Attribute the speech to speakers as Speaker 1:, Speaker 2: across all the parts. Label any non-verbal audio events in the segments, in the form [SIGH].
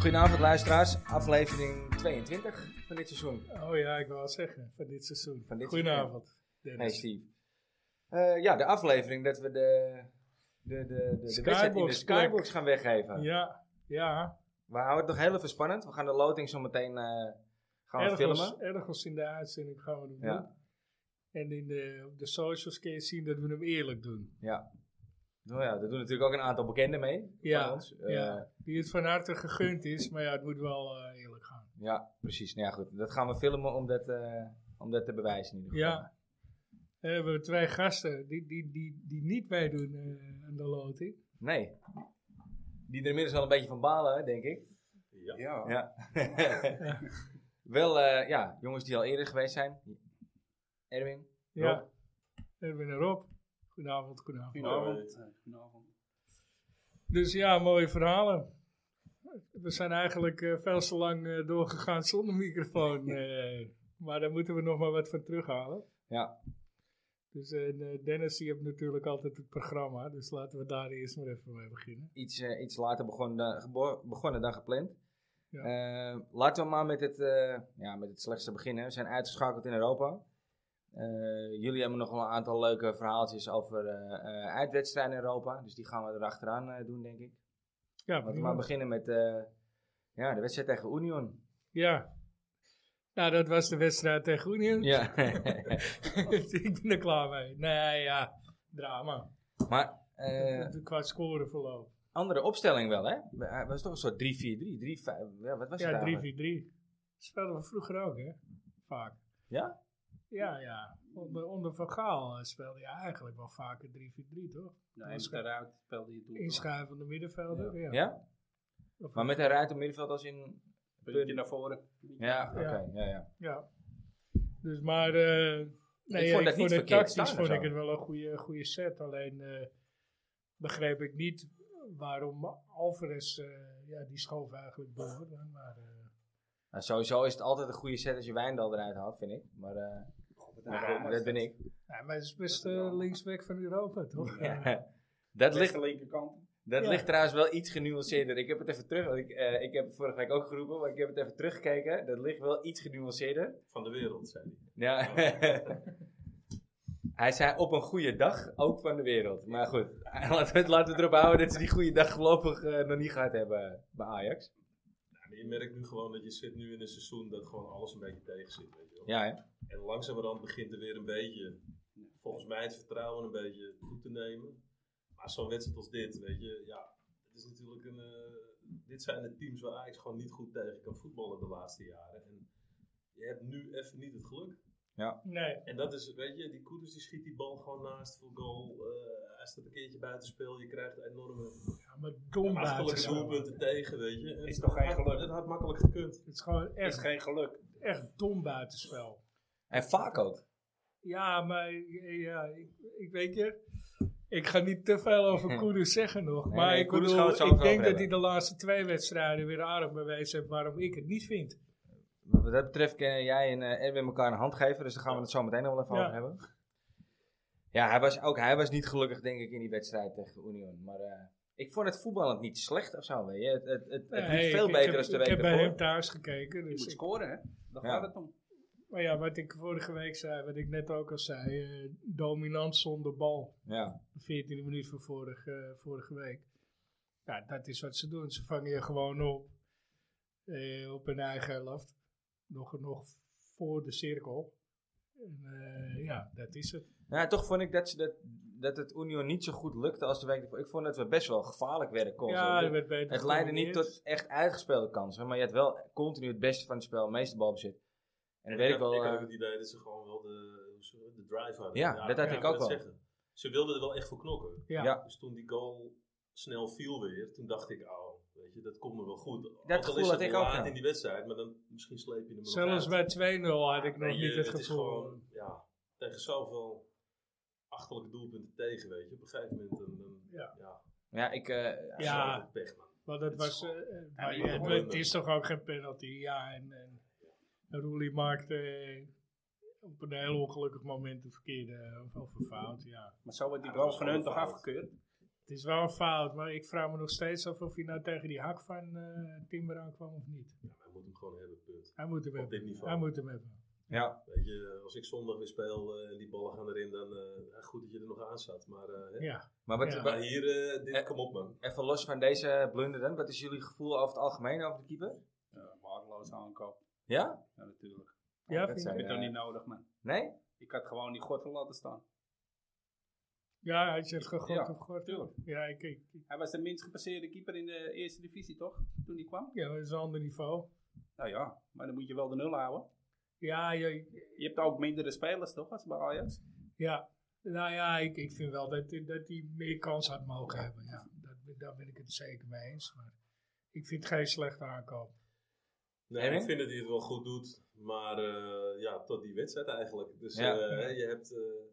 Speaker 1: Goedenavond luisteraars, aflevering 22 van dit seizoen.
Speaker 2: Oh ja, ik wou het zeggen, van dit seizoen.
Speaker 1: Van dit
Speaker 2: Goedenavond,
Speaker 1: Hey
Speaker 2: Dennis.
Speaker 1: Steve. Eh, ja, de aflevering dat we de, de, de, de, de wedstrijd in de
Speaker 2: Skybox Cup.
Speaker 1: Skybox gaan weggeven.
Speaker 2: Ja, ja.
Speaker 1: We houden het nog heel even spannend. We gaan de loting zo meteen eh, gaan we
Speaker 2: Ergens,
Speaker 1: filmen.
Speaker 2: ergens in de uitzending gaan we hem
Speaker 1: Ja.
Speaker 2: doen. En in de, op de socials kun je zien dat we hem eerlijk doen.
Speaker 1: Ja. Nou ja, er doen natuurlijk ook een aantal bekenden mee van
Speaker 2: Ja,
Speaker 1: ons. Eh,
Speaker 2: ja, die het van harte gegund is, maar ja, het moet wel eh, eerlijk gaan.
Speaker 1: ja, precies. Nou ja, goed. Dat gaan we filmen om dat, eh, om dat te bewijzen in ieder geval.
Speaker 2: Ja. Eh, We hebben twee gasten die, die, die, die niet meedoen eh, aan de loting.
Speaker 1: Nee. Die er inmiddels al een beetje van balen, denk ik.
Speaker 3: Ja.
Speaker 1: Ja. [LAUGHS] Wel, eh, ja, jongens die al eerder geweest zijn. Erwin. Rob.
Speaker 2: Ja, Erwin en Rob. Goedenavond, goedenavond.
Speaker 3: Goedenavond. Eh, Goedenavond.
Speaker 2: Dus ja, mooie verhalen. We zijn eigenlijk eh, veel te lang eh, doorgegaan zonder microfoon. eh, maar daar moeten we nog maar wat van terughalen.
Speaker 1: Ja,
Speaker 2: Dus en, eh, Dennis, die hebt natuurlijk altijd het programma. Dus laten we daar eerst maar even mee beginnen.
Speaker 1: iets, eh, iets later begonnen, gebo- begonnen dan gepland.
Speaker 2: Ja.
Speaker 1: Eh, laten we maar met het, eh, ja, met het slechtste beginnen. We zijn uitgeschakeld in Europa. Eh, jullie hebben nog wel een aantal leuke verhaaltjes over eh, eh, uitwedstrijden in Europa. Dus die gaan we erachteraan eh doen, denk ik.
Speaker 2: Ja,
Speaker 1: Laten we
Speaker 2: prima.
Speaker 1: maar beginnen met eh, ja, de wedstrijd tegen Union.
Speaker 2: ja. Nou, dat was de wedstrijd tegen Union.
Speaker 1: Ja.
Speaker 2: [LAUGHS] Ik ben er klaar mee. Nee, ja. Drama.
Speaker 1: [LAUGHS] maar eh,
Speaker 2: Qua scoreverloop.
Speaker 1: andere opstelling wel, hè? Het was toch een soort 3-4-3, 3 ja, wat was het
Speaker 2: Ja,
Speaker 1: eigenlijk?
Speaker 2: 3-4-3. Speelden we vroeger ook, hè? Vaak.
Speaker 1: Ja?
Speaker 2: Ja, ja. Onder, onder Van Gaal eh, speelde je eigenlijk wel vaker 3-4-3, toch?
Speaker 3: Nou, en daaruit speelde je toen toch?
Speaker 2: Inschuivende middenvelder, ja.
Speaker 1: Ja?
Speaker 2: Of-
Speaker 1: Maar met een ruit op middenveld als in...
Speaker 3: Puntje naar voren.
Speaker 1: Ja, oké.
Speaker 2: Ja.
Speaker 1: Ja, ja.
Speaker 2: ja. Dus maar... eh nee,
Speaker 1: vond dat niet
Speaker 2: ja, vond het
Speaker 1: verkeerd staan
Speaker 2: tactisch
Speaker 1: of
Speaker 2: vond
Speaker 1: zo.
Speaker 2: ik het wel een goede, goede set. Alleen eh, begreep ik niet waarom Alvarez... eh, ja, die schoof eigenlijk door. hè, Maar, eh,
Speaker 1: Nou, sowieso is het altijd een goede set als je Wijndal eruit haalt, vind ik. Maar eh, maar goed, dat ben ik.
Speaker 2: nou, maar het is best eh, linksback van Europa, toch?
Speaker 1: [LAUGHS] Dat,
Speaker 3: Ligt
Speaker 1: ligt,
Speaker 3: de linkerkant.
Speaker 1: dat
Speaker 2: Ja.
Speaker 1: ligt trouwens wel iets genuanceerder. Ik heb het even terug... Want ik, eh, ik heb het vorige week ook geroepen, maar ik heb het even teruggekeken. Dat ligt wel iets genuanceerder.
Speaker 4: van de wereld, zei hij.
Speaker 1: Ja. Oh. [LAUGHS] Hij zei op een goede dag ook van de wereld. Maar goed, [LAUGHS] laten we, het- laten we erop houden dat ze die goede dag voorlopig eh, nog niet gehad hebben bij Ajax.
Speaker 4: Ja, maar je merkt nu gewoon dat je zit nu in een seizoen dat gewoon alles een beetje tegen zit. Weet je wel.
Speaker 1: Ja, hè?
Speaker 4: En langzamerhand begint er weer een beetje, volgens mij het vertrouwen een beetje toe te nemen. Maar zo'n wedstrijd als dit, weet je, ja, het is natuurlijk een, eh, dit zijn de teams waar Ajax gewoon niet goed tegen kan voetballen de laatste jaren. En je hebt nu even niet het geluk.
Speaker 2: Nee.
Speaker 4: En dat is, weet je, die Koeders die schiet die bal gewoon naast voor goal. Eh, hij staat een keertje buitenspel, je krijgt een enorme
Speaker 2: Ja, maar dom
Speaker 4: makkelijke
Speaker 2: buitenspel.
Speaker 4: doelpunten tegen, weet je. En
Speaker 3: Is toch geen
Speaker 4: het had-
Speaker 3: geluk?
Speaker 4: Het had makkelijk gekund.
Speaker 2: Het is gewoon
Speaker 3: Is
Speaker 2: echt,
Speaker 3: geen geluk.
Speaker 2: echt dom buitenspel.
Speaker 1: En vaak ook.
Speaker 2: Ja, maar ja, ik, ik weet je, ik ga niet te veel
Speaker 1: [LAUGHS]
Speaker 2: over Koeders zeggen nog.
Speaker 1: Nee,
Speaker 2: maar
Speaker 1: nee,
Speaker 2: ik,
Speaker 1: Kudus
Speaker 2: bedoel,
Speaker 1: gaan we het zo
Speaker 2: ik
Speaker 1: over
Speaker 2: denk dat
Speaker 1: hebben.
Speaker 2: hij de laatste twee wedstrijden weer aardig bewezen heeft waarom ik het niet vind.
Speaker 1: Wat dat betreft kunnen jij en eh, Erwin elkaar een hand geven, dus daar gaan we het zo meteen nog wel even
Speaker 2: Ja.
Speaker 1: over hebben. Ja, hij was, ook hij was niet gelukkig, denk ik, in die wedstrijd tegen Union. Maar eh, ik vond het voetballend niet slecht of zo, weet je. Het, het, het, het liep
Speaker 2: Nee,
Speaker 1: veel
Speaker 2: ik-
Speaker 1: beter
Speaker 2: ik, heb-
Speaker 1: als de
Speaker 2: Ik
Speaker 1: week
Speaker 2: heb bij hem
Speaker 1: ervoor.
Speaker 2: thuis gekeken.
Speaker 3: Je
Speaker 2: Dus
Speaker 3: moet
Speaker 2: ik-
Speaker 3: scoren, hè? Daar
Speaker 1: Ja.
Speaker 3: gaat het om.
Speaker 2: maar ja, wat ik vorige week zei, wat ik net ook al zei, eh, dominant zonder bal.
Speaker 1: Ja,
Speaker 2: de 14e minuut van vorige, vorige week. Ja, dat is wat ze doen. Ze vangen je gewoon op. eh, op hun eigen helft. Nog, nog voor de cirkel. En, eh, ja, dat is het.
Speaker 1: Nou ja, toch vond ik dat, ze dat, dat het Union niet zo goed lukte als de week ervoor. Ik vond dat we best wel gevaarlijk werden constant.
Speaker 2: ja, dat werd beter.
Speaker 1: Het leidde niet
Speaker 2: gecombineerd.
Speaker 1: tot echt uitgespeelde kansen, maar je had wel continu het beste van het spel, het meeste balbezit. En dat weet ik
Speaker 4: had-
Speaker 1: wel.
Speaker 4: Ik had ook
Speaker 1: eh,
Speaker 4: het idee dat ze gewoon wel de, hoe ze- de drive hadden.
Speaker 1: Ja, dat had
Speaker 4: kan
Speaker 2: ik
Speaker 1: ook
Speaker 4: het
Speaker 1: wel.
Speaker 4: Zeggen. Ze wilden er wel echt voor knokken.
Speaker 2: Ja.
Speaker 1: ja.
Speaker 4: Dus toen die goal snel viel weer, toen dacht ik, oh, weet je, dat komt me wel goed. Ook
Speaker 1: Dat
Speaker 4: al
Speaker 1: gevoel
Speaker 4: is
Speaker 1: had
Speaker 4: het
Speaker 1: ik
Speaker 4: laat
Speaker 1: ook, ja.
Speaker 4: in die wedstrijd, maar dan misschien sleep je hem er nog
Speaker 2: Zelfs
Speaker 4: uit.
Speaker 2: bij 2-0 had ik nog
Speaker 4: Weet je,
Speaker 2: niet het
Speaker 4: Is
Speaker 2: gevoel.
Speaker 4: gewoon, ja, tegen zoveel achterlijke doelpunten tegen, weet je. Op een gegeven moment, dan, dan-
Speaker 2: Ja.
Speaker 4: ja.
Speaker 1: ja, ik, eh,
Speaker 2: Ja.
Speaker 4: zoveel pech, man.
Speaker 2: Want het
Speaker 4: Het is
Speaker 2: was. eh, eh,
Speaker 3: maar
Speaker 2: maar
Speaker 3: je
Speaker 2: ja, het,
Speaker 4: moet
Speaker 2: het
Speaker 4: winnen.
Speaker 2: is toch ook geen penalty. Ja, en, en Roelie maakte eh, op een heel ongelukkig moment een verkeerde of, of een fout. Ja.
Speaker 3: Maar zo wordt die
Speaker 4: Ja, dat
Speaker 3: goal
Speaker 4: is
Speaker 3: van
Speaker 4: wel
Speaker 3: hun toch
Speaker 4: fout.
Speaker 3: afgekeurd?
Speaker 2: Het is wel een fout, maar ik vraag me nog steeds af of hij nou tegen die hak van eh Timber aankwam of niet.
Speaker 4: Ja, maar hij moet hem gewoon hebben, punt.
Speaker 2: Hij moet hem
Speaker 4: Op
Speaker 2: hebben.
Speaker 4: dit niveau.
Speaker 2: Hij moet hem hebben.
Speaker 1: Ja,
Speaker 4: Weet je, als ik zondag weer speel eh, en die ballen gaan erin, dan eh, ja, goed dat je er nog aan zat. Maar, eh, hè.
Speaker 2: Ja.
Speaker 1: maar wat,
Speaker 2: Ja.
Speaker 1: wat-
Speaker 4: maar hier, eh, dit,
Speaker 1: Eh,
Speaker 4: kom op man.
Speaker 1: even los van deze blunder dan. Wat is jullie gevoel over het algemeen over de keeper?
Speaker 3: Ja, waardeloos aankoop.
Speaker 1: Ja?
Speaker 3: Ja, natuurlijk.
Speaker 2: Ja,
Speaker 1: dat
Speaker 2: vind
Speaker 1: zijn-
Speaker 2: je?
Speaker 3: Heb je toch
Speaker 1: Ja.
Speaker 4: eh,
Speaker 3: niet nodig, man.
Speaker 1: Nee?
Speaker 3: Ik had gewoon die gortel laten staan.
Speaker 2: ja, hij zegt gegooid
Speaker 3: Ja,
Speaker 2: of gegooid.
Speaker 3: tuurlijk.
Speaker 2: Ja, ik, ik, ik-
Speaker 3: Hij was de minst gepasseerde keeper in de eerste divisie, toch? Toen hij kwam.
Speaker 2: ja, dat is een ander niveau.
Speaker 3: Nou ja, maar dan moet je wel de nul houden.
Speaker 2: Ja, je,
Speaker 3: Je hebt ook mindere spelers, toch? Als bij Ajax.
Speaker 2: Ja, nou ja, ik, ik vind wel dat, dat hij meer kans had mogen hebben. Ja, dat, daar ben ik het zeker mee eens. Maar ik vind het geen slechte aankoop.
Speaker 4: Nee,
Speaker 1: Henning?
Speaker 4: ik vind dat hij het wel goed doet. Maar eh, ja, tot die wedstrijd eigenlijk. Dus
Speaker 1: Ja.
Speaker 4: eh, hè, je hebt eh, een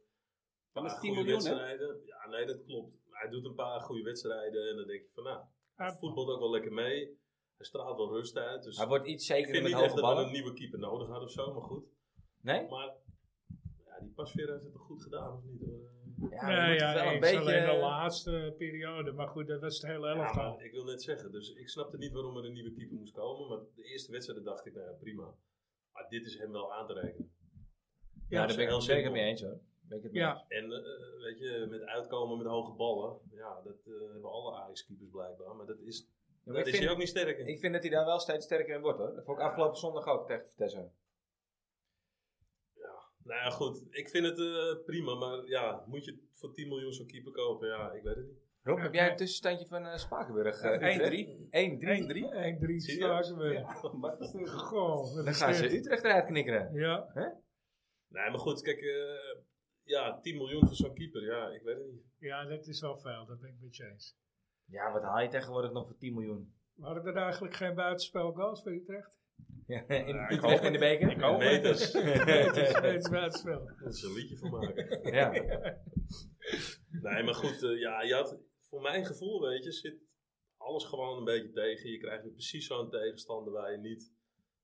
Speaker 3: Dan is
Speaker 4: paar
Speaker 3: het 10
Speaker 4: goede
Speaker 3: miljoen, hè?
Speaker 4: wedstrijden. Ja, nee, dat klopt. Hij doet een paar goede wedstrijden en dan denk je van nou, hij
Speaker 2: Hij-
Speaker 4: voetbalt ook wel lekker mee. Hij straalt wel rust uit. Dus
Speaker 1: Hij wordt iets
Speaker 4: ik
Speaker 1: zekerder
Speaker 4: vind
Speaker 1: met
Speaker 4: niet echt
Speaker 1: hoge
Speaker 4: dat we een
Speaker 1: ballen.
Speaker 4: nieuwe keeper nodig hadden of zo, maar goed.
Speaker 1: Nee?
Speaker 4: Maar ja, die Pasveer heeft het toch goed gedaan, of niet? Eh,
Speaker 1: Ja,
Speaker 2: Nou
Speaker 1: je moet
Speaker 2: ja,
Speaker 1: het wel
Speaker 2: nee,
Speaker 1: een
Speaker 2: het is alleen de
Speaker 1: beetje...
Speaker 2: laatste periode. Maar goed, dat was het hele
Speaker 4: Ja,
Speaker 2: elftal.
Speaker 4: maar ik wil net zeggen, dus ik snapte niet waarom er een nieuwe keeper moest komen. Maar de eerste wedstrijd dacht ik, nou ja, prima. Maar dit is hem wel aan te rekenen.
Speaker 1: Ja, daar ben ik
Speaker 4: heel
Speaker 1: het zeker
Speaker 4: simpel.
Speaker 1: mee eens hoor. Ben ik het mee
Speaker 2: Ja.
Speaker 1: eens.
Speaker 4: En eh, weet je, met uitkomen met hoge ballen, ja, dat eh, hebben alle Ajax-keepers blijkbaar. Maar dat is,
Speaker 1: Ja, maar
Speaker 4: dat
Speaker 1: ik,
Speaker 4: is hij
Speaker 1: vind,
Speaker 4: ook niet sterk in.
Speaker 1: ik vind dat hij daar wel steeds sterker in wordt hoor. Dat vond ik afgelopen zondag ook tegen Vitesse.
Speaker 4: Nou ja, goed, ik vind het eh, prima. Maar ja, moet je voor 10 miljoen zo'n keeper kopen? Ja, ik weet het niet.
Speaker 1: Rob, heb jij een tussenstandje van eh, Spakenburg? eh, Utrecht? 1-3.
Speaker 3: 1-3.
Speaker 2: 1-3
Speaker 4: Zie je?
Speaker 2: slagen we.
Speaker 4: [LAUGHS]
Speaker 1: [LAUGHS]
Speaker 3: Maar dat is een
Speaker 2: Goh, wat
Speaker 1: Dan
Speaker 2: is
Speaker 1: gaan
Speaker 2: dit?
Speaker 1: ze Utrecht eruit knikkeren.
Speaker 2: Ja,
Speaker 4: Nee, maar goed, kijk, eh, ja, 10 miljoen voor zo'n keeper, ja, ik weet het niet.
Speaker 2: ja, dat is wel veel. Dat ben ik met je eens.
Speaker 1: Ja, wat haal je tegenwoordig nog voor 10 miljoen?
Speaker 2: Waren er eigenlijk geen buitenspel goals voor Utrecht?
Speaker 1: [LAUGHS] Ja, in,
Speaker 3: ik
Speaker 1: Utrecht
Speaker 3: hoop
Speaker 1: in de beker?
Speaker 3: Ik hoop het.
Speaker 4: Meters, [LAUGHS] daar
Speaker 2: Steeds buitenspel.
Speaker 4: is een liedje
Speaker 2: [LAUGHS]
Speaker 4: van maken.
Speaker 1: [LAUGHS] Ja.
Speaker 4: Nee, maar goed, eh, ja, je had, voor mijn gevoel, weet je, zit alles gewoon een beetje tegen. Je krijgt weer precies zo'n tegenstander waar je niet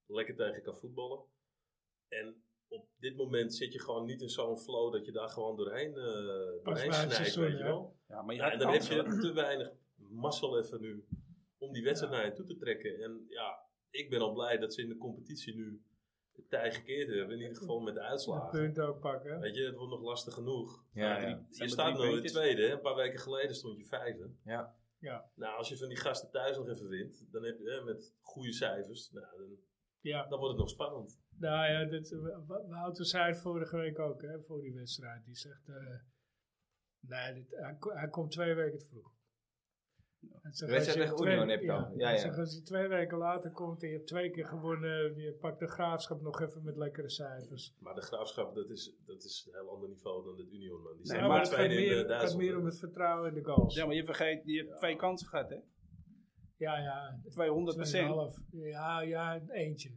Speaker 4: lekker tegen kan voetballen. En op dit moment zit je gewoon niet in zo'n flow dat je daar gewoon doorheen, eh
Speaker 2: Pas
Speaker 4: doorheen
Speaker 2: na het
Speaker 4: snijdt,
Speaker 2: seizoen,
Speaker 4: weet je
Speaker 2: hè?
Speaker 4: wel.
Speaker 3: Ja, maar je
Speaker 4: Ja,
Speaker 3: had
Speaker 4: en dan heb
Speaker 3: kansen.
Speaker 2: [CLEARS THROAT]
Speaker 4: je te weinig mazzel even nu om die wedstrijd naar je toe te trekken. En ja, ik ben al blij dat ze in de competitie nu de tij gekeerd hebben. In ieder geval met de
Speaker 2: De
Speaker 4: uitslagen.
Speaker 2: punten ook pakken.
Speaker 4: Weet je, het wordt nog lastig genoeg.
Speaker 1: Ja, ja.
Speaker 4: Nou, drie-
Speaker 3: Zijn
Speaker 4: Je
Speaker 3: er
Speaker 4: staat
Speaker 3: drie
Speaker 4: nog in de
Speaker 3: puntjes?
Speaker 4: tweede. hè. Een paar weken geleden stond je vijfde.
Speaker 1: Ja.
Speaker 2: Ja.
Speaker 4: Nou, als je van die gasten thuis nog even wint, dan heb je hè, met goede cijfers, nou, dan,
Speaker 2: Ja.
Speaker 4: dan wordt het nog spannend.
Speaker 2: Nou ja, dit, Wa- Wouter zei het vorige week ook, hè, voor die wedstrijd. Die zegt, eh, nee, dit, hij, ko- hij komt twee weken te vroeg. Hij zegt,
Speaker 1: wedstrijd
Speaker 2: als je
Speaker 1: tegen
Speaker 2: twee-
Speaker 1: Union heb je
Speaker 2: ja,
Speaker 1: dan. Ja,
Speaker 2: hij
Speaker 1: ja.
Speaker 2: zegt, als hij twee weken later komt en je hebt twee keer gewonnen, je pakt de graafschap nog even met lekkere cijfers.
Speaker 4: Maar de graafschap, dat is, dat is een heel ander niveau dan het Union, man. Die
Speaker 3: Nee,
Speaker 4: staan
Speaker 2: maar
Speaker 4: maar
Speaker 2: Nou, het gaat
Speaker 4: tweede in
Speaker 2: meer,
Speaker 4: de
Speaker 2: het gaat
Speaker 4: Duitsland.
Speaker 2: meer om het vertrouwen in de goals.
Speaker 3: Ja, maar je vergeet, je hebt twee kansen gehad, hè?
Speaker 2: Ja, ja,
Speaker 3: 200
Speaker 2: 2,5. Ja, ja, eentje.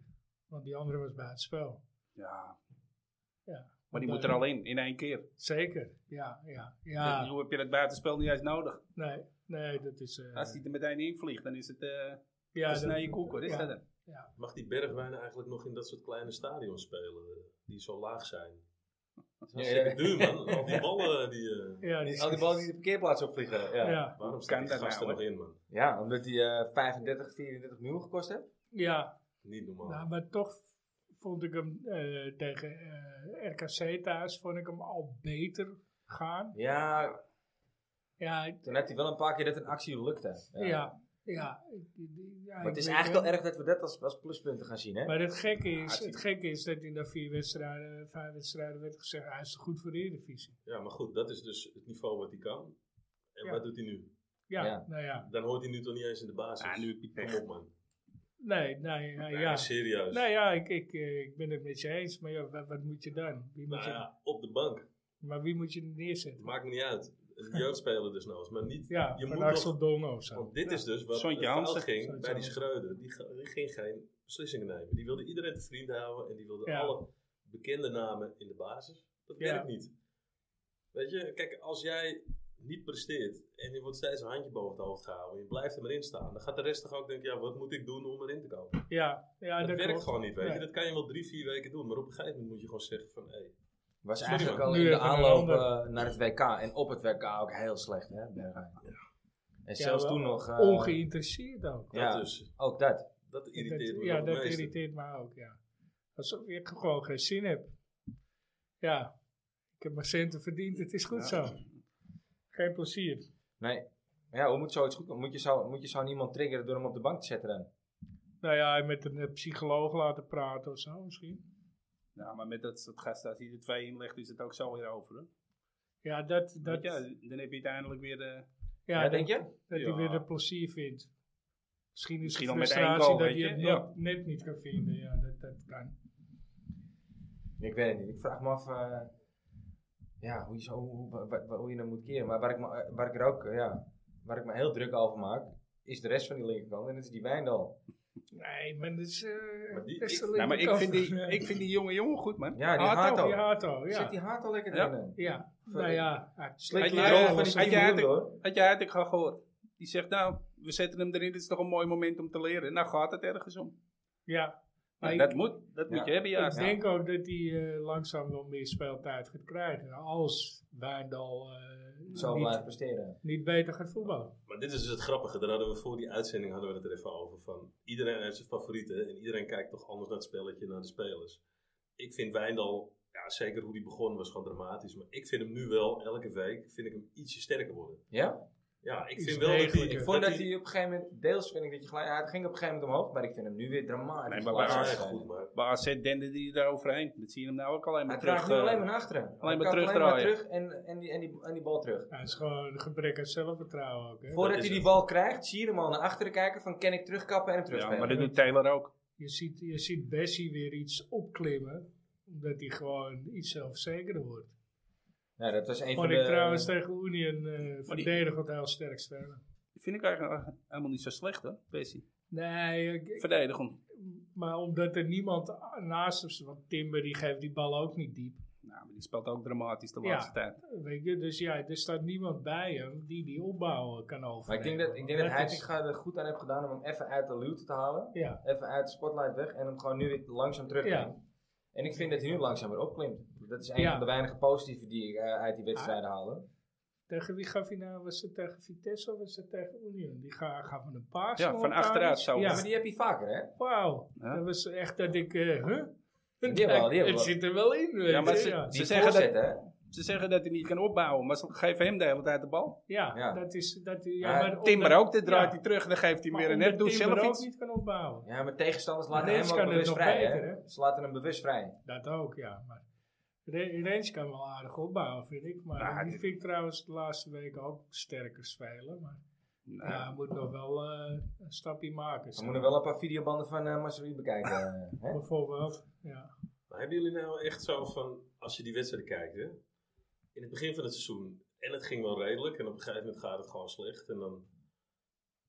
Speaker 2: Want die andere was bij het spel.
Speaker 3: Ja.
Speaker 2: Ja.
Speaker 3: Maar die moet er al in, in één keer.
Speaker 2: Zeker, ja, ja.
Speaker 3: Ja.
Speaker 2: ja.
Speaker 3: Hoe heb je dat buitenspel niet eens nodig?
Speaker 2: Nee, nee, dat is... eh,
Speaker 3: Als die er meteen in vliegt, dan is het eh
Speaker 2: ja,
Speaker 3: een
Speaker 2: dat-
Speaker 3: snije koek, hoor. Is
Speaker 2: ja.
Speaker 3: dat het?
Speaker 4: Mag die Bergwijn eigenlijk nog in dat soort kleine stadions spelen, eh, die zo laag zijn? Dat is
Speaker 1: [LAUGHS]
Speaker 4: hartstikke
Speaker 1: Ja.
Speaker 4: duur, man. Al die ballen, die... eh,
Speaker 2: Ja, die
Speaker 1: Al die ballen die de parkeerplaats opvliegen. Ja, ja.
Speaker 2: [LAUGHS] Ja,
Speaker 4: waarom
Speaker 3: Kan
Speaker 4: staan die
Speaker 3: dat nou,
Speaker 4: gasten
Speaker 3: hoor.
Speaker 4: nog in, man?
Speaker 1: omdat die eh 35, 34 miljoen gekost heeft.
Speaker 2: ja.
Speaker 4: Niet normaal.
Speaker 2: Nou, maar toch vond ik hem eh, tegen eh, RKC thuis vond ik hem al beter gaan.
Speaker 1: Ja,
Speaker 2: Ja, ik-
Speaker 1: toen had hij wel een paar keer dat een actie lukte.
Speaker 2: ja, ja. ik- ik- ja,
Speaker 1: Maar het
Speaker 2: ik
Speaker 1: is
Speaker 2: weet
Speaker 1: eigenlijk
Speaker 2: niet.
Speaker 1: wel erg dat we dat als, als pluspunten gaan zien, hè?
Speaker 2: Maar het gekke, is,
Speaker 1: het-
Speaker 2: het gekke is dat in de vier wedstrijden, vijf wedstrijden werd gezegd, hij is te goed voor de Eredivisie.
Speaker 4: Ja, maar goed, dat is dus het niveau wat hij kan. En
Speaker 2: Ja.
Speaker 4: wat doet hij nu?
Speaker 2: Ja,
Speaker 1: Ja.
Speaker 2: nou ja.
Speaker 4: Dan hoort hij nu toch niet eens in de basis.
Speaker 3: Ah, nu heb je
Speaker 4: Kom
Speaker 3: pech.
Speaker 4: op, man.
Speaker 2: Nee, nee, nou
Speaker 4: Nee,
Speaker 2: ja.
Speaker 4: maar serieus.
Speaker 2: Nou ja, ik, ik, eh, ik ben het met je eens, maar ja, wat, wat moet je dan? Wie moet
Speaker 4: Nou
Speaker 2: je,
Speaker 4: ja, op de bank.
Speaker 2: maar wie moet je neerzetten?
Speaker 4: Maakt me niet uit. Een jeugdspeler dus nou Maar niet...
Speaker 2: Ja,
Speaker 4: Je
Speaker 2: van
Speaker 4: moet
Speaker 2: Axel
Speaker 4: toch-
Speaker 2: Dongen of zo.
Speaker 4: Want dit is dus wat
Speaker 3: Sontje
Speaker 4: er fout
Speaker 3: Hansen.
Speaker 4: ging
Speaker 2: Sontje
Speaker 4: bij die
Speaker 2: Hansen.
Speaker 4: Schreuder. Die, ga- die ging geen beslissingen nemen. Die wilde iedereen te vriend houden. En die wilde
Speaker 2: Ja.
Speaker 4: alle bekende namen in de basis. Dat
Speaker 2: Ja.
Speaker 4: werkt niet. Weet je, kijk, als jij niet presteert en je wordt steeds een handje boven het hoofd gehouden. En je blijft er maar in staan. Dan gaat de rest toch ook denken, ja, wat moet ik doen om erin te komen?
Speaker 2: Ja, ja
Speaker 4: dat, werkt
Speaker 2: klopt.
Speaker 4: gewoon niet, weet je.
Speaker 2: Nee.
Speaker 4: Dat kan je wel drie, vier weken doen. Maar op een gegeven moment moet je gewoon zeggen van... Hey,
Speaker 1: Was
Speaker 4: Sorry,
Speaker 1: eigenlijk
Speaker 4: man.
Speaker 1: al
Speaker 2: Nu
Speaker 1: in de
Speaker 2: even een
Speaker 1: aanloop
Speaker 2: ander.
Speaker 1: eh, naar het WK en op het WK ook heel slecht, hè? Bergwijn. En zelfs
Speaker 2: wel
Speaker 1: toen nog... eh,
Speaker 2: Ongeïnteresseerd ook.
Speaker 4: Dat,
Speaker 1: Ja.
Speaker 4: dus,
Speaker 1: Ook dat.
Speaker 4: dat
Speaker 2: Dat-
Speaker 4: irriteert me
Speaker 2: Ja,
Speaker 4: nog het
Speaker 2: dat
Speaker 4: meeste.
Speaker 2: irriteert me ook, ja. Alsof ik gewoon geen zin heb. Ja, ik heb mijn centen verdiend, het is goed
Speaker 3: Ja.
Speaker 2: zo. Geen plezier.
Speaker 1: Nee. Ja, hoe moet zoiets goed komen? Moet je zo, moet je zo niemand triggeren door hem op de bank te zetten dan?
Speaker 2: Nou ja, met een eh, psycholoog laten praten of zo misschien.
Speaker 3: Ja, maar met dat soort gasten, als hij er twee in legt, is het ook zo weer over. Hè?
Speaker 2: Ja, dat, dat,
Speaker 3: Dat,
Speaker 2: ja,
Speaker 3: ja, dan heb je uiteindelijk weer... eh,
Speaker 1: Ja,
Speaker 2: dat-
Speaker 1: denk je?
Speaker 2: Dat hij
Speaker 3: Ja.
Speaker 2: weer de plezier vindt. Misschien is
Speaker 3: Misschien
Speaker 2: de
Speaker 3: nog met één
Speaker 2: frustratie
Speaker 3: goal,
Speaker 2: dat
Speaker 3: weet
Speaker 2: hij
Speaker 3: je?
Speaker 2: het
Speaker 3: Ja.
Speaker 2: nog net niet kan vinden. Ja, dat, dat kan.
Speaker 1: Ik weet het niet. Ik vraag me af eh, ja, hoe, je zo, hoe, wa- wa- hoe je hem moet keren. Maar waar ik, me, eh, waar ik er ook eh, ja, waar ik me heel druk over maak, is de rest van die linkerkant. En dat is die Wijndal.
Speaker 2: Nee, maar dat is... eh
Speaker 4: Maar die-
Speaker 2: dat is de
Speaker 4: ik-
Speaker 3: nou, maar ik vind, die,
Speaker 2: linkerkant.
Speaker 3: ik vind die jonge jongen goed, man.
Speaker 1: Ja, die
Speaker 3: Hato.
Speaker 1: Hato.
Speaker 2: [LAUGHS] Die Hato,
Speaker 1: Zit
Speaker 2: ja.
Speaker 1: die haat al lekker
Speaker 3: Ja.
Speaker 1: in? hè?
Speaker 2: Ja, nou ja. hij-
Speaker 1: Slik
Speaker 3: Had
Speaker 1: die
Speaker 3: jij-
Speaker 1: rol
Speaker 3: had
Speaker 1: van die
Speaker 3: jij-
Speaker 1: 10 miljoen
Speaker 3: had-
Speaker 1: door.
Speaker 3: Had jij het ik al gehoord? Die zegt, nou, we zetten hem erin, dit is toch een mooi moment om te leren. Nou gaat het ergens om.
Speaker 2: Ja.
Speaker 3: Nou,
Speaker 2: Maar
Speaker 3: dat
Speaker 2: ik,
Speaker 3: moet, dat
Speaker 1: Ja.
Speaker 3: moet je hebben, ja.
Speaker 2: ik denk ook dat hij eh, langzaam wel meer speeltijd gaat krijgen. Als Wijndal eh,
Speaker 1: Zo blijven
Speaker 2: niet,
Speaker 1: presteren.
Speaker 2: niet beter gaat voetballen.
Speaker 4: Maar dit is dus het grappige. Daar hadden we voor die uitzending hadden we het er even over. Van iedereen heeft zijn favorieten. En iedereen kijkt toch anders naar het spelletje, naar de spelers. Ik vind Wijndal, ja, zeker hoe die begon, was gewoon dramatisch. Maar ik vind hem nu wel, elke week, vind ik hem ietsje sterker worden.
Speaker 1: Ja?
Speaker 4: Ja, ik
Speaker 2: Iets
Speaker 4: vind wel dat hij...
Speaker 2: degelijker.
Speaker 1: Ik vond dat hij op een gegeven moment, deels vind ik dat je gelijk, hij ging op een gegeven moment omhoog, maar ik vind hem nu weer dramatisch.
Speaker 3: Nee, maar
Speaker 1: de
Speaker 3: bij
Speaker 1: laatste
Speaker 4: Ja,
Speaker 3: Ajax
Speaker 4: echt
Speaker 1: wedstrijden.
Speaker 4: goed, maar...
Speaker 3: Bij AZ dende die daar overheen. Dat zie je hem nou ook alleen
Speaker 1: Hij
Speaker 3: maar
Speaker 1: draait
Speaker 3: terug.
Speaker 1: nu
Speaker 3: eh,
Speaker 1: alleen maar naar achteren. Hij
Speaker 3: maar
Speaker 1: kapt
Speaker 3: terugdraaien.
Speaker 1: terug en, en, die, en, die, en die bal terug.
Speaker 2: Ja, het is gewoon een gebrek aan zelfvertrouwen ook. Hè?
Speaker 1: Voordat
Speaker 4: is
Speaker 1: hij die
Speaker 4: het.
Speaker 1: bal krijgt, zie je hem al naar achteren kijken van kan ik terugkappen en hem
Speaker 3: Ja,
Speaker 1: terugspelen.
Speaker 3: maar dat doet Taylor ook.
Speaker 2: Je ziet, je ziet Bessie weer iets opklimmen. Omdat hij gewoon iets zelfzekerder wordt.
Speaker 1: Ja, dat was een van
Speaker 2: Vond
Speaker 1: de...
Speaker 2: ik trouwens tegen Union eh
Speaker 3: die-
Speaker 2: verdedigend heel sterk spelen.
Speaker 3: Dat vind ik eigenlijk helemaal niet zo slecht, hoor, Bessie.
Speaker 2: Nee, ik- ik-
Speaker 3: Verdedigend.
Speaker 2: maar omdat er niemand a- naast hem zit. Want Timber die geeft die bal ook niet diep.
Speaker 3: Nou, maar die speelt ook dramatisch de
Speaker 2: Ja.
Speaker 3: laatste tijd.
Speaker 2: Weet je, dus ja, er staat niemand bij hem die die opbouwen kan overnemen.
Speaker 1: maar ik denk dat, ik denk dat
Speaker 2: Want
Speaker 1: hij
Speaker 2: is-
Speaker 1: er goed aan heeft gedaan om hem even uit de luwte te halen.
Speaker 2: Ja,
Speaker 1: Even uit de spotlight weg en hem gewoon nu weer langzaam terug te
Speaker 2: Ja.
Speaker 1: brengen. En ik vind dat hij nu langzaam weer opklimt. Dat is een
Speaker 2: Ja.
Speaker 1: van de weinige positieve die ik eh, uit die
Speaker 3: Ah.
Speaker 1: wedstrijden haalde.
Speaker 2: tegen wie gaf hij nou? Was het tegen Vitesse of was het tegen Union? Die ga, gaf hem een paar.
Speaker 3: Ja, van achteruit zo.
Speaker 2: Ja,
Speaker 1: Maar die heb je vaker, hè?
Speaker 2: wauw.
Speaker 3: Ja.
Speaker 2: Dat was echt dat ik, eh huh?
Speaker 1: hebben wel,
Speaker 2: [LAUGHS]
Speaker 1: die hebben
Speaker 2: het
Speaker 1: wel.
Speaker 2: zit er wel in, weet
Speaker 3: Ja, maar
Speaker 2: je,
Speaker 3: ze-
Speaker 2: ja.
Speaker 1: Die
Speaker 3: zeggen dat-
Speaker 1: voorzet, hè?
Speaker 3: Ze zeggen dat hij niet kan opbouwen, maar ze geven hem de hele tijd de bal.
Speaker 2: Ja,
Speaker 1: Ja.
Speaker 2: dat is... Dat, ja,
Speaker 1: Maar
Speaker 2: maar
Speaker 3: Timber
Speaker 2: omdat-
Speaker 3: ook, dan draait
Speaker 2: ja,
Speaker 3: hij terug en dan geeft hij hem
Speaker 2: maar
Speaker 3: weer een net.
Speaker 2: omdat
Speaker 3: Doet
Speaker 2: Timber
Speaker 3: zelf
Speaker 2: ook
Speaker 3: iets.
Speaker 2: niet kan opbouwen.
Speaker 1: Ja, maar tegenstanders laten hem
Speaker 2: Rens
Speaker 1: ook
Speaker 2: kan het
Speaker 1: bewust
Speaker 2: nog
Speaker 1: vrij,
Speaker 2: beter,
Speaker 1: hè?
Speaker 2: hè?
Speaker 1: Ze laten hem bewust vrij.
Speaker 2: Dat ook, ja. Maar Re- Rens kan wel aardig opbouwen, vind ik. Maar
Speaker 3: Nou,
Speaker 2: die
Speaker 3: dit-
Speaker 2: vind ik trouwens de laatste weken ook sterker spelen. Maar
Speaker 3: Nou,
Speaker 2: ja, hij moet nog wel eh, een stapje maken.
Speaker 1: We
Speaker 2: zeg.
Speaker 1: moeten wel een paar videobanden van eh Marcelino bekijken.
Speaker 2: [LAUGHS]
Speaker 1: eh, hè?
Speaker 2: Bijvoorbeeld, ja.
Speaker 4: Maar hebben jullie nou echt zo van, als je die wedstrijden kijkt, hè? in het begin van het seizoen, en het ging wel redelijk, en op een gegeven moment gaat het gewoon slecht. En dan,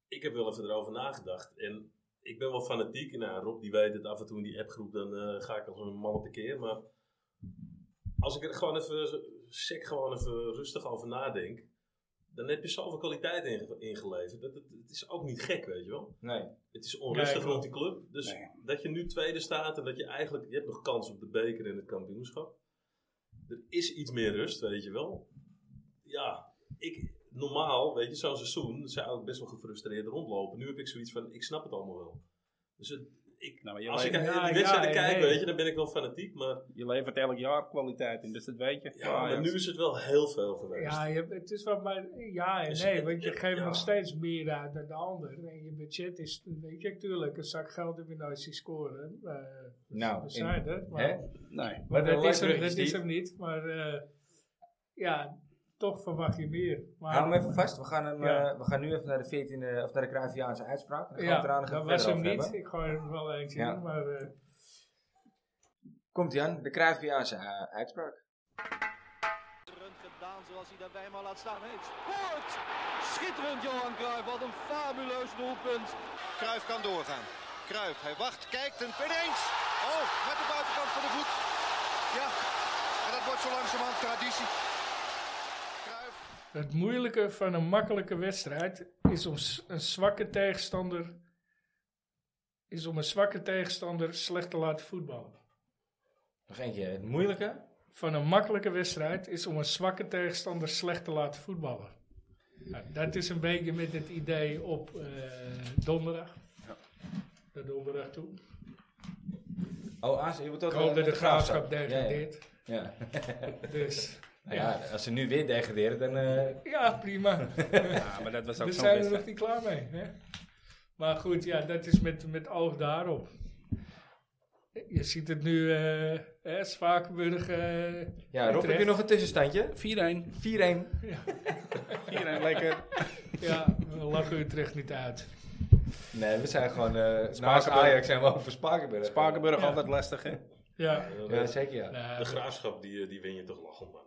Speaker 4: ik heb wel even erover nagedacht. En ik ben wel fanatiek, nou Rob die weet het af en toe in die appgroep, dan eh, ga ik als een man tekeer. Maar als ik er gewoon even, zo- sec gewoon even rustig over nadenk, dan heb je zoveel kwaliteit inge- ingeleverd. Dat, het het is ook niet gek, weet je wel.
Speaker 1: Nee.
Speaker 4: Het is onrustig
Speaker 2: Nee, klopt.
Speaker 4: rond die club. Dus
Speaker 3: Nee.
Speaker 4: dat je nu tweede staat en dat je eigenlijk... Je hebt nog kans op de beker en het kampioenschap. Er is iets meer rust, weet je wel. Ja, ik... Normaal, weet je, zo'n seizoen zou ik best wel gefrustreerd rondlopen. Nu heb ik zoiets van, ik snap het allemaal wel. Dus het- ik,
Speaker 3: Nou, maar je
Speaker 4: als ik
Speaker 3: weet-
Speaker 4: naar
Speaker 2: Ja,
Speaker 4: die wedstrijden
Speaker 2: ja,
Speaker 4: kijk,
Speaker 2: nee.
Speaker 4: weet je, dan ben ik wel fanatiek. Maar,
Speaker 3: Je levert elk jaar kwaliteit in, dus dat weet je.
Speaker 4: ja, maar nu is het wel heel veel geweest.
Speaker 2: Ja, je, hebt- het is wel maar ja en
Speaker 4: Dus
Speaker 2: nee,
Speaker 4: het-
Speaker 2: want je
Speaker 4: het-
Speaker 2: geeft
Speaker 4: ja.
Speaker 2: nog steeds meer uit dan de ander. En je budget is, weet je, tuurlijk, een zak geld heb je nooit zien scoren. eh,
Speaker 1: Nou,
Speaker 2: we
Speaker 1: in-
Speaker 2: zijn er, maar,
Speaker 1: hè?
Speaker 3: Nee.
Speaker 2: maar
Speaker 1: Wat een
Speaker 2: dat, is hem,
Speaker 1: leuk
Speaker 2: dat is
Speaker 1: bruggetje,
Speaker 2: hem niet. Maar eh, ja, toch verwacht je meer. Maar,
Speaker 1: Hou hem even vast. We gaan, hem,
Speaker 2: Ja.
Speaker 1: eh, we gaan nu even naar de 14e, of naar de Cruyffiaanse uitspraak. Dan gaan we het
Speaker 2: ja,
Speaker 1: eraan nog
Speaker 2: dat
Speaker 1: even
Speaker 2: was
Speaker 1: verder
Speaker 2: hem
Speaker 1: over
Speaker 2: niet.
Speaker 1: hebben.
Speaker 2: Ik gooi hem wel eentje
Speaker 1: Ja.
Speaker 2: in, maar... eh,
Speaker 1: Komt Jan, de Cruyffiaanse eh, uitspraak.
Speaker 5: Schitterend gedaan zoals hij daarbij maar laat staan. Hij scoort! Schitterend Johan Cruijff, wat een fabuleus doelpunt.
Speaker 6: Kruif kan doorgaan. Kruif, hij wacht, kijkt en ineens. Oh, met de buitenkant van de voet. Ja, en dat wordt zo langzamerhand traditie. Kruif.
Speaker 2: Het moeilijke van een makkelijke wedstrijd is om s- een zwakke tegenstander is om een zwakke tegenstander slecht te laten voetballen.
Speaker 1: Nog eentje. Het moeilijke.
Speaker 2: Van een makkelijke wedstrijd is om een zwakke tegenstander slecht te laten voetballen. Nou, dat is een beetje met het idee op eh, donderdag. Naar donderdag toe.
Speaker 1: Oh, AZ, je moet toch
Speaker 2: Ik hoop dat de graafschap
Speaker 1: Ja, ja.
Speaker 2: degradeert.
Speaker 1: Ja.
Speaker 2: Dus
Speaker 1: Nou ja, als ze nu weer degraderen, dan... eh,
Speaker 2: [LAUGHS] ja, [LAUGHS] prima.
Speaker 3: Ja, maar dat was ook
Speaker 2: We
Speaker 3: zo'n
Speaker 2: zijn er nog
Speaker 3: wedstrijd.
Speaker 2: niet klaar mee. Hè? Maar goed, ja, dat is met, met oog daarop. Je ziet het nu, eh, hè, Spakenburg. eh,
Speaker 1: ja, Rob, heb je
Speaker 2: Utrecht.
Speaker 1: nog een tussenstandje?
Speaker 3: 4-1.
Speaker 1: 4-1.
Speaker 3: 4-1, lekker.
Speaker 2: Ja, we lachen Utrecht niet uit.
Speaker 1: Nee, we zijn gewoon... eh naast
Speaker 3: Spakenburg.
Speaker 1: Ajax zijn we over Spakenburg.
Speaker 3: Spakenburg altijd lastig, hè? Nou,
Speaker 2: Ja,
Speaker 1: Ja, zeker ja.
Speaker 4: De
Speaker 2: nou,
Speaker 4: graafschap, die, eh, die win je toch lachen, man.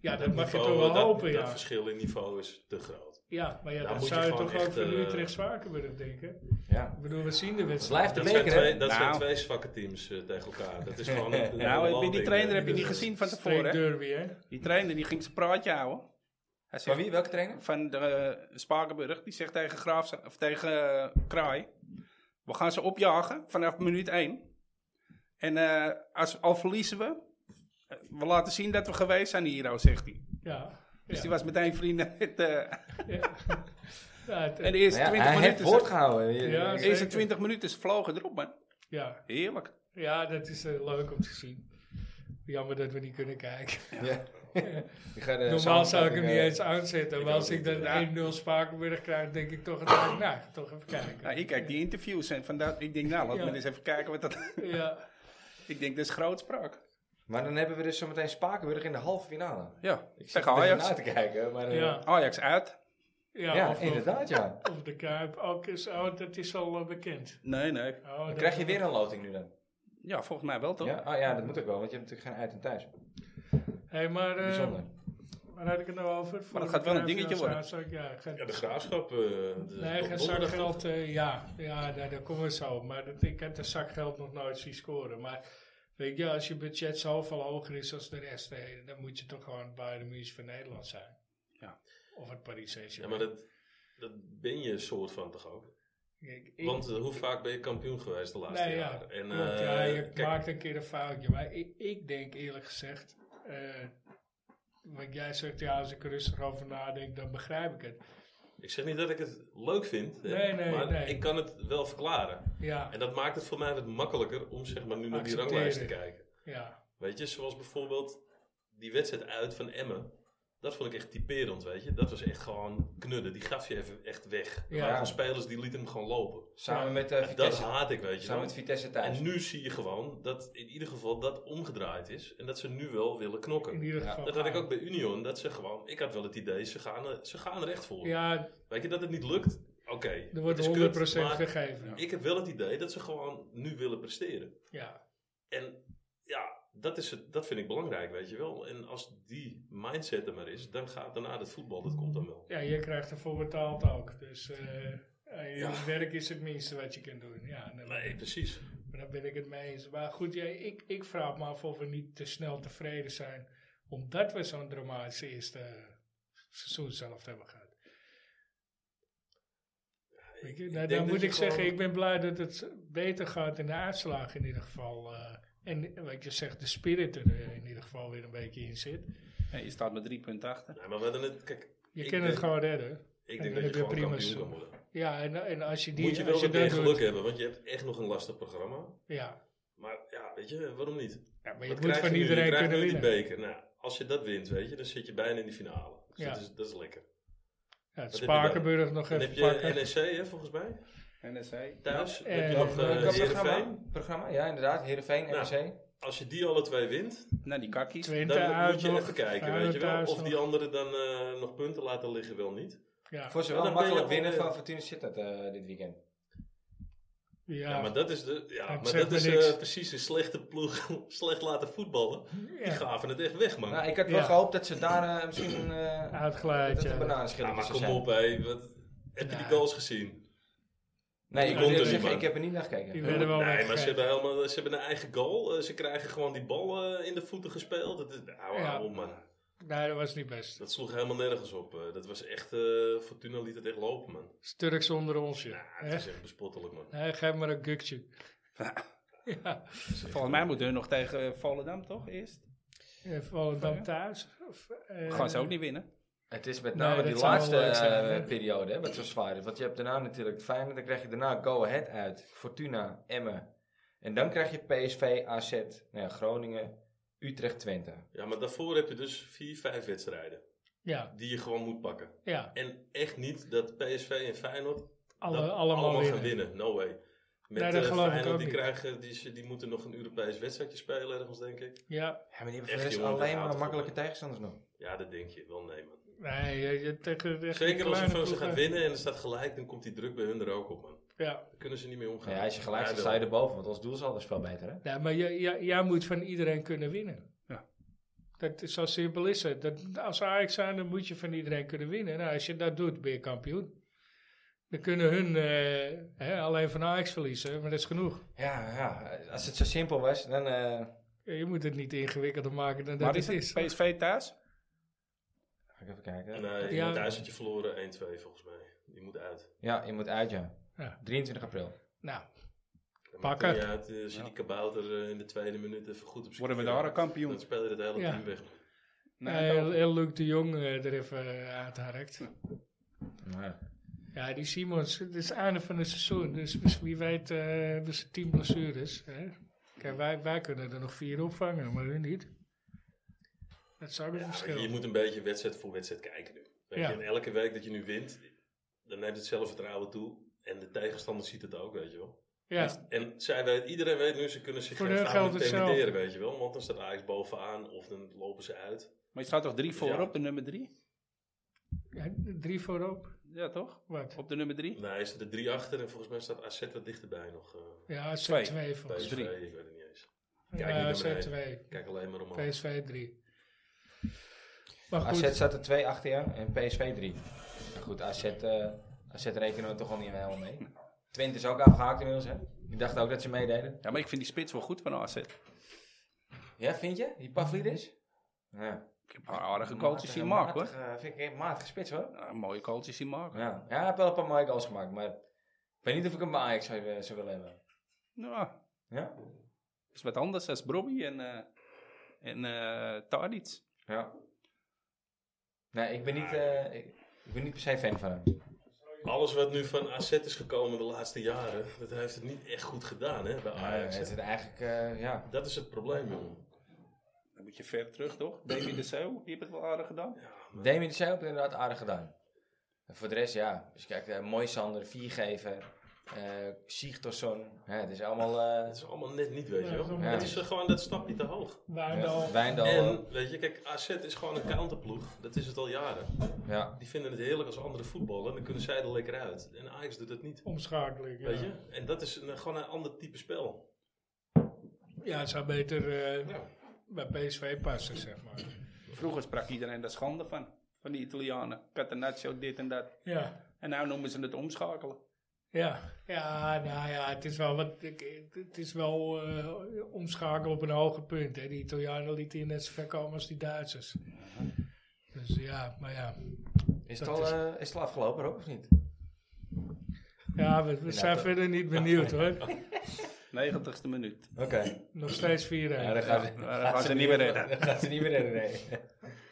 Speaker 2: ja dat mag je
Speaker 4: Niveau,
Speaker 2: toch wel
Speaker 4: dat,
Speaker 2: hopen,
Speaker 4: Dat
Speaker 2: ja.
Speaker 4: verschil in niveau is te groot.
Speaker 2: Ja, maar ja,
Speaker 4: Daar
Speaker 2: dan
Speaker 4: moet je
Speaker 2: zou je
Speaker 4: gewoon
Speaker 2: toch ook
Speaker 4: echt,
Speaker 2: van
Speaker 4: eh,
Speaker 2: Utrecht-Spakenburg denken.
Speaker 1: ja.
Speaker 2: Ik bedoel, we zien de
Speaker 1: Het
Speaker 2: wedstrijd.
Speaker 1: blijft de
Speaker 4: Dat, zijn
Speaker 1: beker, hè?
Speaker 4: twee, dat zijn
Speaker 3: Nou.
Speaker 4: twee zwakke teams eh, tegen
Speaker 3: [LAUGHS]
Speaker 4: elkaar. Dat is gewoon... een- een
Speaker 3: Nou,
Speaker 4: landing,
Speaker 3: die trainer
Speaker 4: eh,
Speaker 3: heb je niet
Speaker 4: eh,
Speaker 3: gezien van tevoren,
Speaker 2: Streek
Speaker 3: hè?
Speaker 2: derby, hè?
Speaker 3: Die trainer die ging zijn praatje houden.
Speaker 1: Van
Speaker 3: Hij zegt,
Speaker 1: wie? Welke trainer?
Speaker 3: van de, eh, Spakenburg, die zegt tegen, Graaf, of tegen eh, Kraai... We gaan ze opjagen vanaf minuut 1. En eh, als, al verliezen we... eh, We laten zien dat we geweest zijn hero, zegt hij.
Speaker 2: Ja.
Speaker 3: Dus
Speaker 2: ja.
Speaker 3: die was meteen vrienden met... eh,
Speaker 2: Ja. [LAUGHS] Ja, het-
Speaker 3: en de eerste
Speaker 1: Nou ja,
Speaker 3: 20
Speaker 1: hij heeft
Speaker 3: minuten...
Speaker 1: woord gehouden.
Speaker 2: Ja,
Speaker 3: De eerste
Speaker 2: Zeker.
Speaker 3: 20 minuten ze vlogen erop, man.
Speaker 2: ja.
Speaker 3: Heerlijk.
Speaker 2: ja, dat is eh, leuk om te zien. Jammer dat we niet kunnen kijken.
Speaker 1: Ja. [LAUGHS] Eh, Ik ga de
Speaker 2: Normaal zou ik hem niet eens aanzetten. Maar
Speaker 4: ook
Speaker 2: als ik
Speaker 4: niet,
Speaker 2: dan
Speaker 4: ja.
Speaker 2: 1-0 Spakenburg krijg, denk ik toch, nou, nou toch even kijken.
Speaker 3: Nou, ik kijk die interviews en vandaar, ik denk, nou, laat
Speaker 2: Ja.
Speaker 3: me eens even kijken wat dat... [LAUGHS]
Speaker 2: Ja,
Speaker 3: ik denk, dat is grootspraak.
Speaker 1: Maar dan hebben we dus zometeen Spakenburg in de halve finale.
Speaker 3: Ja,
Speaker 1: Ik zit
Speaker 3: ik zeg
Speaker 1: er even na
Speaker 3: Ajax.
Speaker 1: te kijken, maar... eh,
Speaker 2: ja.
Speaker 3: Ajax uit.
Speaker 2: ja,
Speaker 1: Ja,
Speaker 2: of, of,
Speaker 1: inderdaad, ja.
Speaker 2: of de Kuip. Ook is, oh, dat is al eh, bekend.
Speaker 3: Nee, nee.
Speaker 2: Oh,
Speaker 1: Dan
Speaker 2: dat-
Speaker 1: krijg je weer een loting nu dan.
Speaker 3: Ja, volgens mij wel, toch?
Speaker 1: Ja? Oh ja, dat moet ook wel, want je hebt natuurlijk geen uit en thuis.
Speaker 4: Eh,
Speaker 2: Hey, maar, eh,
Speaker 1: Bijzonder.
Speaker 2: waar had ik het nou over? Voor
Speaker 3: dat
Speaker 2: de
Speaker 3: gaat wel een
Speaker 2: Kuip,
Speaker 3: dingetje
Speaker 2: ja,
Speaker 3: worden.
Speaker 2: zou ik- ja, gaat-
Speaker 4: Ja, de graafschap... eh de,
Speaker 2: Nee, geen
Speaker 4: donderdag
Speaker 2: zakgeld, eh, ja, ja daar, daar komen we zo. op. Maar dat, ik heb de zakgeld nog nooit zien scoren. Maar weet je, als je budget zoveel hoger is als de rest, eh, dan moet je toch gewoon Bayern München van Nederland zijn.
Speaker 3: Ja.
Speaker 2: Of het Paris
Speaker 4: Ja,
Speaker 2: Saint-Germain.
Speaker 4: maar dat, dat ben je soort van toch ook?
Speaker 2: Ik- ik-
Speaker 4: Want eh, hoe vaak ben je kampioen geweest de laatste
Speaker 2: nee, ja,
Speaker 4: jaren? En,
Speaker 2: klopt,
Speaker 4: eh,
Speaker 2: ja, je
Speaker 4: kijk,
Speaker 2: maakt een keer een foutje. Maar ik, ik denk eerlijk gezegd, eh, wat jij zegt, ja, als ik er rustig over nadenk, dan begrijp ik het.
Speaker 4: Ik zeg niet dat ik het leuk vind, hè,
Speaker 2: Nee, nee,
Speaker 4: maar
Speaker 2: nee.
Speaker 4: ik kan het wel verklaren.
Speaker 2: Ja,
Speaker 4: En dat maakt het voor mij wat makkelijker om zeg maar, nu naar die
Speaker 2: Accepteren.
Speaker 4: ranglijst te kijken.
Speaker 2: ja,
Speaker 4: Weet je, zoals bijvoorbeeld die wedstrijd uit van Emmen. Dat vond ik echt typerend, weet je. Dat was echt gewoon knudden. Die gaf je even echt weg. Er
Speaker 2: Ja.
Speaker 4: waren gewoon spelers die lieten hem gewoon lopen.
Speaker 1: Samen met eh,
Speaker 4: En dat
Speaker 1: Vitesse.
Speaker 4: haat ik, weet je.
Speaker 1: Samen
Speaker 4: wel.
Speaker 1: met Vitesse thuis.
Speaker 4: En nu zie je gewoon dat in ieder geval dat omgedraaid is. En dat ze nu wel willen knokken.
Speaker 2: in ieder
Speaker 1: Ja,
Speaker 2: geval.
Speaker 4: Dat had ik ook bij Union. Dat ze gewoon... Ik had wel het idee, ze gaan, er- ze gaan er echt voor.
Speaker 2: Ja,
Speaker 4: Weet je, dat het niet lukt? Oké.
Speaker 2: er
Speaker 4: het
Speaker 2: wordt
Speaker 4: is
Speaker 2: 100%
Speaker 4: kut, maar
Speaker 2: gegeven.
Speaker 4: Ik heb wel het idee dat ze gewoon nu willen presteren.
Speaker 2: ja.
Speaker 4: En ja, dat, is het, dat vind ik belangrijk, weet je wel. En als die mindset er maar is, dan gaat daarna het voetbal, dat komt dan wel.
Speaker 2: Ja, je krijgt ervoor betaald ook. Dus eh, eh, je
Speaker 4: Ja.
Speaker 2: werk is het minste wat je kunt doen. Ja, nee,
Speaker 4: Nee, precies.
Speaker 2: maar daar ben ik het mee eens. Maar goed, ja, ik, ik vraag me af of we niet te snel tevreden zijn. Omdat we zo'n dramatische eerste eh, seizoen zelf hebben gehad. Weet je,
Speaker 4: ik
Speaker 2: nou,
Speaker 4: denk
Speaker 2: dan
Speaker 4: dat
Speaker 2: moet
Speaker 4: je
Speaker 2: ik zeggen,
Speaker 4: gewoon-
Speaker 2: ik ben blij dat het beter gaat in de uitslagen in ieder geval. eh. en wat je zegt, de spirit er eh, in ieder geval weer een beetje in zit.
Speaker 3: Nee, je staat met 3 punten achter.
Speaker 4: Nee, maar we hadden het... Kijk,
Speaker 2: Je
Speaker 4: Ik
Speaker 2: kunt het
Speaker 4: denk-
Speaker 2: gewoon redden.
Speaker 4: ik
Speaker 2: En
Speaker 4: denk
Speaker 2: dan
Speaker 4: dat je
Speaker 2: heb je
Speaker 4: gewoon
Speaker 2: prima
Speaker 4: kampioen
Speaker 2: seizoen.
Speaker 4: kan worden.
Speaker 2: Ja, en, en als je die
Speaker 4: Moet je
Speaker 2: als
Speaker 4: wel
Speaker 2: je
Speaker 4: wat meer
Speaker 2: dat doet-
Speaker 4: geluk hebben, want je hebt echt nog een lastig programma.
Speaker 2: Ja,
Speaker 4: Maar ja, weet je, waarom niet?
Speaker 2: Ja, maar je
Speaker 4: Wat
Speaker 2: moet
Speaker 4: krijg
Speaker 2: van
Speaker 4: nu? Je
Speaker 2: iedereen
Speaker 4: krijgt
Speaker 2: kunnen
Speaker 4: nu die
Speaker 2: winnen.
Speaker 4: beker. Nou, als je dat wint, weet je, dan zit je bijna in de finale. Dus
Speaker 2: Ja.
Speaker 4: dat, is, dat is lekker.
Speaker 2: Ja, het
Speaker 4: Wat heb je dan?
Speaker 2: Spakenburg nog
Speaker 4: Dan
Speaker 2: even
Speaker 4: heb je
Speaker 2: pakken.
Speaker 4: NEC, hè, volgens mij.
Speaker 3: NSC.
Speaker 4: Thuis.
Speaker 2: Ja,
Speaker 4: heb je
Speaker 2: eh,
Speaker 4: nog
Speaker 2: dat-
Speaker 4: eh,
Speaker 1: Welk
Speaker 4: Heerenveen.
Speaker 1: programma? programma? Ja, inderdaad. Heerenveen,
Speaker 4: Nou.
Speaker 1: NEC.
Speaker 4: Als je die alle twee wint,
Speaker 3: Nou, die kakkies.
Speaker 2: Twente
Speaker 4: dan
Speaker 2: uit
Speaker 4: moet je
Speaker 2: nog,
Speaker 4: even kijken,
Speaker 2: Feyenoord
Speaker 4: weet je wel.
Speaker 2: thuis
Speaker 4: Of die
Speaker 2: nog.
Speaker 4: anderen dan eh, nog punten laten liggen, wel niet.
Speaker 2: Ja,
Speaker 1: Voor ze
Speaker 4: Ja,
Speaker 1: wel
Speaker 4: dan ben je
Speaker 1: makkelijk
Speaker 4: alweer-
Speaker 1: winnen van Fortuna Sittard eh, dit weekend.
Speaker 4: Ja,
Speaker 2: ja,
Speaker 4: maar dat is, de, ja, maar
Speaker 2: zegt
Speaker 4: dat
Speaker 2: me
Speaker 4: is
Speaker 2: niks.
Speaker 4: eh, precies een slechte ploeg, [LAUGHS] slecht laten voetballen. Die
Speaker 2: ja.
Speaker 4: gaven het echt weg, man.
Speaker 1: Nou, ik had wel
Speaker 2: Ja.
Speaker 1: gehoopt dat ze daar eh, misschien... eh,
Speaker 2: Uitgeleid,
Speaker 1: dat het
Speaker 2: ja.
Speaker 1: een bananenschil
Speaker 4: Ja, maar
Speaker 1: zou
Speaker 4: kom
Speaker 1: zijn.
Speaker 4: op, hé. Wat, heb je die
Speaker 2: Ja.
Speaker 4: goals gezien?
Speaker 1: Nee, ik
Speaker 2: Die
Speaker 1: moet
Speaker 4: komt er
Speaker 1: eerlijk zeggen,
Speaker 4: niet, man.
Speaker 1: ik heb er niet naar gekeken.
Speaker 2: Die werden wel
Speaker 4: Nee, maar ze
Speaker 2: weggegeven.
Speaker 4: hebben, helemaal, ze hebben een eigen goal. Eh, ze krijgen gewoon die bal eh, in de voeten gespeeld. Dat, is, nou,
Speaker 2: Ja.
Speaker 4: op, man.
Speaker 2: Nee, dat was niet best.
Speaker 4: dat sloeg helemaal nergens op. eh. dat was echt... eh, Fortuna liet het echt lopen, man.
Speaker 2: Sturks onder ons, ja.
Speaker 4: Ja,
Speaker 2: Hè?
Speaker 4: het is echt bespottelijk, man.
Speaker 2: Nee, geef maar een gukje. ja,
Speaker 3: Volgens mij moeten hun nog tegen eh, Volendam, toch? Eerst.
Speaker 2: Eh, Volendam thuis. Of, eh,
Speaker 3: Gaan ze ook niet winnen.
Speaker 1: Het is met
Speaker 2: Nee,
Speaker 1: name
Speaker 2: dat
Speaker 1: die
Speaker 2: zou wel
Speaker 1: laatste
Speaker 2: leuk zijn,
Speaker 1: eh,
Speaker 2: hè?
Speaker 1: periode hè, wat zo zwaar is. Want je hebt daarna natuurlijk Feyenoord, dan krijg je daarna Go Ahead uit, Fortuna, Emmen. En dan krijg je PSV, AZ, nou ja, Groningen, Utrecht, Twente.
Speaker 4: Ja, maar daarvoor heb je dus vier, vijf wedstrijden
Speaker 2: Ja,
Speaker 4: die je gewoon moet pakken.
Speaker 2: ja.
Speaker 4: En echt niet dat PSV en Feyenoord
Speaker 2: Alle,
Speaker 4: dat
Speaker 2: allemaal,
Speaker 4: allemaal
Speaker 2: winnen.
Speaker 4: gaan winnen. No way. Met
Speaker 2: Nee, dat
Speaker 4: eh,
Speaker 2: geloof ik
Speaker 4: Feyenoord,
Speaker 2: ook
Speaker 4: die,
Speaker 2: niet.
Speaker 4: krijgen, die, is- die moeten nog een Europees wedstrijdje spelen ergens, denk ik.
Speaker 2: Ja,
Speaker 1: Ja, maar die hebben
Speaker 4: Echt,
Speaker 1: voor de rest
Speaker 4: jongen,
Speaker 1: alleen
Speaker 4: dat
Speaker 1: maar
Speaker 4: houdt
Speaker 1: makkelijke
Speaker 4: op, hoor.
Speaker 1: tegenstanders nog.
Speaker 4: Ja, dat denk je wel, nee man.
Speaker 2: nee, je, je, tegen, tegen
Speaker 4: Zeker als je
Speaker 2: kleine
Speaker 4: van ze
Speaker 2: ploegen.
Speaker 4: gaat winnen en er staat gelijk, dan komt die druk bij hun er ook op, man.
Speaker 2: Ja.
Speaker 4: Daar kunnen ze niet mee omgaan.
Speaker 1: Nou ja, als je gelijk staat,
Speaker 4: wel.
Speaker 1: sta je erboven. Want ons doel is altijd veel beter, hè?
Speaker 2: Nee, maar jij, jij, jij moet van iedereen kunnen winnen.
Speaker 3: Ja.
Speaker 2: Dat is zo simpel is het. Dat, als Ajax zijn, dan moet je van iedereen kunnen winnen. Nou, als je dat doet, ben je kampioen. Dan kunnen hun eh, hè, alleen van Ajax verliezen, maar dat is genoeg.
Speaker 1: Ja, ja. Als het zo simpel was, dan... eh,
Speaker 2: Je moet het niet ingewikkelder maken dan
Speaker 3: Waar
Speaker 2: dat
Speaker 3: is
Speaker 2: het
Speaker 3: het?
Speaker 2: is.
Speaker 3: PSV thuis?
Speaker 1: ga ik even kijken.
Speaker 4: Nee,
Speaker 2: Ja.
Speaker 4: thuis had je verloren 1-2 volgens mij. Die moet uit.
Speaker 1: Ja, je moet uit, ja.
Speaker 2: Ja.
Speaker 1: 23 april.
Speaker 2: Nou,
Speaker 4: Dat maakt
Speaker 2: Pakken.
Speaker 4: niet uit eh, als je die kabouter eh, in de tweede minuut even goed op z'n
Speaker 3: Worden we
Speaker 4: keer
Speaker 3: daar
Speaker 4: houdt,
Speaker 3: een kampioen?
Speaker 4: Dan speel je het hele
Speaker 2: Ja.
Speaker 4: team weg.
Speaker 2: eh, heel Luc de Jong eh, er even eh, uitharkt.
Speaker 1: Ja.
Speaker 2: Ja, die Simons, het is het einde van het seizoen. Dus wie- wie weet eh, hebben ze tien blessures. Hè? Kijk, wij, wij kunnen er nog vier opvangen, maar hun niet. Dat is ook een verschil.
Speaker 4: Je moet een beetje wedstrijd voor wedstrijd kijken nu. Weet
Speaker 2: Ja.
Speaker 4: je, en elke week dat je nu wint, dan neemt het zelfvertrouwen toe. En de tegenstander ziet het ook, weet je wel.
Speaker 2: ja,
Speaker 4: En zij weet, iedereen weet nu, ze kunnen zich
Speaker 2: Voor
Speaker 4: geen
Speaker 2: hun
Speaker 4: vrouw
Speaker 2: geldt hetzelfde.
Speaker 4: intimideren, weet je wel. Want dan staat Ajax bovenaan of dan lopen ze uit.
Speaker 3: Maar je staat toch drie voor
Speaker 4: Ja.
Speaker 3: op de nummer drie?
Speaker 2: ja, drie voorop.
Speaker 3: Ja, toch?
Speaker 2: Wat?
Speaker 3: Op de nummer drie?
Speaker 4: Nee, is er drie achter en volgens mij staat AZ wat dichterbij nog. eh
Speaker 2: Ja, AZ
Speaker 3: Twee.
Speaker 2: 2 volgens
Speaker 4: PSV,
Speaker 3: drie.
Speaker 4: ik weet het niet eens.
Speaker 2: mij.
Speaker 4: Kijk niet
Speaker 2: Ja,
Speaker 4: naar
Speaker 2: AZ
Speaker 4: beneden.
Speaker 2: 2.
Speaker 4: Kijk alleen maar omhoog.
Speaker 2: PSV 3. Maar goed,
Speaker 1: AZ staat er 2 achter je en PSV 3. Maar goed, AZ, eh, AZ rekenen we toch al niet helemaal mee. Twente is ook afgehaakt inmiddels, hè? Die dachten ook dat ze meededen.
Speaker 3: Ja, maar ik vind die spits wel goed van AZ.
Speaker 1: Ja, vind je? Die Pavlidis? Ja.
Speaker 3: Ik heb een paar aardige goaltjes zien maken, hoor.
Speaker 1: Matige- Vind ik een matige spits, hoor.
Speaker 3: Ja, mooie goaltjes zien maken.
Speaker 1: Ja. ja, hij heeft wel een paar mooie goals gemaakt, maar... Ik weet niet of ik hem bij Ajax zou, eh, zou willen hebben.
Speaker 3: Nou,
Speaker 1: Ja?
Speaker 3: dat is wat anders dan Brobby en, eh en eh Tadic.
Speaker 1: Ja. Nee, ik ben niet, eh, ik, ik ben niet per se fan van hem.
Speaker 4: Alles wat nu van AZ is gekomen de laatste jaren, dat heeft het niet echt goed gedaan hè, bij
Speaker 1: Maar
Speaker 4: Ajax.
Speaker 1: het is eigenlijk, eh, ja.
Speaker 4: Dat is het probleem, jongen.
Speaker 3: Dan moet je ver terug, toch? Davy de Zeeuw, die heeft het wel aardig gedaan.
Speaker 1: Damien de Zeeuw heeft het inderdaad aardig gedaan. En voor de rest, ja. Dus kijk, eh Mooi Sander, Viergever, eh Sigtorsson. Ja, het is allemaal... eh
Speaker 4: Het is allemaal net niet, weet je wel.
Speaker 1: Ja.
Speaker 4: Het is eh, gewoon dat stapje te hoog.
Speaker 2: Wijndal.
Speaker 1: ja, Wijndal. eh,
Speaker 4: En, weet je, kijk, AZ is gewoon een counterploeg. Dat is het al jaren.
Speaker 1: eh, Ja.
Speaker 4: Die vinden het heerlijk als andere voetballen. Dan kunnen zij er lekker uit. En Ajax doet dat niet.
Speaker 2: Omschakeling. Ja.
Speaker 4: Weet je? En dat is een, gewoon een ander type spel.
Speaker 2: ja, het zou beter eh,
Speaker 4: Ja.
Speaker 2: bij PSV passen, zeg maar.
Speaker 3: Vroeger sprak iedereen daar schande van. Van die Italianen. Catenaccio, dit en dat.
Speaker 2: Ja.
Speaker 3: En nou noemen ze het omschakelen.
Speaker 2: Ja, ja, nou ja, het is wel, wat, ik- het is wel eh, omschakelen op een hoger punt. Hè. Die Italianen lieten hier net zo ver komen als die Duitsers. Dus ja, maar ja.
Speaker 1: Is het,
Speaker 2: Dat
Speaker 1: al,
Speaker 2: is-
Speaker 1: eh, is het al afgelopen, Rob, of niet?
Speaker 2: Ja, we, we zijn
Speaker 1: toch.
Speaker 2: verder niet benieuwd hoor.
Speaker 3: [LAUGHS] 90ste minuut.
Speaker 1: Oké.
Speaker 2: Nog steeds 4-1.
Speaker 1: Ja, dan gaan ze, [LAUGHS]
Speaker 3: daar gaan ze niet meer in.
Speaker 1: Dan [LAUGHS] gaan ze niet meer in, nee.
Speaker 3: Geen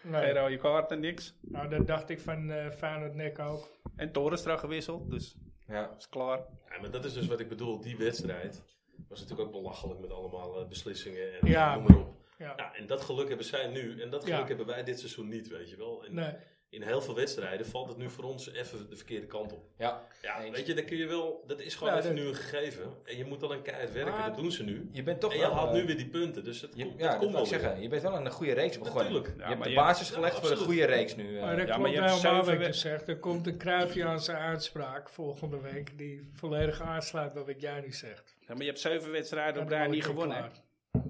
Speaker 2: Nee.
Speaker 3: rode kaarten, niks.
Speaker 2: Nou, dat dacht ik van eh Feyenoord Nek ook.
Speaker 3: En Torenstra gewisseld, dus
Speaker 1: Ja.
Speaker 3: is klaar.
Speaker 4: Ja, maar dat is dus wat ik bedoel. Die wedstrijd was natuurlijk ook belachelijk met allemaal eh, beslissingen en
Speaker 2: Ja.
Speaker 4: noem maar op.
Speaker 2: Ja.
Speaker 4: Ja, en dat geluk hebben zij nu. En dat geluk
Speaker 2: Ja.
Speaker 4: hebben wij dit seizoen niet, weet je wel. En
Speaker 2: Nee.
Speaker 4: In heel veel wedstrijden valt het nu voor ons even de verkeerde kant op.
Speaker 1: Ja.
Speaker 4: Ja,
Speaker 1: Eens.
Speaker 4: weet je, dan kun je wel, dat is gewoon
Speaker 2: Ja,
Speaker 4: even
Speaker 2: dat-
Speaker 4: nu een gegeven. En je moet alleen keihard werken,
Speaker 1: Maar-
Speaker 4: dat doen ze nu.
Speaker 1: Je bent toch
Speaker 4: en je
Speaker 1: wel,
Speaker 4: haalt
Speaker 1: eh,
Speaker 4: nu weer die punten, dus het,
Speaker 1: Je,
Speaker 4: komt-
Speaker 1: ja,
Speaker 4: het
Speaker 1: dat
Speaker 4: komt
Speaker 1: wil
Speaker 4: wel
Speaker 1: ik
Speaker 4: weer.
Speaker 1: zeggen. Je bent wel aan een goede reeks begonnen.
Speaker 4: Natuurlijk. Ja,
Speaker 1: je hebt
Speaker 3: maar
Speaker 1: de
Speaker 3: je-
Speaker 1: basis
Speaker 4: ja,
Speaker 1: gelegd voor een
Speaker 4: absoluut.
Speaker 1: goede reeks nu. eh.
Speaker 2: Maar dat
Speaker 3: Ja, maar
Speaker 2: klopt
Speaker 3: je hebt
Speaker 2: helemaal
Speaker 3: zeven
Speaker 2: wat je
Speaker 3: we-
Speaker 2: zegt. Er komt een kruifje aan zijn uitspraak volgende week die volledig aansluit bij wat jij nu zegt.
Speaker 3: Ja, maar je hebt zeven wedstrijden op
Speaker 2: Dan
Speaker 3: rij
Speaker 2: word
Speaker 3: niet
Speaker 2: ik
Speaker 3: gewonnen,
Speaker 2: klaar.
Speaker 3: hè?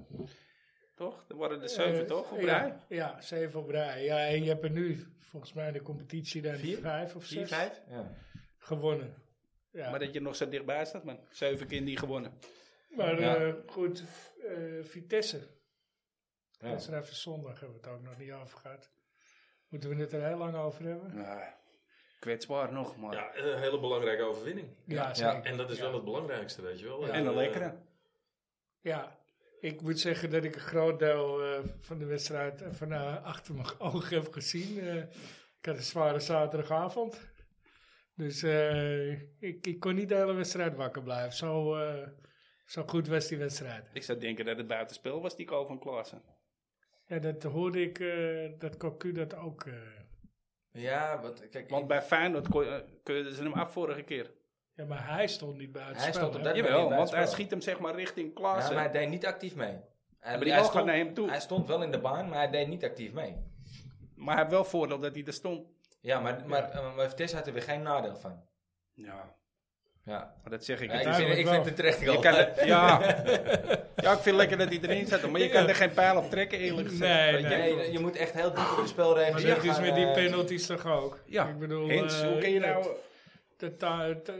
Speaker 3: toch? Er worden er zeven,
Speaker 2: Eh,
Speaker 3: toch, op
Speaker 2: ja,
Speaker 3: rij?
Speaker 2: Ja, zeven op rij. Ja, en je hebt er nu volgens mij in de competitie dan
Speaker 1: Vier?
Speaker 2: vijf of
Speaker 1: Vier,
Speaker 2: zes
Speaker 1: vijf? Ja.
Speaker 2: gewonnen. Ja.
Speaker 3: Maar
Speaker 2: Maar,
Speaker 3: dat je nog zo dichtbij staat, man. Zeven keer niet gewonnen.
Speaker 1: Ja.
Speaker 2: eh, goed, eh, Vitesse.
Speaker 1: Ja.
Speaker 2: Dat is er even zondag, hebben we het ook nog niet over gehad. Moeten we het er heel lang over hebben?
Speaker 1: Nou,
Speaker 3: Nee, kwetsbaar nog, maar.
Speaker 4: Ja, een hele belangrijke overwinning.
Speaker 2: Ja,
Speaker 1: Ja.
Speaker 2: zeker.
Speaker 4: En dat is
Speaker 2: Ja.
Speaker 4: wel het belangrijkste, weet je wel.
Speaker 2: Ja.
Speaker 3: En een
Speaker 4: eh,
Speaker 3: lekkere.
Speaker 2: Ja, ik moet zeggen dat [LAUGHS] ik een groot deel eh, van de wedstrijd eh, van eh, achter mijn ogen heb gezien. eh. Ik had een zware zaterdagavond. Dus eh, ik, ik kon niet de hele wedstrijd wakker blijven. Zo, eh, zo goed was die wedstrijd.
Speaker 3: Ik zou denken dat het buitenspel was, die goal van Klaassen.
Speaker 2: Ja, dat hoorde ik eh, dat Cocu dat ook. eh,
Speaker 1: Ja, want kijk,
Speaker 3: Want bij Feyenoord kon, eh, keurden ze hem af vorige keer.
Speaker 2: ja, maar hij stond niet bij het
Speaker 1: Hij
Speaker 2: spel.
Speaker 1: stond op
Speaker 2: hè?
Speaker 1: dat Ja,
Speaker 3: Jawel,
Speaker 1: bij
Speaker 3: want
Speaker 1: het
Speaker 3: hij
Speaker 1: spel.
Speaker 3: schiet hem zeg maar richting
Speaker 1: ja,
Speaker 3: Klaassen.
Speaker 1: maar hij deed niet actief mee. Hij,
Speaker 3: die
Speaker 1: hij,
Speaker 3: bal
Speaker 1: stond,
Speaker 3: gaat naar hem toe.
Speaker 1: hij stond wel in de baan, maar hij deed niet actief mee.
Speaker 3: Maar hij heeft wel voordeel dat hij er stond.
Speaker 1: Ja, maar, maar, eh, maar Vitesse had er weer geen nadeel van.
Speaker 3: Ja,
Speaker 1: Ja.
Speaker 3: maar dat zeg ik.
Speaker 1: Ja, ik,
Speaker 3: Het is-
Speaker 1: vind,
Speaker 2: duidelijk
Speaker 1: ik
Speaker 2: wel.
Speaker 1: vind het terecht
Speaker 3: je
Speaker 1: goal.
Speaker 3: kan er- ja.
Speaker 2: [LAUGHS]
Speaker 3: ja, ik vind lekker dat hij erin zat. Maar je kan er geen pijl op trekken, eerlijk gezegd.
Speaker 2: Nee,
Speaker 1: Ja,
Speaker 2: nee.
Speaker 1: je, je moet echt heel diep op de spelregels
Speaker 2: Maar dat is dus
Speaker 1: ingaan,
Speaker 2: met die
Speaker 1: eh,
Speaker 2: penalties toch ook?
Speaker 3: Ja,
Speaker 2: ik bedoel,
Speaker 3: Hens,
Speaker 2: eh,
Speaker 3: hoe kun je nou...
Speaker 2: dat Ta- Ta-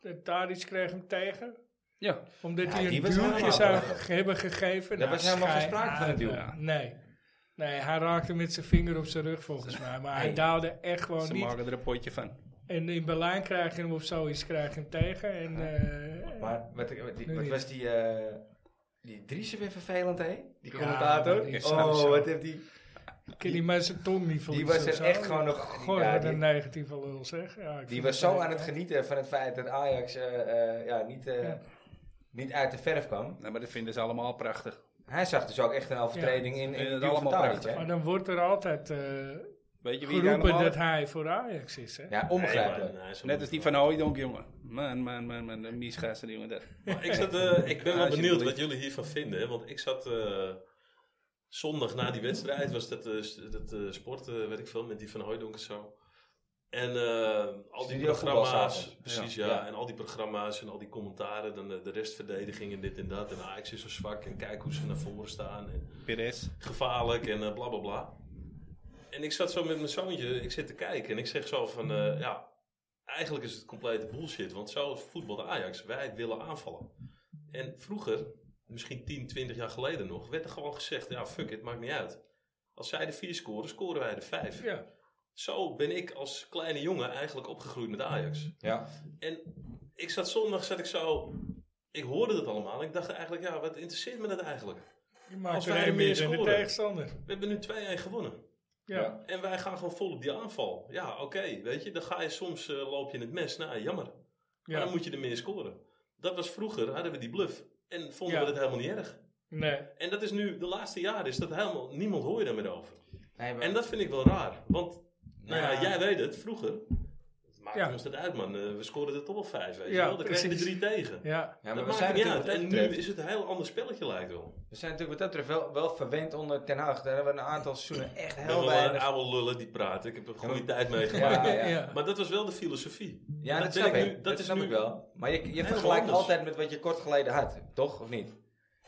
Speaker 2: dat Tadic kreeg hem tegen.
Speaker 3: Ja,
Speaker 2: Omdat
Speaker 1: Ja,
Speaker 2: hij
Speaker 1: die
Speaker 2: een
Speaker 1: was
Speaker 2: duwtje
Speaker 1: helemaal
Speaker 2: zou
Speaker 1: belachelijk.
Speaker 2: ge- hebben gegeven.
Speaker 1: Daar
Speaker 2: Nou,
Speaker 1: was helemaal geen
Speaker 2: schijn
Speaker 1: sprake van,
Speaker 2: aan,
Speaker 1: duw.
Speaker 2: eh, Nee. Nee, hij raakte met zijn vinger op zijn rug volgens mij. Maar hij
Speaker 1: Hey.
Speaker 2: daalde echt gewoon
Speaker 3: ze
Speaker 2: niet.
Speaker 3: maken er een potje van.
Speaker 2: En in Berlijn krijg je hem of zoiets, krijg je hem tegen. En, eh,
Speaker 1: Maar wat, ik- wat die-
Speaker 2: Nu
Speaker 1: wat
Speaker 2: niet.
Speaker 1: was die, eh die Driessen weer vervelend, hè? Die
Speaker 2: Ja,
Speaker 1: commentator.
Speaker 2: die is
Speaker 1: oh,
Speaker 2: sowieso.
Speaker 1: wat heeft die...
Speaker 2: ik ken die mensen tong niet
Speaker 1: Die
Speaker 2: verliezen
Speaker 1: was
Speaker 2: of
Speaker 1: er
Speaker 2: zo.
Speaker 1: echt gewoon nog...
Speaker 2: Goh,
Speaker 1: ja,
Speaker 2: wat
Speaker 1: die,
Speaker 2: een negatieve lul zeg. Ja, ik
Speaker 1: die
Speaker 2: vind
Speaker 1: was
Speaker 2: het
Speaker 1: zo
Speaker 2: echt,
Speaker 1: aan het
Speaker 2: eh,
Speaker 1: genieten van het feit dat Ajax eh, eh, ja, niet, eh,
Speaker 2: Ja.
Speaker 1: niet uit de verf kwam.
Speaker 3: Nou, maar dat vinden ze allemaal prachtig.
Speaker 1: Hij zag dus ook echt een overtreding in, in
Speaker 3: Vinden
Speaker 1: het
Speaker 3: het
Speaker 1: duel van
Speaker 3: allemaal
Speaker 1: Tadic,
Speaker 3: prachtig.
Speaker 1: hè?
Speaker 2: Maar dan wordt er altijd eh,
Speaker 3: Weet je wie daar
Speaker 2: geroepen
Speaker 3: normaal...
Speaker 2: dat hij voor Ajax is. Hè?
Speaker 1: Ja,
Speaker 4: Nee,
Speaker 1: onbegrijpelijk.
Speaker 4: maar- nee, zo
Speaker 3: Net
Speaker 4: moet
Speaker 3: als
Speaker 4: het
Speaker 3: die
Speaker 4: wel.
Speaker 3: van Hooijdonk, jongen. Man, man, man, man. Een misgaster, jongen. Dat.
Speaker 4: Maar ik, zat, eh, ik ben wel
Speaker 3: Alsjeblieft.
Speaker 4: benieuwd wat jullie hiervan vinden. hè, Want ik zat eh, zondag na die wedstrijd, was dat, eh, s- dat eh, sport, eh, weet ik veel, met die van Hooijdonk en zo. En eh, al die
Speaker 1: Studio
Speaker 4: programma's,
Speaker 1: voetbalzaken.
Speaker 4: precies
Speaker 1: Ja.
Speaker 4: ja,
Speaker 1: Ja.
Speaker 4: en al die programma's en al die commentaren, dan eh, de restverdediging en dit en dat. En Ajax is zo zwak en kijk hoe ze naar voren staan. En,
Speaker 3: Perez.
Speaker 4: gevaarlijk en eh, bla bla bla. En ik zat zo met mijn zoontje, ik zit te kijken en ik zeg zo van, eh, ja, eigenlijk is het complete bullshit. Want zo voetbal de Ajax, wij willen aanvallen. En vroeger, misschien 10, 20 jaar geleden nog, werd er gewoon gezegd, ja fuck it, maakt niet uit. Als zij de vier scoren, scoren wij de vijf.
Speaker 2: Ja.
Speaker 4: Zo ben ik als kleine jongen eigenlijk opgegroeid met Ajax.
Speaker 1: Ja.
Speaker 4: En ik zat zondag, zat ik zo, ik hoorde het allemaal. En ik dacht eigenlijk, ja, wat interesseert me dat eigenlijk?
Speaker 2: Je maakt
Speaker 4: Als
Speaker 2: er
Speaker 4: wij
Speaker 2: één
Speaker 4: er meer
Speaker 2: meer in de
Speaker 4: scoren.
Speaker 2: tegenstander.
Speaker 4: We hebben nu 2-1 gewonnen.
Speaker 2: Ja.
Speaker 1: Ja.
Speaker 4: En wij gaan gewoon vol op die aanval. Ja, oké, weet je, dan ga je soms eh, loop je in het mes. Nou, jammer. Maar
Speaker 2: Ja.
Speaker 4: dan moet je er meer scoren. Dat was vroeger, hadden we die bluff. En vonden
Speaker 2: Ja.
Speaker 4: we het helemaal niet erg.
Speaker 2: Nee.
Speaker 4: En dat is nu, de laatste jaren is dat helemaal, niemand hoor je daar meer over.
Speaker 1: Nee, maar-
Speaker 4: En dat vind ik wel raar. Want, nou ja,
Speaker 1: Ja.
Speaker 4: jij weet het, vroeger, het maakte
Speaker 2: Ja,
Speaker 4: ons dat uit man. Eh, we scoorden er toch wel vijf, weet je
Speaker 2: Ja,
Speaker 4: wel. Dan kreeg je er
Speaker 2: precies.
Speaker 4: drie tegen.
Speaker 2: Ja.
Speaker 1: ja, maar
Speaker 4: dat
Speaker 1: we
Speaker 4: maakt
Speaker 1: zijn
Speaker 4: niet
Speaker 1: natuurlijk
Speaker 4: uit.
Speaker 1: wat dat
Speaker 4: En nu
Speaker 1: betreft-
Speaker 4: is het een heel ander spelletje lijkt wel.
Speaker 1: We zijn natuurlijk wat dat betreft wel, wel verwend onder Ten Hag. Daar hebben we een aantal seizoenen echt
Speaker 4: Ik ben
Speaker 1: heel
Speaker 4: wel een
Speaker 1: weinig...
Speaker 4: oude lullen die praten. Ik heb een goede
Speaker 1: Ja,
Speaker 4: tijd
Speaker 1: Ja,
Speaker 4: [LAUGHS] meegemaakt.
Speaker 1: ja.
Speaker 2: Ja.
Speaker 4: Maar dat was wel de filosofie.
Speaker 1: Ja,
Speaker 4: En
Speaker 1: dat,
Speaker 4: ben
Speaker 1: snap ik.
Speaker 4: nu-
Speaker 1: dat, snap
Speaker 4: nu-
Speaker 1: ik wel. Maar je, je
Speaker 4: Helemaal
Speaker 1: vergelijkt
Speaker 4: anders.
Speaker 1: altijd met wat je kort geleden had, toch? Of niet?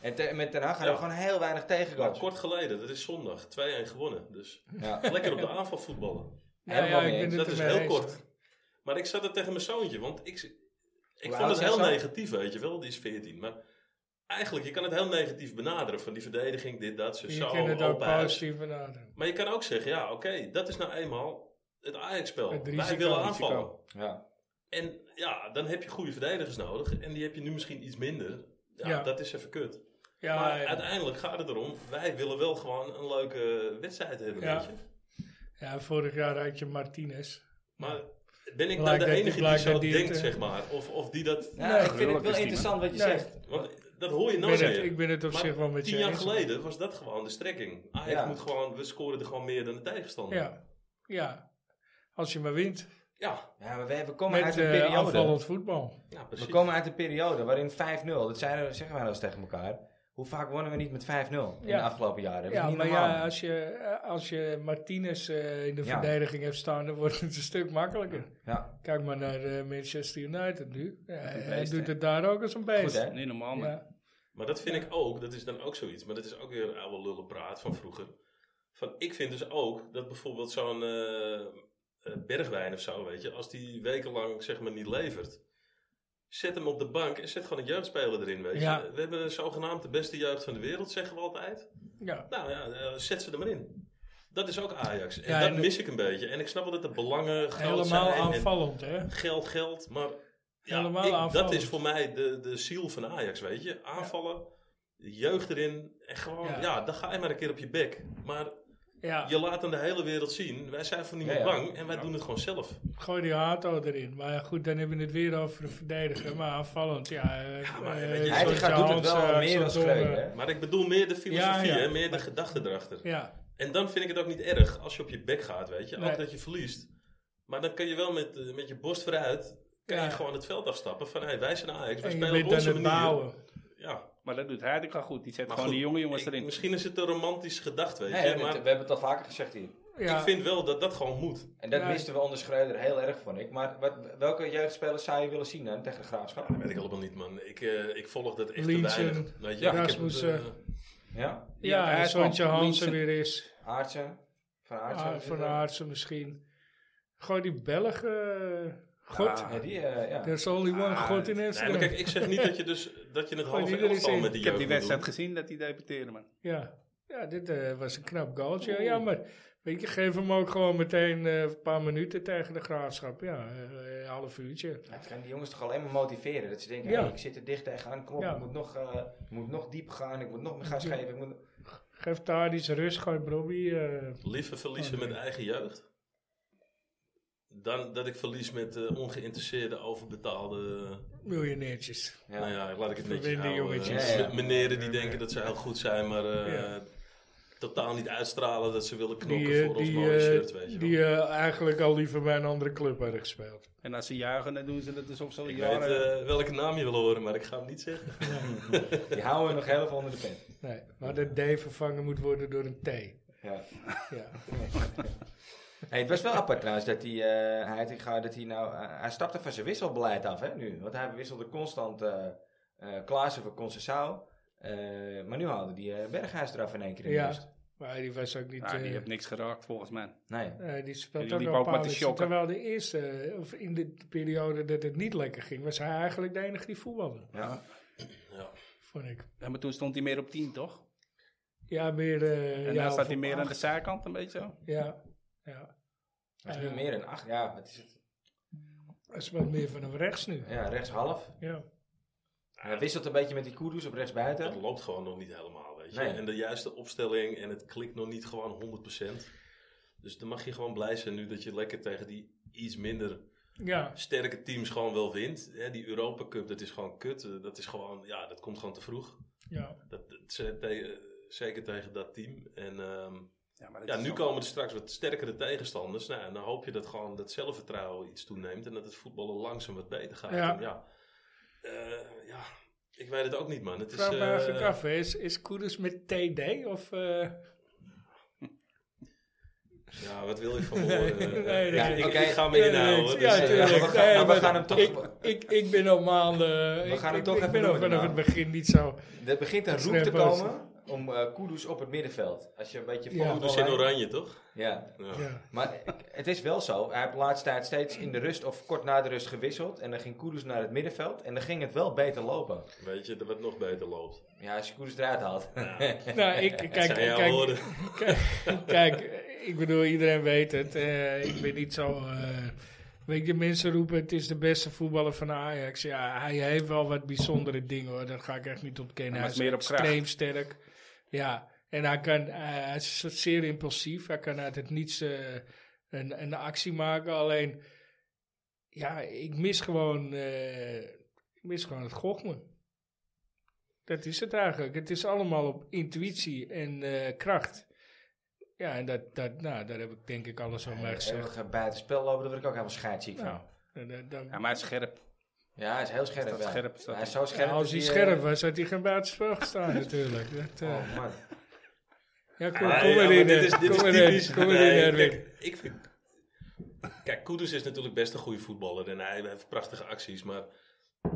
Speaker 1: En te- met Ten Hag hadden we
Speaker 4: Ja.
Speaker 1: gewoon heel weinig
Speaker 4: Maar
Speaker 1: tegengoals.
Speaker 4: kort geleden, dat is zondag, 2-1 gewonnen.
Speaker 2: [LAUGHS]
Speaker 4: Dus [LAUGHS]
Speaker 1: Ja.
Speaker 4: lekker op de aanval voetballen. Dus
Speaker 2: Nou
Speaker 1: Helemaal
Speaker 2: ja, ik
Speaker 1: mee
Speaker 2: ben
Speaker 1: eens.
Speaker 2: het
Speaker 4: Dat is
Speaker 2: ermee
Speaker 4: heel
Speaker 2: eens,
Speaker 4: kort.
Speaker 2: hoor.
Speaker 4: Maar ik zat er tegen mijn zoontje, want ik, ik
Speaker 1: Hoe
Speaker 4: vond
Speaker 1: oud
Speaker 4: het
Speaker 1: is jouw
Speaker 4: heel
Speaker 1: zoon?
Speaker 4: negatief, weet je wel. Die is 14. Maar eigenlijk, je kan het heel negatief benaderen. Van die verdediging, dit, dat,
Speaker 1: Dus
Speaker 4: zo,
Speaker 2: Je
Speaker 4: zo,
Speaker 2: kunt het
Speaker 1: oh,
Speaker 2: ook
Speaker 4: open huis.
Speaker 2: positief benaderen.
Speaker 4: Maar je kan ook zeggen, ja, oké, dat is nou eenmaal het Ajax-spel.
Speaker 2: Het
Speaker 4: Wij
Speaker 2: risico,
Speaker 4: willen
Speaker 2: risico.
Speaker 4: aanvallen.
Speaker 1: Ja.
Speaker 4: En ja, dan heb je goede verdedigers nodig. En die heb je nu misschien iets minder. Ja,
Speaker 2: Ja.
Speaker 4: dat is even kut.
Speaker 2: Ja,
Speaker 4: maar
Speaker 2: ja.
Speaker 4: uiteindelijk gaat het erom, wij willen wel gewoon een leuke wedstrijd hebben.
Speaker 2: Ja.
Speaker 4: weet je.
Speaker 2: ja, vorig jaar had je Martinez.
Speaker 4: Maar ben
Speaker 2: Blijkt
Speaker 4: ik nou
Speaker 2: dat
Speaker 4: de
Speaker 2: die-
Speaker 4: enige die
Speaker 2: blijkt
Speaker 4: zo
Speaker 2: dat die het,
Speaker 4: denkt,
Speaker 2: eh,
Speaker 4: zeg maar? Of, of die dat...
Speaker 1: Ja,
Speaker 2: Nee,
Speaker 1: ik vind het
Speaker 3: gruwelijk is
Speaker 1: wel
Speaker 3: die,
Speaker 1: interessant wat je
Speaker 2: Nee.
Speaker 1: zegt.
Speaker 4: Want dat hoor je
Speaker 2: Ik
Speaker 4: nooit
Speaker 2: ben, het,
Speaker 4: meer.
Speaker 2: ik ben het op
Speaker 4: Maar
Speaker 2: zich wel met je
Speaker 4: Tien jaar
Speaker 2: eens.
Speaker 4: geleden was dat gewoon de strekking. Ajax
Speaker 1: Ja.
Speaker 4: moet gewoon, we scoren er gewoon meer dan de
Speaker 1: Oh.
Speaker 4: tegenstander.
Speaker 2: Ja. ja, als je maar wint.
Speaker 4: ja,
Speaker 1: Ja, Oh, maar we, we komen
Speaker 2: Met
Speaker 1: uit een
Speaker 2: eh
Speaker 1: periode.
Speaker 2: aanvallend voetbal.
Speaker 4: ja, precies.
Speaker 1: We komen uit een periode waarin 5-0, dat zeiden, we- zeggen wij wel eens tegen elkaar. Hoe vaak wonnen we niet met 5-0 in
Speaker 2: Ja.
Speaker 1: de afgelopen jaren? Dat is
Speaker 2: Ja,
Speaker 1: niet
Speaker 2: maar
Speaker 1: normaal.
Speaker 2: ja, als je, eh, als je Martinez eh, in de
Speaker 1: Ja.
Speaker 2: verdediging hebt staan, dan wordt het een stuk makkelijker.
Speaker 1: Ja.
Speaker 2: Kijk maar naar eh, Manchester United nu. Ja, hij
Speaker 1: beest,
Speaker 2: doet
Speaker 1: hè?
Speaker 2: het daar ook als een beest.
Speaker 1: Goed, hè?
Speaker 3: Niet normaal, man.
Speaker 2: Ja.
Speaker 4: Maar dat vind ik ook, dat is dan ook zoiets. Maar dat is ook weer oude lullenpraat van vroeger. Van, ik vind dus ook dat bijvoorbeeld zo'n eh, eh, bergwijn of zo, weet je, als die wekenlang zeg maar niet levert, zet hem op de bank en zet gewoon een jeugdspeler erin, weet je.
Speaker 2: Ja.
Speaker 4: We hebben zogenaamd de beste jeugd van de wereld, zeggen we altijd.
Speaker 2: Ja.
Speaker 4: Nou ja, eh, zet ze er maar in. Dat is ook Ajax. En
Speaker 2: Ja,
Speaker 4: dat
Speaker 2: en de-
Speaker 4: mis ik een beetje. En ik snap wel dat de belangen groot
Speaker 2: Helemaal
Speaker 4: zijn en
Speaker 2: aanvallend, hè?
Speaker 4: geld, geld, maar ja,
Speaker 2: Helemaal
Speaker 4: ik- dat
Speaker 2: aanvallend.
Speaker 4: is voor mij de, de ziel van Ajax, weet je. Aanvallen, jeugd erin en gewoon, ja.
Speaker 2: Ja.
Speaker 4: dan ga je maar een keer op je bek. Maar
Speaker 2: Ja,
Speaker 4: Je laat aan de hele wereld zien, wij zijn voor niemand
Speaker 1: Ja, ja.
Speaker 4: bang en wij doen het gewoon zelf.
Speaker 2: gooi die Hato erin. Maar goed, dan hebben we het weer over een verdediger. Maar aanvallend, ja. eh,
Speaker 4: maar
Speaker 2: eh,
Speaker 4: weet je,
Speaker 2: zo'n
Speaker 1: Hij gaat doet het
Speaker 2: Jansen,
Speaker 1: wel meer
Speaker 2: eh, zo'n
Speaker 1: dan
Speaker 2: Dongen.
Speaker 1: schreeuwen. hè.
Speaker 4: Maar ik bedoel meer de filosofie,
Speaker 2: Ja, ja.
Speaker 4: Hè, meer de gedachte erachter.
Speaker 2: Ja,
Speaker 4: En dan vind ik het ook niet erg als je op je bek gaat, weet je.
Speaker 2: Nee.
Speaker 4: Ook dat je verliest. Maar dan kun je wel met, eh, met je borst vooruit, kan
Speaker 2: Ja.
Speaker 4: je gewoon het veld afstappen. Van, hey, wij zijn Ajax, wij
Speaker 2: en je
Speaker 4: spelen
Speaker 2: bent
Speaker 4: op
Speaker 2: aan
Speaker 4: onze
Speaker 2: het
Speaker 4: manier.
Speaker 2: bouwen.
Speaker 4: Ja,
Speaker 3: Maar dat doet Heitinga goed. Die zet
Speaker 4: maar
Speaker 3: gewoon
Speaker 4: goed,
Speaker 3: die jonge jongens
Speaker 4: ik-
Speaker 3: erin.
Speaker 4: Misschien is het een romantische gedachte, weet
Speaker 1: Nee, we,
Speaker 4: je. Maar
Speaker 1: hebben het, we hebben het al vaker gezegd hier.
Speaker 2: Ja,
Speaker 4: ik vind wel dat dat gewoon moet.
Speaker 1: En dat
Speaker 2: Ja.
Speaker 1: misten we onder Schreuder heel erg, vond ik. Maar wat, welke jeugdspelers zou je willen zien dan tegen de Graafschap?
Speaker 4: Dat weet ik helemaal niet, man. Ik, eh, ik volg dat echt te
Speaker 2: Linsen,
Speaker 4: weinig. Weet je,
Speaker 2: Ja.
Speaker 4: ik heb het,
Speaker 2: Rasmussen.
Speaker 4: eh,
Speaker 1: Ja?
Speaker 2: ja,
Speaker 3: hij
Speaker 2: als
Speaker 3: is wel
Speaker 2: Zoontje Hansen
Speaker 3: links-
Speaker 2: weer is.
Speaker 1: Aartsen? Van Aartsen?
Speaker 2: Ah, Van Aartsen misschien. Gooi die Belg. eh, God.
Speaker 1: Ja, die, eh, ja.
Speaker 2: There's only one
Speaker 3: Ah,
Speaker 2: God in
Speaker 4: nee, maar
Speaker 2: Amsterdam.
Speaker 4: kijk, ik zeg niet dat je, dus,
Speaker 2: [LAUGHS]
Speaker 4: dat je het
Speaker 2: Gooi
Speaker 4: halve
Speaker 2: die er eens
Speaker 4: elftal
Speaker 2: in.
Speaker 4: met die
Speaker 3: Ik heb die
Speaker 4: jeugd moet
Speaker 3: wedstrijd
Speaker 4: doen.
Speaker 3: gezien dat hij debuteerde, man.
Speaker 2: Ja, ja dit eh, was een knap goaltje. Ja, maar weet je, geef hem ook gewoon meteen eh, een paar minuten tegen de graafschap. Ja, eh, een half uurtje.
Speaker 1: Het kan die jongens toch alleen maar motiveren. Dat ze denken,
Speaker 2: Ja.
Speaker 1: hey, ik zit er dicht tegenaan, kom op,
Speaker 2: Ja.
Speaker 1: ik moet nog, eh, ik moet nog diep gaan, ik moet nog meer gas geven. Ik moet...
Speaker 2: Geef daar iets rust, gooi Bobby. eh
Speaker 4: Liever verliezen met eigen jeugd. Dan dat ik verlies met eh, ongeïnteresseerde, overbetaalde.
Speaker 2: miljonairtjes.
Speaker 1: Ja.
Speaker 4: Nou ja, laat ik het netjes
Speaker 2: Verwende
Speaker 4: houden.
Speaker 2: jongetjes.
Speaker 4: eh,
Speaker 1: Ja, ja.
Speaker 4: Meneren die denken dat ze heel goed zijn, maar eh,
Speaker 2: Ja.
Speaker 4: totaal niet uitstralen dat ze willen knokken
Speaker 2: Die, eh,
Speaker 4: voor ons
Speaker 2: die,
Speaker 4: mooie
Speaker 2: eh,
Speaker 4: shirt, weet je
Speaker 2: die
Speaker 4: wel.
Speaker 2: eh, eigenlijk al liever bij een andere club hadden gespeeld.
Speaker 3: En als ze jagen, dan doen ze dat alsof ze al
Speaker 4: Ik
Speaker 3: jaren...
Speaker 4: weet eh, welke naam je wil horen, maar ik ga hem niet zeggen.
Speaker 1: Die houden we nog heel even onder de pen.
Speaker 2: Nee, maar dat D vervangen moet worden door een T.
Speaker 1: Ja.
Speaker 2: Ja.
Speaker 1: Hey, het was wel apart trouwens dat hij, eh, Heitinga, dat hij nou, eh, hij stapte van zijn wisselbeleid af hè, nu. Want hij wisselde constant eh eh Klaassen voor Concessao. Eh, maar nu haalde die eh, Berghuis eraf in één keer in de
Speaker 2: Ja.
Speaker 1: rust.
Speaker 2: Maar die was ook niet...
Speaker 3: Ah, die
Speaker 2: eh,
Speaker 3: heeft niks geraakt, volgens mij.
Speaker 1: Nee.
Speaker 2: eh, die speelt
Speaker 3: Die
Speaker 2: ook
Speaker 3: liep
Speaker 2: nog een
Speaker 3: ook
Speaker 2: paar
Speaker 3: met de
Speaker 2: wedstrijden.
Speaker 3: shocker.
Speaker 2: Terwijl de eerste, eh, of in de periode dat het niet lekker ging, was hij eigenlijk de enige die voetbalde,
Speaker 1: Ja.
Speaker 4: Ja.
Speaker 2: vond ik.
Speaker 3: Ja, maar toen stond hij meer op 10, toch?
Speaker 2: Ja, meer... eh
Speaker 3: En
Speaker 2: ja,
Speaker 3: dan
Speaker 2: of
Speaker 3: staat hij
Speaker 2: op
Speaker 3: meer aan de
Speaker 2: acht.
Speaker 3: zijkant, een beetje zo.
Speaker 2: Ja, ja.
Speaker 1: Dat is nu
Speaker 2: Eh,
Speaker 1: meer een acht. Ja, wat is het?
Speaker 2: Hij speelt meer vanaf rechts nu.
Speaker 1: Ja, rechts half.
Speaker 2: Ja.
Speaker 1: Hij wisselt een beetje met die Kudus op rechts buiten.
Speaker 4: Dat loopt gewoon nog niet helemaal, weet je.
Speaker 1: Nee.
Speaker 4: En de juiste opstelling en het klikt nog niet gewoon 100%. Dus dan mag je gewoon blij zijn nu dat je lekker tegen die iets minder
Speaker 2: Ja,
Speaker 4: sterke teams gewoon wel wint. Hè, die Europa Cup, dat is gewoon kut. Eh, Dat is gewoon, ja, dat komt gewoon te vroeg.
Speaker 2: ja.
Speaker 4: Dat, dat ze- te- eh, zeker tegen dat team. En ehm,
Speaker 3: Ja, maar dat
Speaker 4: ja,
Speaker 3: is
Speaker 4: nu
Speaker 3: toch-
Speaker 4: komen er straks wat sterkere tegenstanders. Nou, en dan hoop je dat gewoon dat zelfvertrouwen iets toeneemt en dat het voetballen langzaam wat beter gaat.
Speaker 2: Ja.
Speaker 4: En ja, eh, ja, ik weet het ook niet, man. Het
Speaker 2: Ik
Speaker 1: Dus,
Speaker 4: is,
Speaker 2: vraag me
Speaker 4: eh,
Speaker 2: eigenlijk af, hè, is, is Koeders met TD of... eh,
Speaker 4: ja, wat wil je van
Speaker 2: Nee, [LAUGHS]
Speaker 4: horen?
Speaker 2: nee,
Speaker 4: Eh,
Speaker 2: nee,
Speaker 4: ja,
Speaker 1: nee.
Speaker 4: ik,
Speaker 1: Oké.
Speaker 4: ik ga me
Speaker 2: nee,
Speaker 1: nou,
Speaker 4: inhouden.
Speaker 2: nee,
Speaker 4: dus,
Speaker 2: ja,
Speaker 4: eh,
Speaker 2: tuurlijk.
Speaker 4: [LAUGHS]
Speaker 1: we gaan-
Speaker 2: Nee,
Speaker 1: maar we
Speaker 2: maar
Speaker 1: gaan hem toch-
Speaker 2: Ik, ik, ik ben al maanden...
Speaker 1: We gaan hem
Speaker 2: ik,
Speaker 1: toch
Speaker 2: ik,
Speaker 1: even
Speaker 2: ik ben al
Speaker 1: noemen,
Speaker 2: vanaf
Speaker 1: nou.
Speaker 2: het begin niet zo...
Speaker 1: Er begint een roep te
Speaker 2: Snap
Speaker 1: komen om eh Kudus op het middenveld. Als je een beetje
Speaker 2: Ja.
Speaker 1: volgt
Speaker 4: dus in oranje, toch?
Speaker 1: Ja.
Speaker 4: Ja.
Speaker 2: Ja.
Speaker 1: Maar het is wel zo. Hij heeft de laatste tijd steeds in de rust of kort na de rust gewisseld. En dan ging Kudus naar het middenveld. En dan ging het wel beter lopen.
Speaker 4: Weet je, dat wat nog beter loopt.
Speaker 1: Ja, als je Kudus eruit haalt. [LAUGHS]
Speaker 2: Nou, ik, kijk,
Speaker 4: Kijk, zijn jouw
Speaker 2: kijk,
Speaker 4: woorden.
Speaker 2: Kijk, [LAUGHS] kijk, ik bedoel, iedereen weet het. Eh, ik ben niet zo. eh, weet je, mensen roepen: het is de beste voetballer van Ajax. Ja, hij heeft wel wat bijzondere dingen hoor. Dat ga ik echt niet ontkennen.
Speaker 3: Hij
Speaker 2: Hij
Speaker 3: was
Speaker 2: is
Speaker 3: meer op kracht.
Speaker 2: extreem sterk. Ja, en hij, kan, eh, hij is zeer impulsief. Hij kan uit het niets eh, een, een actie maken. Alleen, ja, ik mis gewoon, eh, ik mis gewoon het gochelen. Dat is het eigenlijk. Het is allemaal op intuïtie en eh, kracht. Ja, en dat, dat, nou, daar heb ik denk ik alles al mee gezegd.
Speaker 1: Eeuwig buitenspel eh, lopen, daar word ik ook helemaal scheidsziek van.
Speaker 2: Nou, en dat- dat-
Speaker 3: Ja, maar hij is scherp.
Speaker 1: Ja, hij is heel scherp.
Speaker 3: Is dat
Speaker 1: ja.
Speaker 3: scherp, is dat
Speaker 1: hij is zo scherp.
Speaker 2: ja, als
Speaker 1: dat
Speaker 2: hij
Speaker 1: eh,
Speaker 2: scherp was, had hij geen buitenspel gestaan [LAUGHS] natuurlijk. Dat, eh,
Speaker 1: Oh man.
Speaker 2: ja, kom,
Speaker 4: Nee,
Speaker 2: kom
Speaker 4: Ah, ja, maar
Speaker 2: erin,
Speaker 4: dit
Speaker 2: eh,
Speaker 4: is, dit
Speaker 2: kom
Speaker 4: is
Speaker 2: erin,
Speaker 4: typisch.
Speaker 2: kom
Speaker 4: Nee,
Speaker 2: erin, Erwin.
Speaker 4: kijk, ik vind... Kijk, Kudus is natuurlijk best een goede voetballer. En hij heeft prachtige acties. Maar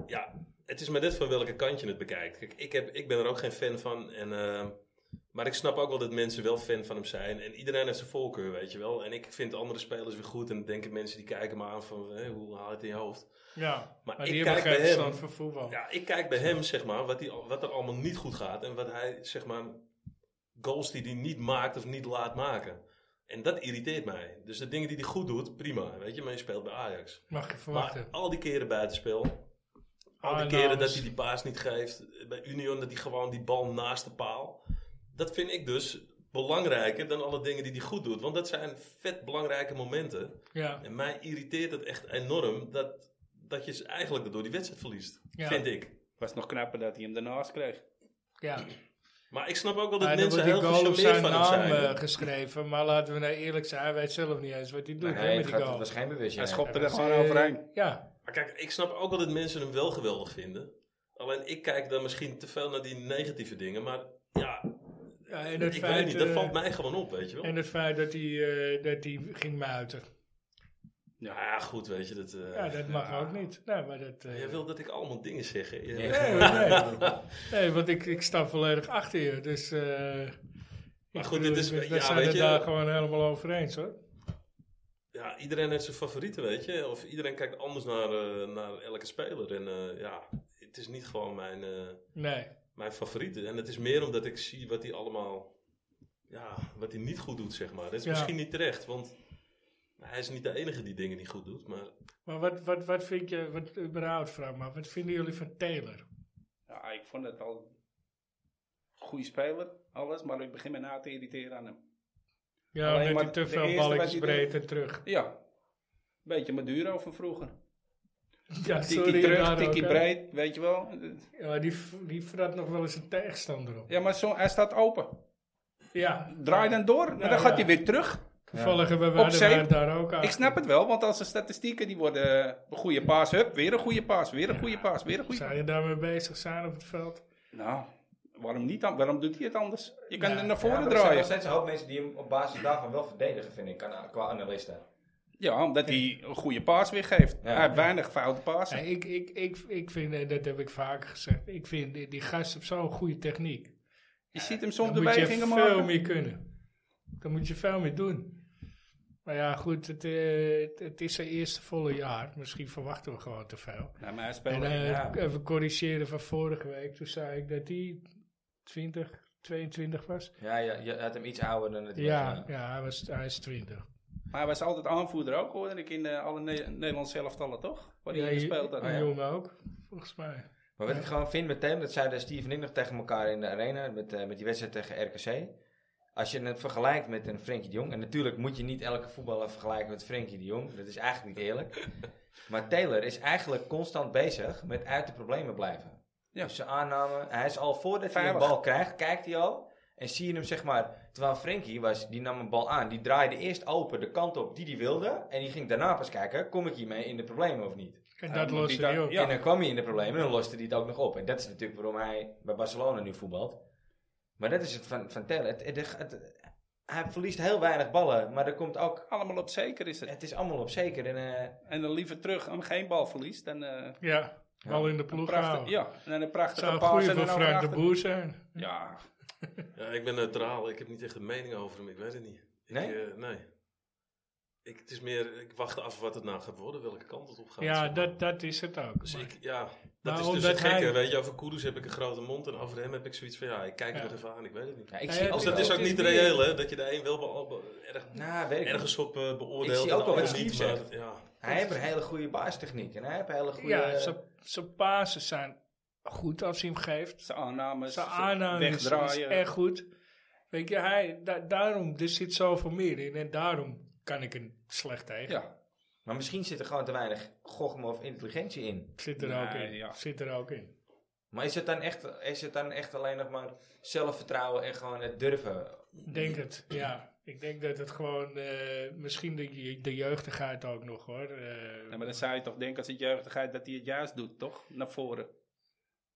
Speaker 4: ja, het is maar net van welke kant je het bekijkt. Kijk, ik, heb, ik ben er ook geen fan van. En, ehm, maar ik snap ook wel dat mensen wel fan van hem zijn. En iedereen heeft zijn voorkeur, weet je wel. En ik vind andere spelers weer goed. En dan denken mensen die kijken me aan van... hé, hoe haal je het in je hoofd?
Speaker 2: Ja, maar,
Speaker 4: Maar ik
Speaker 2: die hebben
Speaker 4: kijk
Speaker 2: geen
Speaker 4: bij hem.
Speaker 2: verstand van voetbal.
Speaker 4: Ja, ik kijk bij hem, zeg maar, wat, die, al- wat er allemaal niet goed gaat. En wat hij, zeg maar, goals die hij niet maakt of niet laat maken. En dat irriteert mij. Dus de dingen die hij goed doet, prima. Weet je, maar je speelt bij Ajax.
Speaker 2: Mag je
Speaker 4: Maar
Speaker 2: verwachten.
Speaker 4: al die keren buitenspel. Al die
Speaker 2: Aannames.
Speaker 4: keren dat hij die paas niet geeft. Bij Union dat hij gewoon die bal naast de paal. Dat vind ik dus belangrijker dan alle dingen die hij goed doet. Want dat zijn vet belangrijke momenten.
Speaker 2: Ja,
Speaker 4: En mij irriteert het echt enorm dat, dat je eigenlijk door die wedstrijd verliest.
Speaker 2: Ja.
Speaker 4: Vind ik.
Speaker 3: Was nog knapper dat hij hem daarnaast kreeg.
Speaker 2: ja.
Speaker 4: Maar ik snap ook wel dat
Speaker 2: Maar dan
Speaker 4: mensen
Speaker 2: wordt die
Speaker 4: heel
Speaker 2: goal op zijn
Speaker 4: gecharmeerd van hem
Speaker 2: naam
Speaker 4: zijn.
Speaker 2: eh, geschreven. Maar laten we nou eerlijk zijn, hij weet zelf niet eens wat hij doet hè,
Speaker 1: Nee,
Speaker 2: met
Speaker 1: het,
Speaker 2: die
Speaker 1: gaat,
Speaker 2: goal.
Speaker 1: het was geen bewustje.
Speaker 3: Hij
Speaker 1: nee.
Speaker 3: schopte
Speaker 2: Hij
Speaker 3: er
Speaker 2: was,
Speaker 3: gewoon
Speaker 2: eh,
Speaker 3: overheen.
Speaker 2: Ja,
Speaker 4: Maar kijk, ik snap ook wel dat mensen hem wel geweldig vinden. Alleen ik kijk dan misschien te veel naar die negatieve dingen. Maar ja,
Speaker 2: ja en, het
Speaker 4: ik weet
Speaker 2: feit,
Speaker 4: niet. Dat
Speaker 2: eh,
Speaker 4: valt mij gewoon op, weet je wel.
Speaker 2: en het feit dat hij, eh, dat hij ging muiten.
Speaker 4: Nou ja, goed, weet je. Dat, eh,
Speaker 2: Ja, dat mag ook niet. Nee, maar dat... eh,
Speaker 4: Jij wil dat ik allemaal dingen zeg. hè? Ja.
Speaker 1: Ja.
Speaker 2: Nee, nee. nee, want ik, ik sta volledig achter je. Dus. eh, ik
Speaker 4: goed,
Speaker 2: bedoel,
Speaker 4: dit is-
Speaker 2: we- we
Speaker 4: ja,
Speaker 2: zijn
Speaker 4: weet
Speaker 2: het
Speaker 4: je-
Speaker 2: daar gewoon helemaal over eens hoor.
Speaker 4: Ja, iedereen heeft zijn favorieten, weet je. Of iedereen kijkt anders naar, eh, naar elke speler. En eh, ja, het is niet gewoon mijn, eh,
Speaker 2: Nee.
Speaker 4: mijn favorieten. En het is meer omdat ik zie wat hij allemaal... Ja, wat hij niet goed doet, zeg maar. Dat is
Speaker 2: Ja.
Speaker 4: misschien niet terecht, want... Hij is niet de enige die dingen niet goed doet, maar
Speaker 2: Maar wat, wat, wat vind je, wat überhaupt vraag maar, wat vinden jullie van Taylor?
Speaker 3: Ja, ik vond het al een goede speler, alles. Maar ik begin me na te irriteren aan hem.
Speaker 2: Ja,
Speaker 3: Alleen
Speaker 2: omdat
Speaker 3: maar
Speaker 2: hij te
Speaker 3: de
Speaker 2: veel
Speaker 3: eerste
Speaker 2: balletjes
Speaker 3: wat hij
Speaker 2: breed en terug.
Speaker 3: Ja, een beetje Maduro van vroeger.
Speaker 2: Ja,
Speaker 3: Tikkie
Speaker 2: sorry.
Speaker 3: terug,
Speaker 2: daar ook,
Speaker 3: tikkie
Speaker 2: hè.
Speaker 3: breed, weet je wel.
Speaker 2: Ja, die, v- die vrat nog wel eens een tegenstander op.
Speaker 3: Ja, maar zo, hij staat open.
Speaker 2: Ja,
Speaker 3: Draai dan door, en dan
Speaker 2: Ja,
Speaker 3: gaat
Speaker 2: ja.
Speaker 3: hij weer terug.
Speaker 2: toevallig hebben we
Speaker 3: Op zeep.
Speaker 2: Waardenberg daar ook aan.
Speaker 3: Ik snap het wel, want als de statistieken die worden eh, een goede paas, hup, weer een goede paas, weer een goede paas, weer een goede
Speaker 2: Zou je daarmee bezig zijn op het veld?
Speaker 3: Nou, waarom niet dan? Waarom doet hij het anders? Je kan
Speaker 2: Ja.
Speaker 3: hem naar
Speaker 2: Ja,
Speaker 3: voren
Speaker 1: maar er zijn nog
Speaker 3: draaien.
Speaker 1: steeds een hoop mensen die hem op basis daarvan wel verdedigen, vind ik, aan- qua analisten.
Speaker 3: Ja, omdat hij een goede paas weer geeft.
Speaker 1: Ja.
Speaker 3: hij heeft weinig foute pasen.
Speaker 2: Nee, ik, ik, ik, ik vind, en dat heb ik vaker gezegd, ik vind die, die gast op zo'n goede techniek.
Speaker 3: je ziet hem
Speaker 2: Dan
Speaker 3: soms de
Speaker 2: moet je veel
Speaker 3: bewegingen maken.
Speaker 2: meer kunnen. Dan moet je veel meer doen. Maar ja, goed, het, eh, het, het is zijn eerste volle jaar. Misschien verwachten we gewoon te veel.
Speaker 3: Nee, Nou, maar hij
Speaker 2: En
Speaker 3: speelt...
Speaker 2: eh,
Speaker 3: ja.
Speaker 2: even corrigeren van vorige week. Toen zei ik dat hij 20, 22 was.
Speaker 1: Ja, je, je had hem iets ouder dan dat hij was,
Speaker 2: Ja,
Speaker 1: eh.
Speaker 2: ja hij, was, hij is 20.
Speaker 3: Maar hij was altijd aanvoerder ook, hoorde ik, in eh, alle ne Nederlandse elftallen, toch? Waar hij
Speaker 2: Ja,
Speaker 3: gespeeld had.
Speaker 2: een jongen ook, volgens mij.
Speaker 1: Maar wat ik gewoon vind met hem, dat zeiden Steven en ik nog tegen elkaar in de arena, met, eh, met die wedstrijd tegen RKC. Als je het vergelijkt met een Frenkie de Jong, en natuurlijk moet je niet elke voetballer vergelijken met Frenkie de Jong, dat is eigenlijk niet
Speaker 3: [LAUGHS]
Speaker 1: eerlijk. Maar Taylor is eigenlijk constant bezig met uit de problemen blijven.
Speaker 3: Ja.
Speaker 1: Dus zijn aanname, hij is al voordat hij een
Speaker 3: Veilig.
Speaker 1: bal krijgt, kijkt hij al en zie je hem zeg maar, terwijl Frenkie was, die nam een bal aan, die draaide eerst open de kant op die hij wilde en die ging daarna pas kijken, kom ik hiermee in de problemen of niet?
Speaker 2: En
Speaker 3: Ja,
Speaker 2: dat
Speaker 3: maar
Speaker 2: loste
Speaker 3: die
Speaker 2: hij
Speaker 3: daar-
Speaker 2: op.
Speaker 3: ja.
Speaker 1: En dan kwam hij in de problemen en dan loste hij het ook nog op. En dat is natuurlijk waarom hij bij Barcelona nu voetbalt. Maar dat is het van, van Tellen. Het, het- het- hij verliest heel weinig ballen, maar er komt ook...
Speaker 3: Allemaal op zeker is het.
Speaker 1: Het is allemaal op zeker. En, eh,
Speaker 3: En dan liever terug om geen bal verliest. Dan, eh,
Speaker 2: Ja, wel in de
Speaker 3: een
Speaker 2: ploeg
Speaker 3: prachtig,
Speaker 2: houden.
Speaker 3: ja, en dan een prachtige
Speaker 2: Zou een
Speaker 3: paas
Speaker 2: goede
Speaker 3: en
Speaker 2: voor
Speaker 3: dan
Speaker 2: Frank de
Speaker 3: erachter.
Speaker 2: Boer zijn.
Speaker 3: Ja,
Speaker 4: Ja, ik ben neutraal. Ik heb niet echt een mening over hem. Ik weet het niet. Ik,
Speaker 1: Nee?
Speaker 4: eh, nee. Ik, het is meer, ik wacht af wat het nou gaat worden, welke kant het op gaat. zeg
Speaker 2: Ja,
Speaker 4: maar.
Speaker 2: dat, dat is het ook.
Speaker 4: Dus
Speaker 2: Maar-
Speaker 4: ik, ja, dat
Speaker 2: Maar
Speaker 4: is dus
Speaker 2: omdat
Speaker 4: het gekke.
Speaker 2: hij-
Speaker 4: Weet je, over Kudus heb ik een grote mond en over hem heb ik zoiets van, ja, ik kijk
Speaker 2: Ja.
Speaker 4: er nog even aan, ik weet het niet.
Speaker 1: ja, ik
Speaker 2: Nee,
Speaker 1: zie
Speaker 2: het
Speaker 1: ook
Speaker 4: Dus dat
Speaker 1: wel-
Speaker 4: is ook
Speaker 2: het is
Speaker 4: niet
Speaker 2: meer-
Speaker 4: reëel, hè, dat je de een wel be- be- erg,
Speaker 1: Nou, weet ik niet.
Speaker 4: ergens op eh, beoordeelt.
Speaker 1: Ik zie
Speaker 4: en
Speaker 1: ook wel
Speaker 4: de
Speaker 1: wat
Speaker 4: ander
Speaker 1: Steve
Speaker 4: maar-
Speaker 1: zegt.
Speaker 4: Ja.
Speaker 1: Hij heeft een hele goede baastechniek. En hij heeft een hele goede...
Speaker 3: eh,
Speaker 2: ja, zijn- zijn pasen zijn goed als hij hem geeft.
Speaker 3: zijn aannames,
Speaker 2: Zijn aanname is, is
Speaker 3: wegdraaien.
Speaker 2: echt goed. Weet je, hij, da- daarom, er zit zoveel meer in en daarom kan ik er slecht tegen.
Speaker 3: Ja,
Speaker 1: Maar misschien zit er gewoon te weinig gochme of intelligentie in.
Speaker 2: Zit er
Speaker 3: Nee,
Speaker 2: ook in.
Speaker 3: ja.
Speaker 2: Zit er ook in.
Speaker 1: Maar is het dan echt, is het dan echt alleen nog maar zelfvertrouwen en gewoon het durven?
Speaker 2: Ik Denk het, ja. Ik denk dat het gewoon, eh, misschien de, je- de jeugdigheid ook nog hoor. Eh,
Speaker 3: Ja, maar dan zou je toch denken als het jeugdigheid dat hij het juist doet, toch? Naar voren.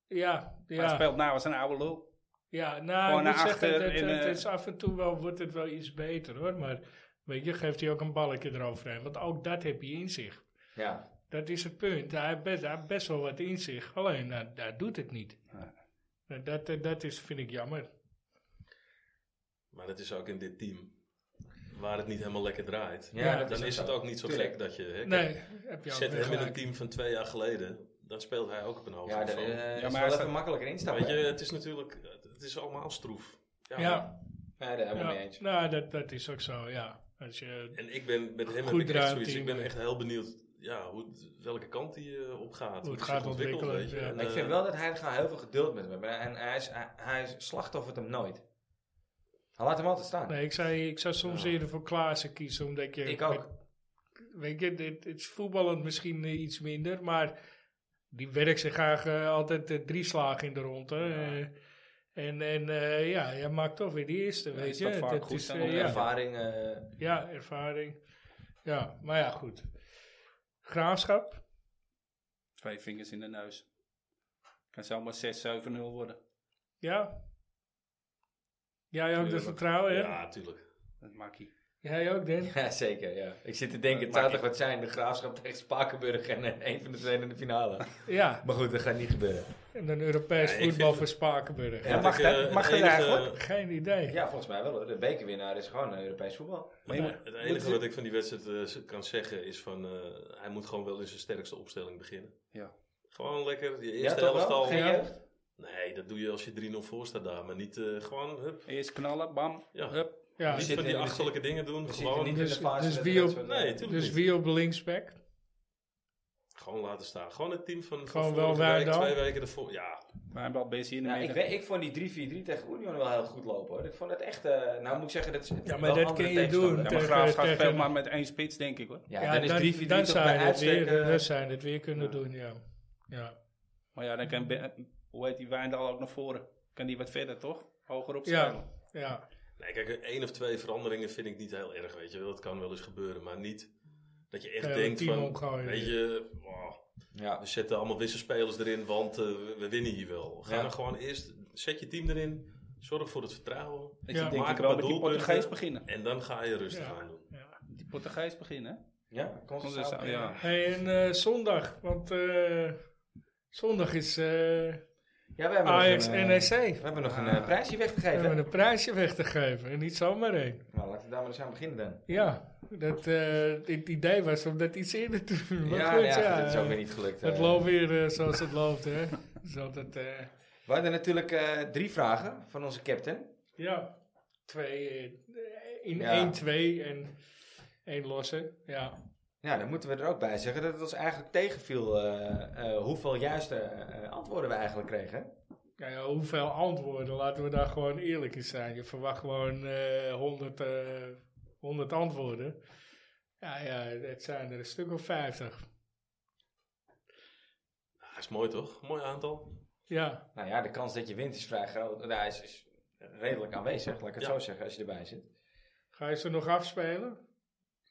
Speaker 2: ja,
Speaker 3: Maar hij
Speaker 2: ja.
Speaker 3: speelt nou als een oude lul.
Speaker 2: ja, nou,
Speaker 3: gewoon
Speaker 2: ik
Speaker 3: naar
Speaker 2: moet zeggen,
Speaker 3: achter
Speaker 2: dat,
Speaker 3: en,
Speaker 2: dat
Speaker 3: eh,
Speaker 2: is af en toe wel, wordt het wel iets beter hoor. Maar weet je, geeft hij ook een balletje eroverheen. Want ook dat heb je in zich.
Speaker 1: Ja.
Speaker 2: Dat is het punt. Hij heeft best, hij heeft best wel wat in zich. Alleen, nou, daar doet het niet.
Speaker 3: Nee.
Speaker 2: Nou, Dat, eh, dat is, vind ik jammer.
Speaker 4: Maar dat is ook in dit team, waar het niet helemaal lekker draait.
Speaker 1: Ja,
Speaker 2: Ja,
Speaker 1: dat
Speaker 4: Dan
Speaker 1: ook
Speaker 4: is het
Speaker 1: zo.
Speaker 4: ook niet zo
Speaker 1: Tuurlijk.
Speaker 4: gek dat je... Hè,
Speaker 2: Nee,
Speaker 4: kijk,
Speaker 2: heb je ook
Speaker 4: Zet
Speaker 2: weer
Speaker 4: hem eh, in een
Speaker 2: gelijk.
Speaker 4: team van twee jaar geleden, dan speelt hij ook op een hoog
Speaker 1: Ja, dat
Speaker 4: niveau.
Speaker 1: eh, is
Speaker 3: maar hij
Speaker 1: wel even
Speaker 3: staat-
Speaker 1: makkelijker instappen.
Speaker 4: Weet je, het is natuurlijk, het is allemaal stroef. Ja.
Speaker 2: Ja,
Speaker 1: Nee, daar hebben we mee
Speaker 2: ja.
Speaker 1: eens.
Speaker 2: Nou, dat, dat is ook zo, ja. Als je,
Speaker 4: En ik ben met hem
Speaker 2: Goed
Speaker 4: heb ik echt
Speaker 2: ruimte
Speaker 4: zoiets.
Speaker 2: in
Speaker 4: Ik ben
Speaker 2: de-
Speaker 4: echt heel benieuwd ja, hoe, het- welke kant hij eh, op gaat.
Speaker 2: het
Speaker 4: hij
Speaker 2: gaat
Speaker 4: zich ontwikkelt,
Speaker 2: ontwikkelen,
Speaker 4: weet je.
Speaker 2: ja.
Speaker 4: En,
Speaker 1: Maar ik
Speaker 4: eh,
Speaker 1: vind wel dat hij er gewoon heel veel geduld met hem heeft. En hij is, hij, hij is slachtoffert hem nooit. Hij laat hem altijd staan.
Speaker 2: Nee, ik zou, ik zou soms eerder voor Klaassen kiezen, omdat ik je...
Speaker 1: Ik ook.
Speaker 2: Weet je, dit, het is voetballend misschien eh, iets minder, maar die werkt zich graag eh, altijd eh, drie slagen in de ronde. eh. en en eh, ja, hij maakt toch weer die eerste,
Speaker 3: hij
Speaker 2: weet je.
Speaker 3: staat vaak goed
Speaker 2: is,
Speaker 3: aan
Speaker 2: eh,
Speaker 3: de
Speaker 2: ja.
Speaker 1: Ervaring. eh,
Speaker 2: Ja, ervaring. Ja, maar ja, goed. Graafschap.
Speaker 3: Twee vingers in de neus. Kan zomaar 6-7-0 worden.
Speaker 2: Ja. Jij ook de
Speaker 3: Tuurlijk.
Speaker 2: vertrouwen, hè?
Speaker 4: Ja, tuurlijk.
Speaker 3: Dat maakt hij.
Speaker 2: Jij ook, Den?
Speaker 1: [LAUGHS] Ja, zeker. Ja. Ik zit te denken, het
Speaker 3: Maar
Speaker 1: zou
Speaker 3: ik-
Speaker 1: toch wat zijn? De graafschap tegen Spakenburg en eh, een van de twee in de finale.
Speaker 2: Ja.
Speaker 1: [LAUGHS] Maar goed, dat gaat niet gebeuren.
Speaker 2: En dan Europees
Speaker 4: Ja, ik
Speaker 2: voetbal
Speaker 4: vind-
Speaker 2: voor Spakenburg.
Speaker 1: Ja.
Speaker 3: mag
Speaker 4: Ik,
Speaker 3: dat-
Speaker 4: eh, het
Speaker 3: mag dat
Speaker 4: enige-
Speaker 3: eigenlijk?
Speaker 2: Geen idee.
Speaker 1: Ja, volgens mij wel hoor. De bekerwinnaar is gewoon eh, Europees voetbal.
Speaker 3: Maar je moet-
Speaker 4: Het enige wat ik van die wedstrijd eh, kan zeggen is van... eh, hij moet gewoon wel in zijn sterkste opstelling beginnen.
Speaker 3: Ja.
Speaker 4: Gewoon lekker, die
Speaker 1: Ja,
Speaker 4: eerste
Speaker 1: toch
Speaker 4: helft
Speaker 1: wel?
Speaker 4: al.
Speaker 1: Geen
Speaker 2: Ja.
Speaker 1: jeugd?
Speaker 4: Nee, dat doe je als je 3-0 voor staat daar. Maar niet eh, gewoon, hup.
Speaker 3: Eerst knallen, bam,
Speaker 4: Ja.
Speaker 3: hup.
Speaker 2: Ja,
Speaker 4: niet
Speaker 1: zitten
Speaker 4: van
Speaker 1: in
Speaker 4: die
Speaker 1: de-
Speaker 4: achterlijke dingen doen.
Speaker 1: We zitten
Speaker 4: Gewoon,
Speaker 1: niet
Speaker 2: Dus-
Speaker 1: in de fase
Speaker 2: dus
Speaker 1: dat
Speaker 2: wie
Speaker 1: we dat
Speaker 2: op-
Speaker 1: soort-
Speaker 4: Nee, tuurlijk
Speaker 2: Dus
Speaker 4: niet.
Speaker 2: wie op linksback?
Speaker 4: gewoon laten staan. Gewoon het team van,
Speaker 2: Gewoon
Speaker 4: van
Speaker 2: wel
Speaker 4: vorige week,
Speaker 2: Wijndal.
Speaker 4: twee weken ervoor. Ja,
Speaker 3: Wijnbal bezig in de
Speaker 1: Ja, ik,
Speaker 3: midden.
Speaker 1: weet, ik vond die 3-4-3 tegen Union wel heel goed lopen hoor. Ik vond het echt, eh, nou moet ik zeggen, dat is het
Speaker 2: Ja, maar
Speaker 1: wel
Speaker 2: dat
Speaker 1: andere
Speaker 2: kun je
Speaker 1: tegenstander.
Speaker 2: doen.
Speaker 3: Ja, maar
Speaker 2: Tegen-
Speaker 3: Graafschap
Speaker 2: tegen-
Speaker 3: speelt maar met één spits, denk ik hoor.
Speaker 1: Ja, dan, is 3-4-3
Speaker 2: dan
Speaker 1: toch
Speaker 2: zou
Speaker 1: bij
Speaker 2: je het weer,
Speaker 1: uitstek... eh,
Speaker 2: dan zou je het weer kunnen doen, ja. Ja,
Speaker 3: Maar ja, dan kan, Ben- hoe heet die Wijndal ook naar voren? Kan die wat verder toch? Hoger op
Speaker 2: ja.
Speaker 3: spelen.
Speaker 2: ja.
Speaker 4: Nee, kijk, één of twee veranderingen vind ik niet heel erg, weet je wel. Dat kan wel eens gebeuren, maar niet dat je echt
Speaker 2: Ja,
Speaker 4: denkt
Speaker 2: team
Speaker 4: van,
Speaker 2: omgooien.
Speaker 4: weet je, wow,
Speaker 1: ja.
Speaker 4: we zetten allemaal wisselspelers erin, want eh, we- we winnen hier wel. Ga
Speaker 1: Ja.
Speaker 4: dan gewoon eerst, zet je team erin, zorg voor het vertrouwen
Speaker 3: Ik
Speaker 2: Ja.
Speaker 3: denk
Speaker 4: Maak
Speaker 3: ik
Speaker 4: een
Speaker 3: wel
Speaker 4: paar
Speaker 3: met die
Speaker 4: doelpunten.
Speaker 3: Portugees beginnen.
Speaker 4: en dan ga je rustig
Speaker 2: Ja.
Speaker 4: aan doen.
Speaker 2: ja.
Speaker 3: Die Portugees beginnen, hè?
Speaker 1: Ja,
Speaker 3: Constanza,
Speaker 1: Constanza.
Speaker 3: ja.
Speaker 2: Hey, en eh, zondag, want eh, zondag is eh
Speaker 1: Ja, we hebben
Speaker 2: Ajax E
Speaker 1: nog een, eh,
Speaker 2: NEC.
Speaker 1: We hebben nog een eh, prijsje weg te geven.
Speaker 2: Ah. hebben een prijsje weg te geven. En niet zomaar één.
Speaker 1: Nou, laten we daar maar eens aan beginnen dan.
Speaker 2: Ja, dat, eh, het idee was om dat iets eerder te doen. Maar
Speaker 1: ja,
Speaker 2: goed,
Speaker 1: nou ja, dat is ook
Speaker 2: eh,
Speaker 1: weer niet gelukt.
Speaker 2: Het
Speaker 1: eh.
Speaker 2: loopt weer eh, zoals het loopt, hè. Dus altijd, eh,
Speaker 1: We hadden natuurlijk eh, drie vragen van onze captain.
Speaker 2: ja, twee, eh, in
Speaker 1: Ja.
Speaker 2: één twee en één losse. Ja,
Speaker 1: Ja, dan moeten we er ook bij zeggen dat het ons eigenlijk tegenviel eh, eh, hoeveel juiste eh, antwoorden we eigenlijk kregen.
Speaker 2: Nou ja, ja, hoeveel antwoorden, laten we daar gewoon eerlijk in zijn. Je verwacht gewoon eh 100, eh, 100 antwoorden. Ja, ja, het zijn er een stuk of 50.
Speaker 4: Ja, is mooi toch? Mooi aantal.
Speaker 2: Ja,
Speaker 1: Nou ja, de kans dat je wint is vrij groot. Nou, is, is redelijk aanwezig, laat ik het
Speaker 4: Ja.
Speaker 1: zo zeggen, als je erbij zit.
Speaker 2: ga je ze nog afspelen?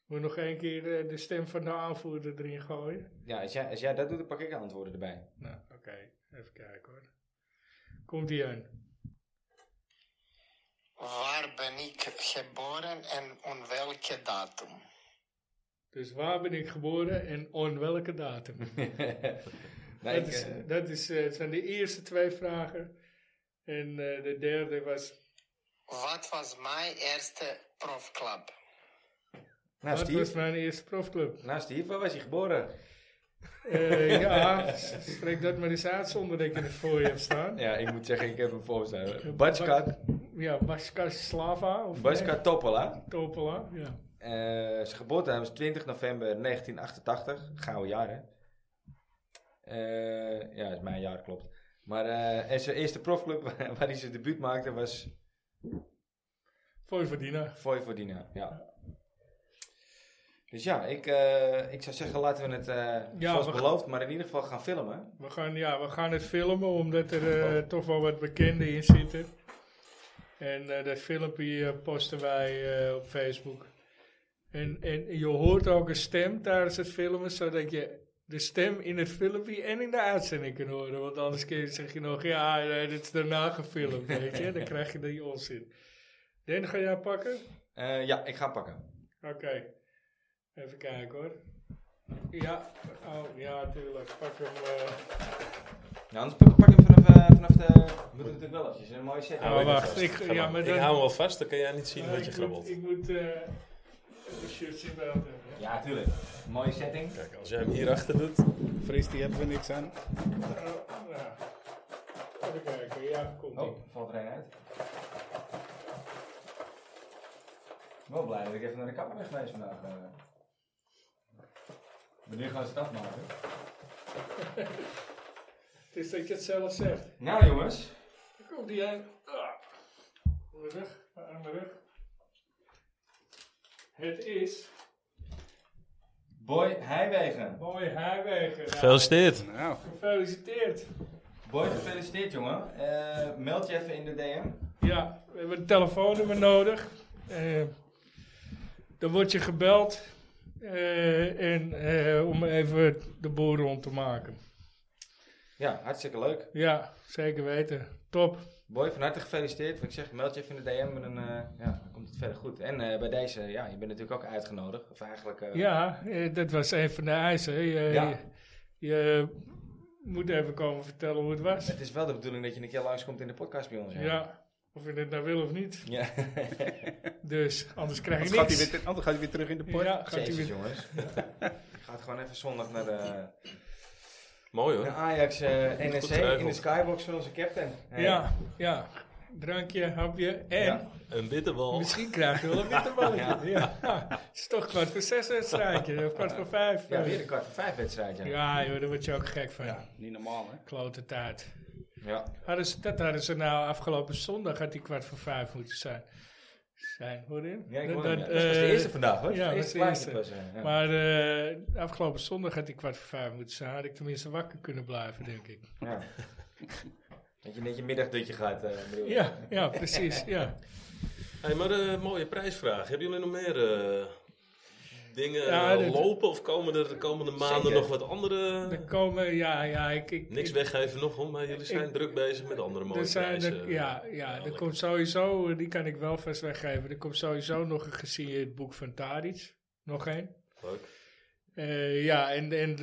Speaker 2: Moet je nog één keer eh, de stem van de aanvoerder erin gooien?
Speaker 1: Ja, als jij, als jij dat doet, dan pak ik de antwoorden erbij.
Speaker 2: Nou, oké. Even kijken hoor. Komt ie aan.
Speaker 7: Waar ben ik geboren en om welke datum?
Speaker 2: Dus waar ben ik geboren en on welke datum?
Speaker 1: nee,
Speaker 2: dat,
Speaker 1: ik,
Speaker 2: is,
Speaker 1: eh,
Speaker 2: dat is, eh, zijn de eerste twee vragen. En eh, de derde was...
Speaker 7: Wat was mijn eerste profclub?
Speaker 1: nou,
Speaker 2: wat was
Speaker 1: Steve,
Speaker 2: mijn eerste profclub?
Speaker 1: nou, Steve, waar was je geboren?
Speaker 2: Eh, ja, s- spreek dat maar eens uit zonder dat ik in het voor je heb staan.
Speaker 1: Ja, ik moet zeggen, ik heb hem voorstaan.
Speaker 2: Bak-
Speaker 1: Batskat,
Speaker 2: Ja, Baska Slava of
Speaker 1: Batskat Topola.
Speaker 2: nee, Topola. Ja.
Speaker 1: Eh, zijn geboortedatum is 20 november 1988. Gouden jaar, hè? Eh, ja, is mijn jaar, klopt. Maar eh, en zijn eerste profclub [LAUGHS] waar waar hij zijn debuut maakte was
Speaker 2: Vojvodina.
Speaker 1: Vojvodina. Ja. Dus ja, ik, eh, ik zou zeggen, laten we het eh,
Speaker 2: Ja,
Speaker 1: zoals
Speaker 2: we gaan-
Speaker 1: beloofd, maar in ieder geval gaan filmen.
Speaker 2: We gaan, ja, we gaan het filmen omdat er eh, toch wel wat bekenden in zitten. En eh, dat filmpje eh, posten wij eh, op Facebook. En, en je hoort ook een stem tijdens het filmen, zodat je de stem in het filmpje en in de uitzending kan horen. Want anders kun je- zeg je nog, ja, eh, dit is daarna gefilmd, weet je. Dan krijg je die onzin. Den, ga jij pakken?
Speaker 1: Eh, ja, ik ga pakken.
Speaker 2: Oké. Even kijken hoor. Ja, oh, ja, tuurlijk. Pak hem. eh.
Speaker 1: Ja, anders pak, pak hem vanaf, eh, vanaf de... We moeten natuurlijk wel eventjes een mooie set.
Speaker 4: Ja,
Speaker 2: Oh,
Speaker 4: weet Nou, ik
Speaker 2: wacht.
Speaker 4: vast.
Speaker 2: Ik,
Speaker 4: Ga
Speaker 2: ja,
Speaker 4: maar.
Speaker 2: maar
Speaker 4: Ik
Speaker 2: dan-
Speaker 4: hou hem wel vast, dan kan jij niet zien
Speaker 2: Ja,
Speaker 4: wat je
Speaker 2: ik moet-
Speaker 4: grabbelt.
Speaker 2: Ik moet eh even shirtje bij elkaar, hè.
Speaker 1: Ja, tuurlijk. Mooie setting.
Speaker 4: Kijk, als jij hem hierachter doet,
Speaker 3: Fris, die hebben we niks aan.
Speaker 2: Oh, ja. Even kijken, ja, komt ie.
Speaker 1: Oh, valt er een uit. Ik ben wel blij dat ik even naar de kapper ben geweest vandaag. eh. Maar nu gaan ze het afmaken.
Speaker 2: Het is dat je het zelf zegt.
Speaker 1: Nou jongens,
Speaker 2: Daar komt ie aan. Ah. Rug, arm terug. Het is
Speaker 1: Boy Heiwegen.
Speaker 2: Mooi Heijwegen. Nou,
Speaker 8: Gefeliciteerd.
Speaker 3: Nou,
Speaker 2: Gefeliciteerd.
Speaker 1: Boy, gefeliciteerd jongen. Eh, meld je even in de DM.
Speaker 2: Ja, we hebben een telefoonnummer nodig. Eh, dan word je gebeld. eh, en, eh, om even de boel rond te maken.
Speaker 1: Ja, hartstikke leuk.
Speaker 2: Ja, zeker weten. Top.
Speaker 1: Boy, van harte gefeliciteerd. Wat ik zeg, meld je even in de DM en dan, eh, ja, dan komt het verder goed. En eh, bij deze, ja, je bent natuurlijk ook uitgenodigd. Of eigenlijk... eh,
Speaker 2: Ja, eh, dat was een van de eisen. Je,
Speaker 1: Ja.
Speaker 2: je, je moet even komen vertellen hoe het was.
Speaker 1: Het is wel de bedoeling dat je een keer langskomt in de podcast bij ons. hè?
Speaker 2: Ja, of je het nou wil of niet.
Speaker 1: Ja, [LAUGHS]
Speaker 2: Dus anders krijg
Speaker 3: anders
Speaker 2: je
Speaker 3: gaat,
Speaker 2: niks.
Speaker 3: hij weer, ter- anders gaat hij weer terug in de pot.
Speaker 2: ja, gaat hij
Speaker 1: Jezus,
Speaker 2: weer. [LAUGHS]
Speaker 1: jongens. Ik ga het gewoon even zondag naar de,
Speaker 8: Mooi hoor.
Speaker 1: naar Ajax eh
Speaker 8: Goed
Speaker 1: NEC
Speaker 8: geregeld.
Speaker 1: in de skybox van onze captain. Hey.
Speaker 2: Ja, ja. Drankje, hapje en
Speaker 1: Ja.
Speaker 8: Een witte
Speaker 4: Oh.
Speaker 8: bal.
Speaker 2: misschien krijg je wel een
Speaker 1: [LAUGHS]
Speaker 2: witte balletje. ja. Het is toch kwart voor zes wedstrijdje, of kwart voor vijf.
Speaker 1: Ja, weer een kwart voor vijf wedstrijd. Ja.
Speaker 2: Ja, joh, daar word je ook gek van.
Speaker 3: Niet normaal, hè?
Speaker 2: Klote tijd.
Speaker 1: Ja.
Speaker 2: Hadden ze, dat hadden ze nou afgelopen zondag, had die kwart voor vijf moeten zijn. zijn hoor je?
Speaker 1: Ja, ik
Speaker 2: Dat-
Speaker 1: hoor hem, ja.
Speaker 2: dat,
Speaker 1: Dat was de
Speaker 2: eh,
Speaker 1: eerste vandaag, hoor.
Speaker 2: ja,
Speaker 1: Het
Speaker 2: dat
Speaker 1: eerste
Speaker 2: was de
Speaker 1: plaatje
Speaker 2: eerste.
Speaker 1: pas, eh, ja.
Speaker 2: Maar eh, afgelopen zondag had die kwart voor vijf moeten zijn. Had ik tenminste wakker kunnen blijven, denk ik.
Speaker 1: Ja. Dat je net je middagdutje gaat, eh bedoel je?
Speaker 2: Ja, ja precies. Ja.
Speaker 8: Hey, maar
Speaker 4: eh,
Speaker 8: een mooie prijsvraag. Hebben jullie nog meer eh, dingen
Speaker 2: Ja,
Speaker 8: eh,
Speaker 2: dit-
Speaker 8: lopen? Of komen er de komende maanden
Speaker 1: Zeker.
Speaker 8: nog wat andere...
Speaker 2: Er komen, ja, ja, ik... ik
Speaker 8: Niks
Speaker 2: ik-
Speaker 8: weggeven nog, hoor, maar jullie zijn
Speaker 2: Ik-
Speaker 8: druk bezig met andere mooie
Speaker 2: Er zijn
Speaker 8: prijzen.
Speaker 1: eh,
Speaker 2: er, ja, ja, er
Speaker 8: lekker.
Speaker 2: komt sowieso, die kan ik wel vast weggeven. Er komt sowieso nog een gesigneerd boek van Tadic. Nog één.
Speaker 8: Leuk.
Speaker 2: Eh, ja, en, en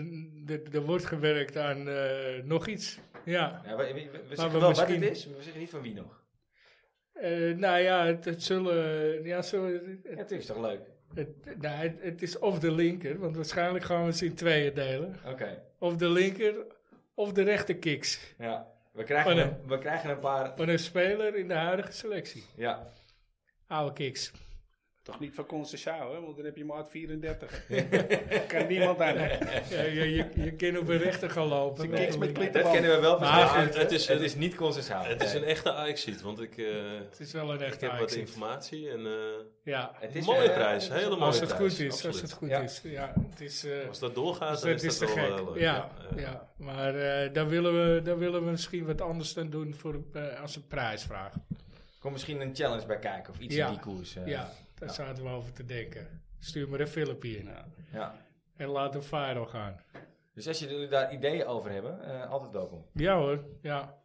Speaker 2: er- er wordt gewerkt aan eh, nog iets. Ja.
Speaker 1: Ja, we, we, we zeggen
Speaker 2: Maar we
Speaker 1: wel wat
Speaker 2: misschien-
Speaker 1: het is, maar we zeggen niet van wie nog.
Speaker 2: Eh, nou ja, het, het zullen. Ja, zullen
Speaker 1: Ja,
Speaker 2: het,
Speaker 1: natuurlijk is toch leuk?
Speaker 2: het- nou, het, het is of de linker, want waarschijnlijk gaan we ze in tweeën delen.
Speaker 1: Oké,
Speaker 2: Of de linker of de rechter kicks.
Speaker 1: ja. We krijgen,
Speaker 2: Oh,
Speaker 1: een- we krijgen een paar...
Speaker 2: Van een speler in de huidige selectie.
Speaker 1: Ja,
Speaker 2: Oude
Speaker 8: [LAUGHS]
Speaker 2: kicks.
Speaker 3: Toch niet van Concessao, hè? Want dan heb je maat 34. [LAUGHS] kan niemand aan.
Speaker 2: Ja, je, je, je kan op een rechter gaan lopen.
Speaker 3: Ze kicks met
Speaker 2: Het
Speaker 1: dat kennen we wel van
Speaker 2: Maar
Speaker 1: Ajax.
Speaker 8: het- het is
Speaker 1: het
Speaker 8: een-
Speaker 1: is niet consensueel.
Speaker 8: Het is een echte Ajax-sheet, want ik, eh,
Speaker 2: is wel een
Speaker 8: ik
Speaker 2: rechter.
Speaker 8: heb wat
Speaker 2: actie.
Speaker 8: informatie. En, eh,
Speaker 2: Ja.
Speaker 1: Het is,
Speaker 8: mooie
Speaker 1: eh,
Speaker 8: prijs, hele mooie
Speaker 2: Als het
Speaker 8: prijs.
Speaker 2: goed is. Als
Speaker 8: absoluut.
Speaker 2: het goed
Speaker 1: Ja.
Speaker 2: is. Ja, het is. eh,
Speaker 8: Als dat doorgaat,
Speaker 2: Dus
Speaker 8: dan
Speaker 2: dat
Speaker 8: is,
Speaker 2: is te
Speaker 8: dat wel
Speaker 2: gek.
Speaker 8: eh, leuk.
Speaker 2: ja,
Speaker 8: eh.
Speaker 2: ja. maar eh, daar, willen we, daar willen we misschien wat anders dan doen voor, eh, als een prijsvraag.
Speaker 1: Kom misschien een challenge bij kijken of iets
Speaker 2: Ja.
Speaker 1: in die koers. eh.
Speaker 2: ja, daar zaten we over te denken. Stuur maar een filmpje in
Speaker 1: ja.
Speaker 2: en laat een viral gaan.
Speaker 1: Dus als jullie daar ideeën over hebben, eh, altijd welkom.
Speaker 2: Ja hoor, ja.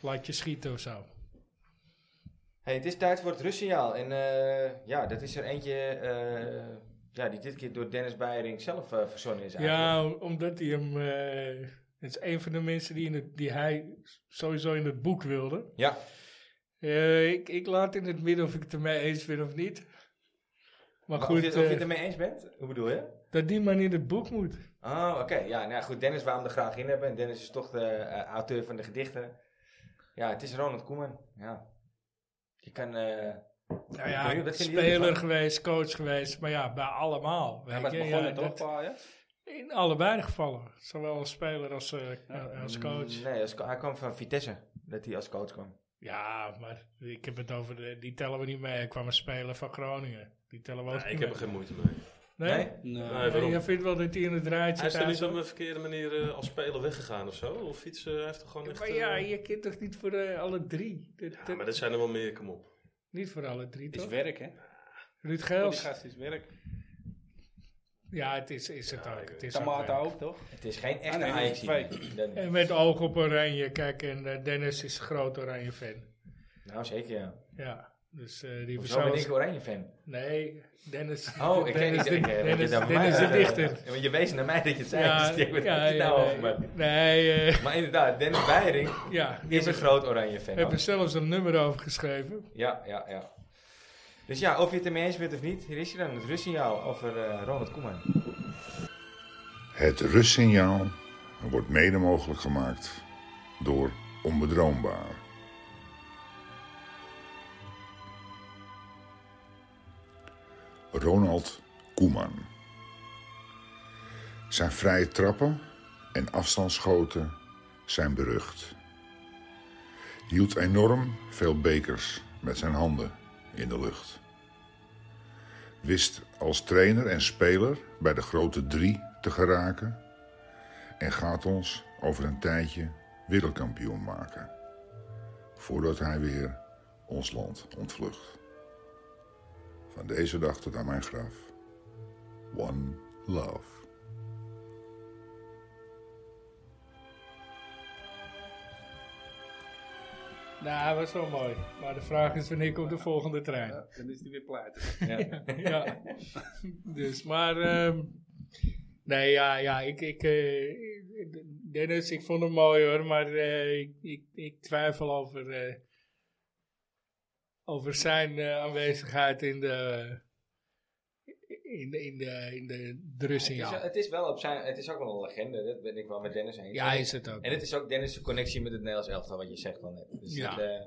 Speaker 2: Laat je schieten of zo.
Speaker 1: Hey, het is tijd voor het rustsignaal. En eh, ja, dat is er eentje eh, ja, die dit keer door Dennis Beiering zelf eh, verzonnen is. eigenlijk.
Speaker 2: Ja, omdat hij hem... eh, het is een van de mensen die, in het, die hij sowieso in het boek wilde.
Speaker 1: Ja,
Speaker 2: Eh, ik, ik laat in het midden of ik het ermee eens ben of niet. Maar,
Speaker 1: maar
Speaker 2: goed,
Speaker 1: of, je, of je
Speaker 2: eh,
Speaker 1: het ermee eens bent? Hoe bedoel je?
Speaker 2: dat die man in het boek moet.
Speaker 1: Oh, oké. Ja, nou ja, goed. Dennis wou hem er graag in hebben. En Dennis is toch de eh, auteur van de gedichten. Ja, het is Ronald Koeman. Ja. Je kan... eh,
Speaker 2: Nou
Speaker 1: Wat
Speaker 2: ja,
Speaker 1: vinden jullie ervan?
Speaker 2: speler geweest, coach geweest, maar ja, bij allemaal.
Speaker 3: Hij
Speaker 2: weet
Speaker 3: was
Speaker 2: je, ja,
Speaker 3: begonnen toch,
Speaker 2: dat-
Speaker 3: pa, hè?
Speaker 2: In allebei de gevallen, zowel als speler als, eh, als coach.
Speaker 1: mm, Nee, als, co- hij kwam van Vitesse. Dat hij als coach kwam.
Speaker 2: Ja, maar ik heb het over, de, die tellen we niet mee. Er kwam een speler van Groningen, die tellen we ook
Speaker 8: Nee,
Speaker 2: niet
Speaker 8: ik heb er
Speaker 2: mee.
Speaker 8: geen moeite mee.
Speaker 2: Nee?
Speaker 1: Nee?
Speaker 3: Nou,
Speaker 8: Nee,
Speaker 2: Nee,
Speaker 8: waarom?
Speaker 2: jij vindt wel dat hij in het rijtje
Speaker 8: Hij is er
Speaker 2: thuis
Speaker 8: niet op
Speaker 2: hoort?
Speaker 8: een verkeerde manier eh, als speler weggegaan of zo? Of iets? eh, hij heeft er gewoon echt...
Speaker 2: Maar
Speaker 8: eh,
Speaker 2: ja, je kent toch niet voor eh, alle drie? Dat-
Speaker 8: ja,
Speaker 2: dat-
Speaker 8: maar dat zijn er wel meer, kom op.
Speaker 2: Niet voor alle drie,
Speaker 3: is
Speaker 2: toch?
Speaker 3: werk, hè?
Speaker 2: Ruud
Speaker 3: Voor die
Speaker 2: Geels.
Speaker 3: gast is werk.
Speaker 2: Ja, het is, is het ook. Het is ook
Speaker 3: Tamata
Speaker 2: werk.
Speaker 3: ook, toch?
Speaker 1: Het is geen echte
Speaker 3: Ah, nee,
Speaker 1: Ajax.
Speaker 3: twee.
Speaker 2: En met oog op oranje, kijk, en eh, Dennis is een groot oranje fan.
Speaker 1: Nou, zeker ja.
Speaker 2: Ja, dus eh, die
Speaker 1: Hoezo ben
Speaker 2: verzamelt
Speaker 1: ik oranje fan?
Speaker 2: Nee, Dennis.
Speaker 1: Oh, ik ken
Speaker 2: Dennis
Speaker 1: niet.
Speaker 2: de-
Speaker 1: Ik, eh, dat je
Speaker 2: Dennis,
Speaker 1: daar voor
Speaker 2: Dennis
Speaker 1: mij,
Speaker 2: de
Speaker 1: eh,
Speaker 2: dichter.
Speaker 1: ja, want je wees naar mij dat je het zei. [LAUGHS] dus ik denk, wat heb je het nou over,
Speaker 2: nee,
Speaker 1: man?
Speaker 2: nee, eh,
Speaker 1: Maar inderdaad, Dennis Beiring
Speaker 2: ja.
Speaker 1: is een groot oranje fan.
Speaker 2: heb er zelfs een nummer over geschreven.
Speaker 1: Ja, ja, ja. Dus ja, of je het ermee eens bent of niet, hier is je dan het rustsignaal over eh, Ronald Koeman.
Speaker 9: Het rustsignaal wordt mede mogelijk gemaakt door onbedroombaar. Ronald Koeman. Zijn vrije trappen en afstandsschoten zijn berucht. Hield enorm veel bekers met zijn handen in de lucht. Wist als trainer en speler bij de grote drie te geraken en gaat ons over een tijdje wereldkampioen maken. Voordat hij weer ons land ontvlucht. Van deze dag tot aan mijn graf. One love.
Speaker 2: Nou, dat was wel mooi. Maar de vraag is wanneer komt de volgende trein?
Speaker 3: Ja, dan is die weer pleit.
Speaker 2: ja. [LAUGHS] Dus, maar... ehm, nee, ja, ja ik, ik, eh, Dennis, ik vond hem mooi hoor. Maar eh, ik, ik, ik twijfel over... eh, over zijn eh, aanwezigheid in de... In de, in de, in de
Speaker 1: Het, is,
Speaker 2: drussignaal.
Speaker 1: het is wel op zijn, het is ook wel een legende, dat ben ik wel met Dennis eens.
Speaker 2: Ja, hij is het ook.
Speaker 1: En het is ook Dennis' connectie met het Nederlands elftal, wat je zegt al net. Dus
Speaker 2: Ja.
Speaker 1: dat, eh,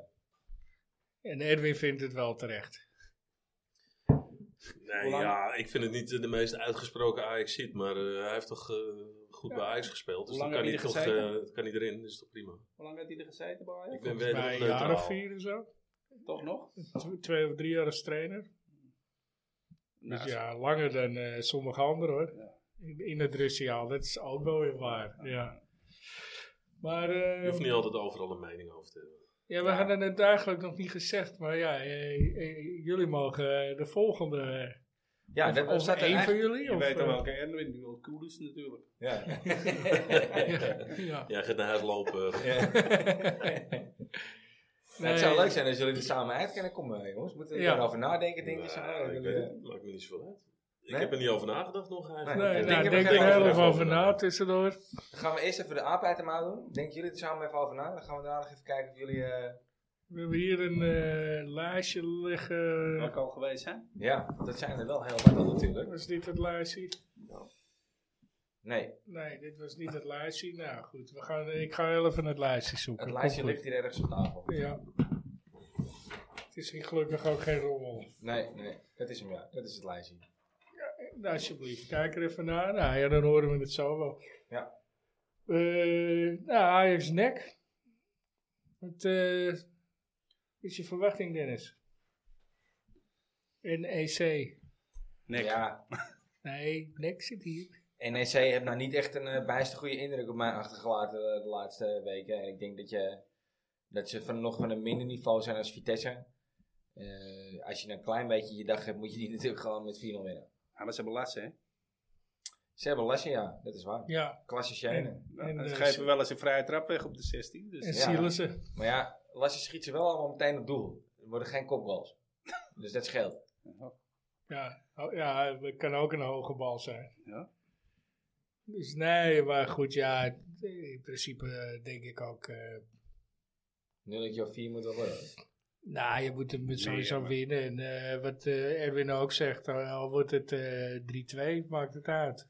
Speaker 2: En Edwin vindt het wel terecht.
Speaker 8: Nee, ja, ik vind het niet eh, de meest uitgesproken ajax ziet, maar eh, hij heeft toch eh, goed bij Ajax gespeeld. Dus
Speaker 3: Hoe lang
Speaker 8: dan kan hij,
Speaker 3: heb je
Speaker 8: toch,
Speaker 3: er gezeten?
Speaker 8: eh, kan hij erin, dus toch prima.
Speaker 3: Hoe lang heeft hij er gezeten bij Ajax?
Speaker 8: Ik ben
Speaker 2: Volgens mij
Speaker 8: weer
Speaker 2: een jaar of
Speaker 8: neutraal.
Speaker 2: vier of zo.
Speaker 3: Toch nog?
Speaker 2: Tw- Twee of drie jaar als trainer.
Speaker 3: Nou,
Speaker 2: dus ja, langer dan eh, sommige anderen hoor. In, in het Russiaal, dat is ook wel weer waar. Ja. Maar eh,
Speaker 8: Je hoeft niet altijd overal een mening over te hebben.
Speaker 2: ja, we hadden het eigenlijk nog niet gezegd, maar ja, eh, eh, jullie mogen eh, de volgende. eh,
Speaker 1: ja,
Speaker 2: of,
Speaker 1: dat
Speaker 2: of
Speaker 1: staat er
Speaker 2: één van
Speaker 1: eigenlijk-
Speaker 2: jullie?
Speaker 3: Je
Speaker 2: of,
Speaker 3: weet
Speaker 2: eh,
Speaker 3: dan welke Edwin, die wil cool is natuurlijk.
Speaker 1: Ja.
Speaker 2: [LAUGHS] ja.
Speaker 8: Jij gaat naar huis lopen.
Speaker 2: [LAUGHS]
Speaker 8: eh,
Speaker 1: Het zou leuk zijn als jullie er samen uit kunnen komen, eh, jongens. Moeten we
Speaker 2: Ja.
Speaker 1: erover nadenken, denk ik. zo.
Speaker 8: nou, ik
Speaker 1: Jullie,
Speaker 8: weet
Speaker 1: eh,
Speaker 8: het, maakt me niet zoveel uit. Ik
Speaker 1: Nee?
Speaker 8: heb er niet over nagedacht nog eigenlijk.
Speaker 1: Nee,
Speaker 2: Nee,
Speaker 1: Ik
Speaker 2: nou,
Speaker 1: denk er
Speaker 2: denk
Speaker 1: geen
Speaker 2: er heel
Speaker 1: overleg
Speaker 2: even over na tussendoor.
Speaker 1: Gaan we eerst even de aap uit de mouw doen? Denken jullie er samen even over na? Dan gaan we daarna nog even kijken of jullie... eh,
Speaker 2: We hebben hier een eh lijstje liggen.
Speaker 3: Waar ik al geweest zijn.
Speaker 1: ja, dat zijn er wel heel wat natuurlijk.
Speaker 2: Was dit het lijstje?
Speaker 1: Nee,
Speaker 2: Nee, dit was niet het lijstje. Nou goed, we gaan, ik ga heel even het lijstje zoeken.
Speaker 1: het lijstje
Speaker 2: Komt
Speaker 1: ligt hier ergens op tafel.
Speaker 2: goed. Ja. Het is hier gelukkig ook geen rommel.
Speaker 1: Nee, nee, dat is hem ja. Dat is het lijstje.
Speaker 2: Nou, alsjeblieft, kijk er even naar. Nou ja, dan horen we het zo wel.
Speaker 1: Ja.
Speaker 2: Eh, nou, Ajax nek. Wat eh, is je verwachting, Dennis? En EC.
Speaker 3: Nee.
Speaker 1: Ja,
Speaker 2: Nee, nek zit hier.
Speaker 1: NEC heeft nou niet echt een eh, bijster goede indruk op mij achtergelaten eh, de laatste weken. En ik denk dat, je, dat ze van, nog van een minder niveau zijn als Vitesse. Eh, als je een klein beetje je dag hebt, moet je die [LAUGHS] natuurlijk gewoon met 4-0 winnen.
Speaker 3: Ja, maar ze hebben last, hè?
Speaker 1: Ze hebben lessen, ja, dat is waar.
Speaker 2: Ja.
Speaker 1: Klasse Sjenen.
Speaker 2: En,
Speaker 3: ze
Speaker 2: eh,
Speaker 3: geven wel eens een vrije trap weg op de 16.
Speaker 2: En
Speaker 3: Dus.
Speaker 1: Ja.
Speaker 2: Sielissen.
Speaker 1: Maar ja, Lasse schiet ze wel allemaal meteen op doel. Er worden geen kopgoals. [LAUGHS] Dus dat scheelt.
Speaker 2: Ja, oh, ja, het kan ook een hoge bal zijn.
Speaker 3: Ja.
Speaker 2: Dus nee, maar goed, ja, in principe eh, denk ik ook. eh,
Speaker 1: Nulletje of 4 moet wel worden.
Speaker 2: nou, je moet hem sowieso
Speaker 3: ja, maar-
Speaker 2: winnen. En eh, wat eh, Erwin ook zegt, al, al wordt het eh 3-2, maakt het uit.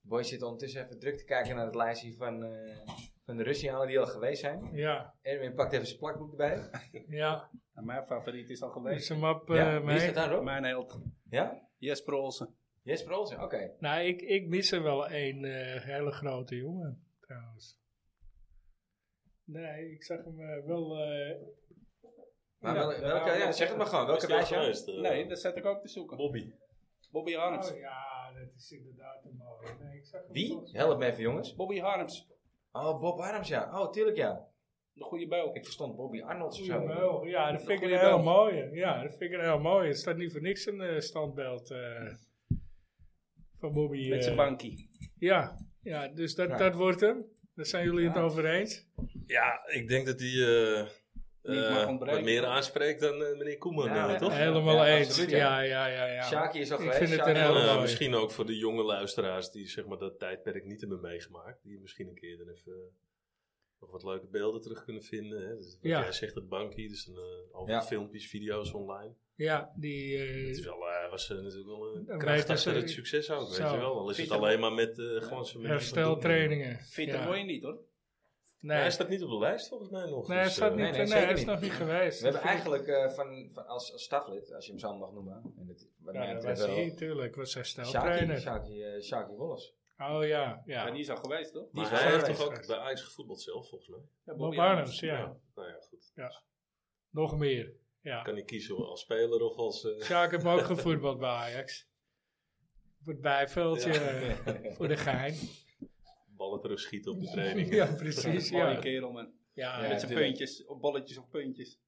Speaker 1: De boys zitten ondertussen even druk te kijken naar het lijstje van, eh, van de Russianen die al geweest zijn.
Speaker 2: Ja,
Speaker 1: Erwin pakt even zijn plakboek erbij.
Speaker 2: ja.
Speaker 3: En mijn favoriet is al
Speaker 2: Dus
Speaker 3: geweest.
Speaker 2: hem op eh,
Speaker 1: ja, wie is
Speaker 2: mee.
Speaker 1: dat dan, Rob?
Speaker 3: Mijn held.
Speaker 1: Ja?
Speaker 3: Jesper Olsen.
Speaker 1: Jesper Olsen, oké.
Speaker 2: Nou, ik, ik mis er wel een eh, hele grote jongen, trouwens. Nee, ik zag hem eh, wel. eh,
Speaker 1: Maar wel-
Speaker 3: ja,
Speaker 1: welke,
Speaker 3: ja,
Speaker 1: ja, zeg het maar gewoon.
Speaker 8: Is
Speaker 1: Welke
Speaker 8: die al
Speaker 1: wijs jij?
Speaker 8: geweest? eh,
Speaker 3: Nee, daar zat ik ook te zoeken.
Speaker 8: Bobby.
Speaker 3: Bobby Harms.
Speaker 2: oh, ja, dat is inderdaad een mooie. Nee, ik zag hem
Speaker 1: Wie?
Speaker 2: volgens-
Speaker 1: Help me even, jongens.
Speaker 3: Bobby Harms.
Speaker 1: Oh, Bob Arms, ja. Oh, tuurlijk, ja.
Speaker 3: De goede beul.
Speaker 1: Ik verstond Bobby Arnolds of
Speaker 2: Goeie
Speaker 1: zo.
Speaker 2: beul. Ja, dat vind ik
Speaker 3: Goeie
Speaker 2: een heel
Speaker 3: beul.
Speaker 2: mooie. Ja, dat vind ik een heel mooie. Het staat niet voor niks een eh, standbeeld eh, van Bobby.
Speaker 3: Met
Speaker 2: eh,
Speaker 3: zijn bankie.
Speaker 2: ja, ja, dus dat,
Speaker 1: Ja.
Speaker 2: dat wordt hem. Daar zijn jullie het
Speaker 1: Ja.
Speaker 2: over eens.
Speaker 8: Ja, ik denk dat hij eh,
Speaker 3: Niet
Speaker 8: eh,
Speaker 3: mag ontbreken.
Speaker 8: wat meer aanspreekt dan eh, meneer Koeman,
Speaker 1: Ja,
Speaker 8: eh, toch?
Speaker 1: ja.
Speaker 2: Helemaal eens.
Speaker 1: absoluut,
Speaker 2: ja.
Speaker 1: ja.
Speaker 2: Ja, ja, ja,
Speaker 1: Shaki is al
Speaker 2: Ik
Speaker 1: geweest.
Speaker 2: vind het
Speaker 1: Sjaki-
Speaker 2: een
Speaker 8: En,
Speaker 2: heel
Speaker 8: eh,
Speaker 2: mooi.
Speaker 8: misschien ook voor de jonge luisteraars die zeg maar, dat tijdperk niet hebben meegemaakt. Die misschien een keer dan even eh, nog wat leuke beelden terug kunnen vinden. Hè? Dus wat
Speaker 2: Ja.
Speaker 8: Jij zegt het bankie, dus dan, eh, al die
Speaker 1: Ja.
Speaker 8: filmpjes, video's online.
Speaker 2: Ja, die... eh,
Speaker 8: Het is wel, eh, was eh, natuurlijk wel een
Speaker 2: Een
Speaker 8: kracht achter
Speaker 2: wetenschap-
Speaker 8: het succes ook, weet
Speaker 2: Zo.
Speaker 8: je wel. Al is het
Speaker 3: Vind je-
Speaker 8: alleen maar met eh glansen.
Speaker 2: hersteltrainingen.
Speaker 3: Fitter
Speaker 2: Ja.
Speaker 3: word je niet, hoor.
Speaker 2: Nee,
Speaker 8: Hij staat niet op de lijst volgens mij nog.
Speaker 2: nee, hij
Speaker 8: dus,
Speaker 2: staat
Speaker 8: eh,
Speaker 2: niet,
Speaker 1: nee,
Speaker 2: nee,
Speaker 1: nee,
Speaker 2: hij
Speaker 1: zeker
Speaker 2: is
Speaker 1: niet.
Speaker 2: nog niet geweest.
Speaker 1: We hebben
Speaker 2: Dat vind ik-
Speaker 1: eigenlijk eh, van, van als, als staflid, als je hem zo mag noemen. En dat, wat mij
Speaker 2: Ja, dat
Speaker 1: betreft
Speaker 2: was
Speaker 1: wel-
Speaker 2: hij natuurlijk. was
Speaker 1: Shaki,
Speaker 2: hersteltrainer.
Speaker 1: Shaki, eh, Shaki Wolles.
Speaker 2: Oh ja,
Speaker 3: Ja.
Speaker 2: ja.
Speaker 3: die is al geweest, toch?
Speaker 1: Die
Speaker 8: Maar
Speaker 1: is
Speaker 8: hij heeft
Speaker 1: geweest.
Speaker 8: toch ook bij Ajax gevoetbald zelf, volgens mij?
Speaker 3: Ja,
Speaker 2: Bob Arnhems,
Speaker 8: Ja.
Speaker 2: ja.
Speaker 8: Nou ja, goed.
Speaker 2: Nog meer. Ja.
Speaker 4: Kan hij kiezen als speler of als... eh,
Speaker 2: Ja, ik heb ook gevoetbald bij Ajax. Op het bijveldje eh, voor de gein.
Speaker 4: ballen terug schieten op de training.
Speaker 2: [LAUGHS] Ja, precies.
Speaker 3: Mooie
Speaker 2: Ja,
Speaker 3: kerel, man.
Speaker 2: ja,
Speaker 3: Met
Speaker 2: ja,
Speaker 3: zijn puntjes, op balletjes of puntjes.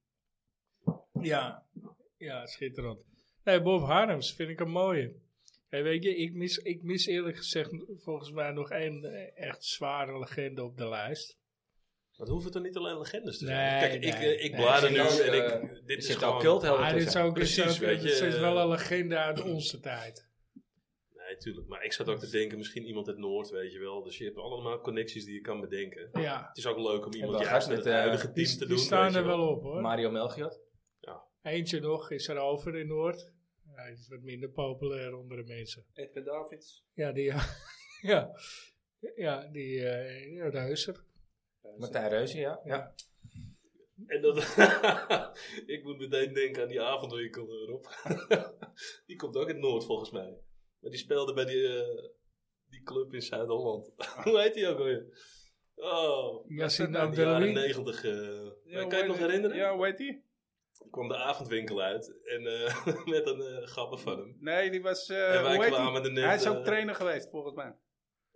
Speaker 2: ja, schitterend. Nee, Bob Harms vind ik een mooie. Hey, weet je, ik mis, ik mis eerlijk gezegd volgens mij nog één eh, echt zware legende op de
Speaker 4: Oh,
Speaker 2: lijst.
Speaker 4: Maar het hoeven toch niet alleen legendes te zijn?
Speaker 2: Nee,
Speaker 4: Kijk, ik,
Speaker 2: nee.
Speaker 4: eh, ik
Speaker 2: Nee,
Speaker 4: blader
Speaker 1: er
Speaker 4: nu
Speaker 1: zit ook,
Speaker 4: en
Speaker 1: eh,
Speaker 4: ik... Dit
Speaker 1: er
Speaker 4: is
Speaker 1: zit ook
Speaker 4: gewoon...
Speaker 1: cult heel
Speaker 2: Maar Ah, dit is ook,
Speaker 4: Precies,
Speaker 2: dit is ook-
Speaker 4: weet je,
Speaker 2: dit is
Speaker 4: eh,
Speaker 2: wel een legende uit onze tijd.
Speaker 4: Nee, tuurlijk. Maar ik zat ook te denken, misschien iemand uit Noord, weet je wel. Dus je hebt allemaal connecties die je kan bedenken.
Speaker 2: Ja,
Speaker 4: Het is ook leuk om iemand
Speaker 1: wel
Speaker 4: juist
Speaker 1: gast
Speaker 4: met
Speaker 1: met,
Speaker 4: het
Speaker 1: eh,
Speaker 4: huidige team
Speaker 2: die,
Speaker 4: te doen.
Speaker 2: die staan
Speaker 4: weet je
Speaker 2: er wel op hoor.
Speaker 1: Mario Melchior.
Speaker 2: Eentje nog is er over in Noord. Hij is wat minder populair onder de mensen.
Speaker 3: Edgar Davids.
Speaker 2: Ja, die. [LAUGHS] ja. Ja, die. eh, ja, Reuser.
Speaker 1: Martijn Reuzen, ja. ja.
Speaker 4: En dat, [LAUGHS] ik moet meteen denken aan die avondwinkel eh, Rob. [LAUGHS] die komt ook uit Noord volgens mij. Maar die speelde bij die, eh, die club in Zuid-Holland. [LAUGHS] Hoe heet die ook alweer? Oh,
Speaker 2: Yassine
Speaker 4: in de jaren
Speaker 2: Abdeloui.
Speaker 4: negentig. eh
Speaker 3: Ja,
Speaker 4: kan je het nog herinneren?
Speaker 3: Ja, hoe heet die?
Speaker 4: kwam de avondwinkel uit en eh, [LAUGHS] met een eh grappen van hem.
Speaker 3: Nee, die was... eh,
Speaker 4: en wij
Speaker 3: hoe heet die?
Speaker 4: kwamen er net...
Speaker 3: Hij is
Speaker 4: eh,
Speaker 3: ook trainer geweest, volgens mij.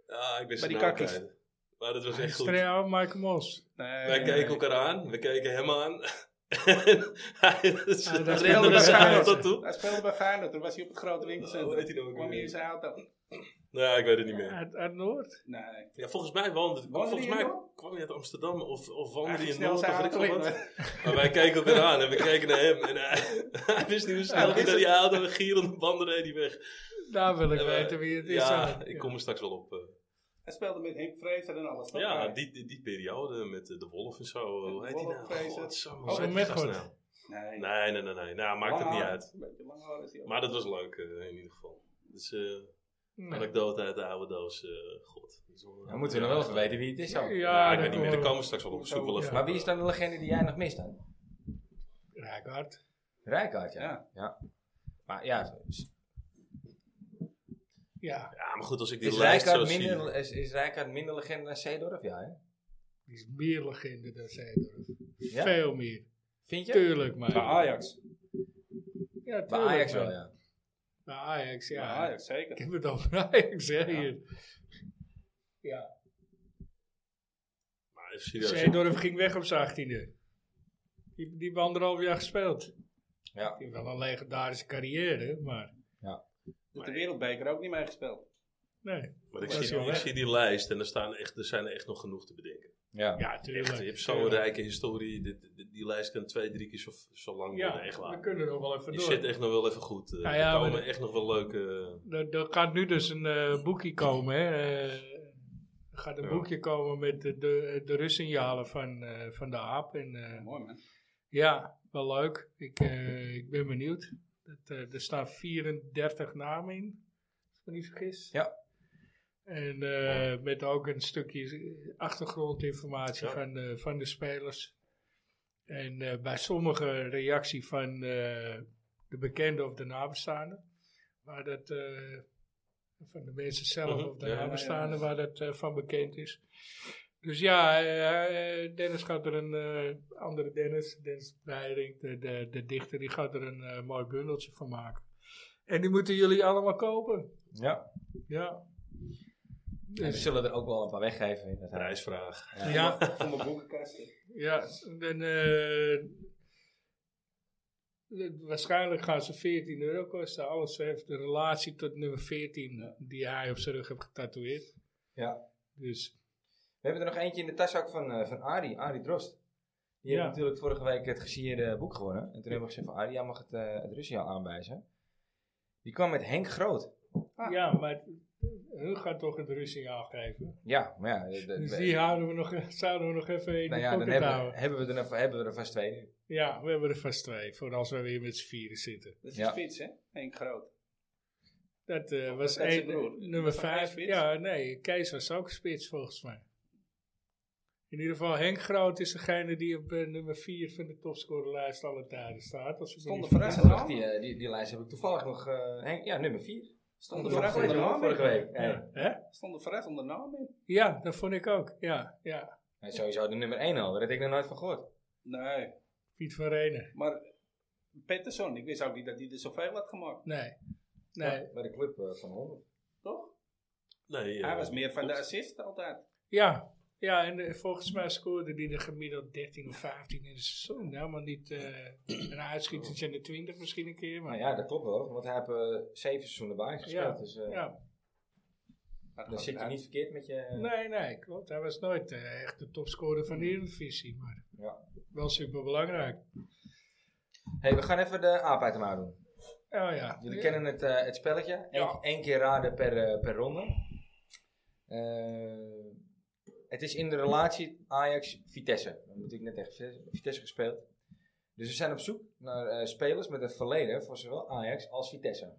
Speaker 4: Ah, ik ben
Speaker 3: bij
Speaker 4: zijn
Speaker 3: die
Speaker 4: naam
Speaker 3: kakkies.
Speaker 4: kwijt. Maar dat was echt goed.
Speaker 2: Streo, Mike Mos.
Speaker 3: Nee,
Speaker 4: Wij keken elkaar aan, we keken hem aan. [LAUGHS]
Speaker 3: Ah,
Speaker 4: en hij
Speaker 2: Ah, dat is
Speaker 4: rende de
Speaker 2: wel
Speaker 4: schaal
Speaker 2: leuk.
Speaker 4: tot toe.
Speaker 3: Hij speelde bij Feyenoord, toen was hij op het grote winkelcentrum.
Speaker 4: Oh, weet hij nou ook
Speaker 3: kwam hij
Speaker 4: weer?
Speaker 3: in zijn auto.
Speaker 4: Nou, ik weet het niet meer.
Speaker 2: Uit, uit Noord.
Speaker 3: Nee.
Speaker 4: Ja, volgens mij woonde
Speaker 3: Woonde
Speaker 4: volgens
Speaker 3: hij in
Speaker 4: mij
Speaker 3: Noord?
Speaker 4: kwam hij uit Amsterdam of, of woonde hij
Speaker 3: ging
Speaker 4: in
Speaker 3: snel
Speaker 4: Noord of
Speaker 3: zijn
Speaker 4: weet ik veel
Speaker 3: auto in,
Speaker 4: wat. Maar wij keken elkaar aan en we keken naar hem. En hij, [LAUGHS] hij wist niet hoe snel hij naar die auto en gierende banden reed hij weg.
Speaker 2: Daar wil ik
Speaker 4: En we-
Speaker 2: weten wie het is.
Speaker 4: Ja,
Speaker 2: hoor.
Speaker 4: ik kom er straks wel op. eh.
Speaker 3: Hij speelde met Henk Vrezer en alles. toch?
Speaker 4: Ja, die, die, die periode met eh, de wolf en zo. eh, Hoe
Speaker 3: de
Speaker 4: heet die
Speaker 3: wolf,
Speaker 4: nou?
Speaker 3: vrezen.
Speaker 4: Godsamme,
Speaker 2: Oh,
Speaker 4: hoe heet die
Speaker 2: met
Speaker 4: gast
Speaker 2: God.
Speaker 4: nou?
Speaker 3: Nee.
Speaker 4: Nee, nee, nee, nee. Nou, maakt het
Speaker 3: Lang
Speaker 4: niet
Speaker 3: haar.
Speaker 4: uit.
Speaker 3: Een beetje lang haar is hij ook.
Speaker 4: Maar dat was leuk eh, in ieder geval. Dus eh
Speaker 2: Nee.
Speaker 4: anekdote uit de oude doos. eh, God. Dat is wel- eh,
Speaker 1: Dan moeten we nog wel even weten wie het is dan.
Speaker 2: Ja,
Speaker 4: Ja, ik
Speaker 2: dat
Speaker 4: weet niet meer. Daar
Speaker 2: komen we-
Speaker 4: komen we straks wel op. Ik Zoek wel even.
Speaker 1: Maar wie is dan de legende die jij nog mist dan?
Speaker 2: Rijkaard.
Speaker 1: Rijkaard, ja. ja.
Speaker 3: Ja.
Speaker 1: Maar ja, is,
Speaker 2: Ja,
Speaker 4: Ja, maar goed, als ik die
Speaker 1: is,
Speaker 4: lijst zo
Speaker 1: Rijkaard
Speaker 4: zie.
Speaker 1: minder, is, is Rijkaard minder legende dan Zeedorf? Ja, hè?
Speaker 2: die is meer legende dan Zeedorf.
Speaker 1: Ja?
Speaker 2: Veel meer.
Speaker 1: Vind je?
Speaker 2: Tuurlijk, maar.
Speaker 3: Bij Ajax.
Speaker 2: Ja, tuurlijk,
Speaker 1: Bij Ajax
Speaker 2: maar.
Speaker 1: wel, ja.
Speaker 2: Bij Ajax, ja.
Speaker 3: Ja, Ajax,
Speaker 2: Ik
Speaker 3: zeker.
Speaker 2: heb het over Ajax, hè,
Speaker 3: Ja.
Speaker 2: hier. Ja.
Speaker 4: Maar even serieus.
Speaker 2: Zeedorf ging weg op zijn 18e. Die, die heeft anderhalf jaar gespeeld.
Speaker 1: Ja.
Speaker 2: Die heeft wel een legendarische carrière, maar
Speaker 3: Met de wereldbeker ook niet
Speaker 4: [LAUGHS]
Speaker 3: meegespeeld.
Speaker 2: nee.
Speaker 4: Maar ik
Speaker 2: Dat is
Speaker 4: zie,
Speaker 2: wel
Speaker 4: ik
Speaker 2: weg.
Speaker 4: zie die lijst en er, staan echt, er zijn er echt nog genoeg te bedenken.
Speaker 1: Ja.
Speaker 2: Ja,
Speaker 4: Echt, je hebt zo'n rijke historie. Dit, dit- die lijst kan twee, drie keer zo, zo lang
Speaker 2: Ja,
Speaker 4: worden. Echt
Speaker 2: we
Speaker 4: waar.
Speaker 2: kunnen nog wel even
Speaker 4: Je
Speaker 2: door.
Speaker 4: zit echt nog wel even goed. eh,
Speaker 2: Nou ja,
Speaker 4: er komen
Speaker 2: maar-
Speaker 4: echt nog wel leuke... eh,
Speaker 2: Er, er gaat nu dus een eh, boekje komen, hè. eh, er gaat een
Speaker 4: Ja.
Speaker 2: boekje komen met de, de, de rustsignalen van, eh, van de aap. En, eh,
Speaker 3: Mooi, man.
Speaker 2: ja, wel leuk. Ik, eh, ik ben benieuwd. Dat, eh, er staan 34 namen in, als ik me niet vergis.
Speaker 1: Ja.
Speaker 2: En eh, met ook een stukje achtergrondinformatie
Speaker 4: Ja.
Speaker 2: van, de, van de spelers. En eh, bij sommige reactie van eh, de bekende of de nabestaanden. Waar dat, eh, van de mensen zelf
Speaker 4: Mhm,
Speaker 2: of de
Speaker 4: ja, ja, ja.
Speaker 2: nabestaanden waar dat eh, van bekend is. Dus ja, eh, eh, Dennis gaat er een eh, andere Dennis, Dennis Breiding, de, de, de dichter, die gaat er een eh, mooi bundeltje van maken. En die moeten jullie allemaal kopen.
Speaker 1: ja.
Speaker 2: Ja.
Speaker 1: En we
Speaker 2: Dus,
Speaker 1: zullen er ook wel een paar weggeven. in het huis.
Speaker 4: Prijsvraag.
Speaker 2: ja,
Speaker 3: Van de boekenkasten.
Speaker 2: ja. En, eh, waarschijnlijk gaan ze 14 euro kosten. Alles heeft de relatie tot nummer 14 die hij op zijn rug heeft getatoeëerd.
Speaker 1: Ja.
Speaker 2: Dus
Speaker 1: We hebben er nog eentje in de taszak van, eh van Arie, Arie Drost. Die
Speaker 2: Ja.
Speaker 1: heeft natuurlijk vorige week het gesierde boek gewonnen. En toen hebben we gezegd van Arie, jij mag het, eh het Russiaal aanwijzen. Die kwam met Henk Groot.
Speaker 2: ja, maar hun gaat toch het Russing aangeven.
Speaker 1: Ja, maar ja. de- de-
Speaker 2: Dus die houden we nog, [LAUGHS] zouden we nog even in
Speaker 1: nou
Speaker 2: de
Speaker 1: ja, dan
Speaker 2: pocket
Speaker 1: hebben,
Speaker 2: houden.
Speaker 1: hebben, we er, nog- hebben we er vast twee nu.
Speaker 2: Ja, we hebben er vast twee, voor als we weer met z'n vieren zitten.
Speaker 3: Dat is
Speaker 1: Ja.
Speaker 3: een spits, hè? Henk Groot.
Speaker 2: Dat eh, was
Speaker 3: dat is
Speaker 2: één,
Speaker 3: het broer.
Speaker 2: nummer
Speaker 3: Was hij
Speaker 2: vijf.
Speaker 3: spits?
Speaker 2: Ja, nee, Kees was ook spits volgens mij. In ieder geval, Henk Groot is degene die op eh, nummer vier van de topscorerlijst alle tijden staat. Als ik me
Speaker 3: Stond
Speaker 2: niet
Speaker 3: er
Speaker 2: vergis.
Speaker 1: Ja,
Speaker 3: verrassend
Speaker 1: die, eh, die, die lijst heb ik toevallig nog. eh, Henk, ja, nummer 4.
Speaker 3: Stond er
Speaker 1: Ja,
Speaker 3: verrast onder
Speaker 1: vorige
Speaker 3: naam in.
Speaker 1: week. Ja.
Speaker 2: Ja, hè?
Speaker 3: Stond er verrast onder naam in.
Speaker 2: ja, dat vond ik ook. Ja, ja.
Speaker 1: Ja, sowieso de nummer 1 al, daar heb ik nog nooit van gehoord.
Speaker 3: Nee.
Speaker 2: Piet van Renen.
Speaker 3: Maar Pettersson, ik wist ook niet dat hij er zoveel had gemaakt,
Speaker 2: Nee. Nee.
Speaker 1: Bij de club eh, van 100.
Speaker 3: toch?
Speaker 4: Nee,
Speaker 3: Hij
Speaker 4: eh,
Speaker 3: was meer van de assist altijd.
Speaker 2: Ja. Ja, en eh, volgens mij scoorde die er gemiddeld 13 of 15 in het seizoen. Nou, maar niet eh een
Speaker 3: Oh.
Speaker 2: uitschieter in de 20 misschien een keer. Maar
Speaker 1: Maar ja, dat klopt wel. Want hij heeft eh, zeven seizoenen bij gespeeld.
Speaker 2: Ja,
Speaker 1: Dus eh
Speaker 2: ja.
Speaker 1: dan zit je niet verkeerd met je...
Speaker 2: Nee, nee, klopt. Hij was nooit eh, echt de topscorer van de Eredivisie, maar
Speaker 1: Ja.
Speaker 2: wel superbelangrijk.
Speaker 1: hey, we gaan even de aap uit de mouw doen.
Speaker 2: Oh ja.
Speaker 1: Jullie
Speaker 2: Ja.
Speaker 1: kennen het, eh, het spelletje. Eén
Speaker 2: Ja.
Speaker 1: één keer raden per, eh, per ronde. Eh, het is in de relatie Ajax-Vitesse. We hebben natuurlijk net tegen Vitesse gespeeld. Dus we zijn op zoek naar eh, spelers met een verleden voor zowel Ajax als Vitesse.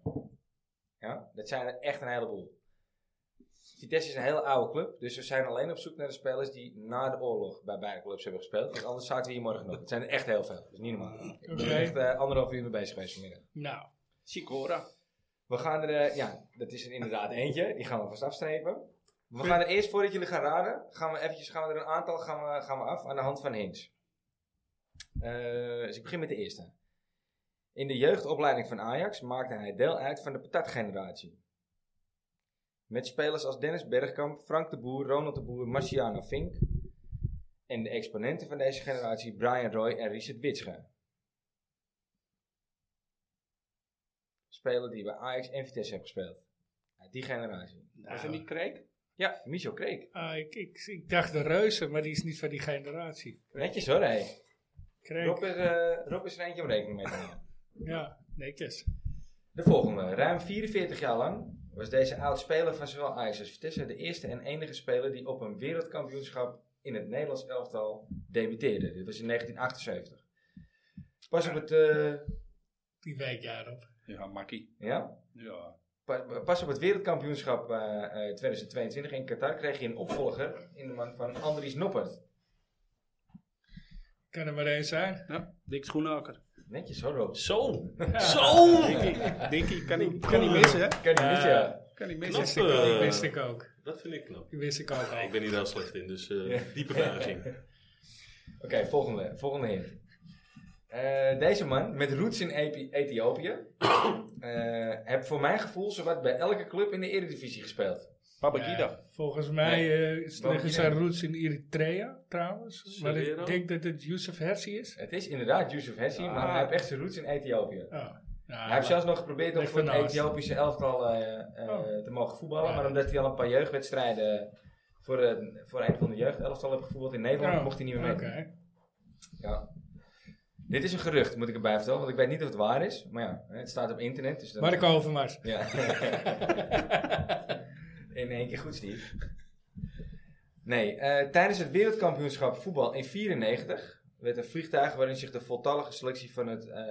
Speaker 1: Ja, dat zijn er echt een heleboel. Vitesse is een hele oude club, dus we zijn alleen op zoek naar de spelers die na de oorlog bij beide clubs hebben gespeeld. Want anders zaten we hier morgen nog. Het zijn er echt heel veel. Dat is niet normaal. Ik ben
Speaker 2: Oké.
Speaker 1: echt eh, anderhalf uur mee bezig geweest vanmiddag.
Speaker 2: Nou,
Speaker 3: Sikora.
Speaker 1: We gaan er, eh, ja, dat is er inderdaad eentje. Die gaan we vast afstrepen. We gaan er eerst, voordat jullie gaan raden, gaan we eventjes, gaan we er een aantal gaan we, gaan we af aan de hand van hints. Eh, dus ik begin met de eerste. In de jeugdopleiding van Ajax maakte hij deel uit van de patatgeneratie. Met spelers als Dennis Bergkamp, Frank de Boer, Ronald de Boer, Marciano Fink. En de exponenten van deze generatie Brian Roy en Richard Witsche. Speler die bij Ajax en Vitesse hebben gespeeld. Uit die generatie.
Speaker 3: Was hij niet Kreek?
Speaker 1: Ja, Michel Kreek.
Speaker 2: ah, ik, ik, ik dacht de reuzen, maar die is niet van die generatie.
Speaker 1: Netjes hoor, hé. Rob, is,
Speaker 2: Kreek.
Speaker 1: eh, Rob is er eentje om rekening mee te houden.
Speaker 2: Ja, netjes.
Speaker 1: De volgende. Ruim 44 jaar lang was deze oud-speler van zowel Ajax als Vitesse de eerste en enige speler die op een wereldkampioenschap in het Nederlands elftal debuteerde. Dit was in 1978. Pas op het, eh,
Speaker 2: Die week daarop.
Speaker 3: Ja, Makkie.
Speaker 1: ja?
Speaker 3: Ja.
Speaker 1: pas, pas op het wereldkampioenschap eh, eh, 2022 in Qatar kreeg je een opvolger in de man van Andries Noppert.
Speaker 2: Kan er maar één zijn.
Speaker 3: ja. Dick Schoenaker.
Speaker 1: Netjes hoor Rob.
Speaker 4: Zo! [LAUGHS]
Speaker 3: Zo! Dikkie, kan niet kan niet missen, hè?
Speaker 1: Ken je niet, ja.
Speaker 3: Kan niet
Speaker 2: Die
Speaker 3: missen.
Speaker 2: wist, ik, ook, die wist ik ook.
Speaker 4: Dat vind ik knap.
Speaker 2: Die wist ik ook
Speaker 4: Ja,
Speaker 2: al.
Speaker 4: ik ben hier heel slecht in, dus eh, diepe buiging.
Speaker 1: Oké, volgende, volgende hint. Eh, deze man, met roots in Epi- Ethiopië, [COUGHS] eh heb voor mijn gevoel zowat bij elke club in de Eredivisie gespeeld.
Speaker 3: Babagida.
Speaker 2: Volgens mij eh is
Speaker 1: Wel,
Speaker 2: liggen
Speaker 1: iedereen-
Speaker 2: zijn roots in Eritrea trouwens. Maar
Speaker 4: Serrero?
Speaker 2: ik denk dat het Yusuf Hersi is.
Speaker 1: Het is inderdaad Yusuf Hessi, maar
Speaker 2: Ah.
Speaker 1: hij heeft echt zijn roots in Ethiopië.
Speaker 2: Oh. Nou,
Speaker 1: hij heeft zelfs nog geprobeerd om
Speaker 2: Ligt
Speaker 1: voor het
Speaker 2: ernaast.
Speaker 1: Ethiopische elftal eh, eh,
Speaker 2: Oh.
Speaker 1: te mogen voetballen.
Speaker 2: Ja.
Speaker 1: Maar omdat hij al een paar jeugdwedstrijden voor, eh, voor een van de jeugdelftal heeft gevoetbald in Nederland,
Speaker 2: Oh,
Speaker 1: mocht hij niet meer
Speaker 2: Oké.
Speaker 1: mee. Ja. Dit is een gerucht, moet ik erbij vertellen, want ik weet niet of het waar is. Maar ja, het staat op internet. Dus dat-
Speaker 2: Mark Overmars.
Speaker 1: Ja. in één keer goed, Steve. Nee, eh, tijdens het wereldkampioenschap voetbal in 94 werd een vliegtuig waarin zich de voltallige selectie van het eh,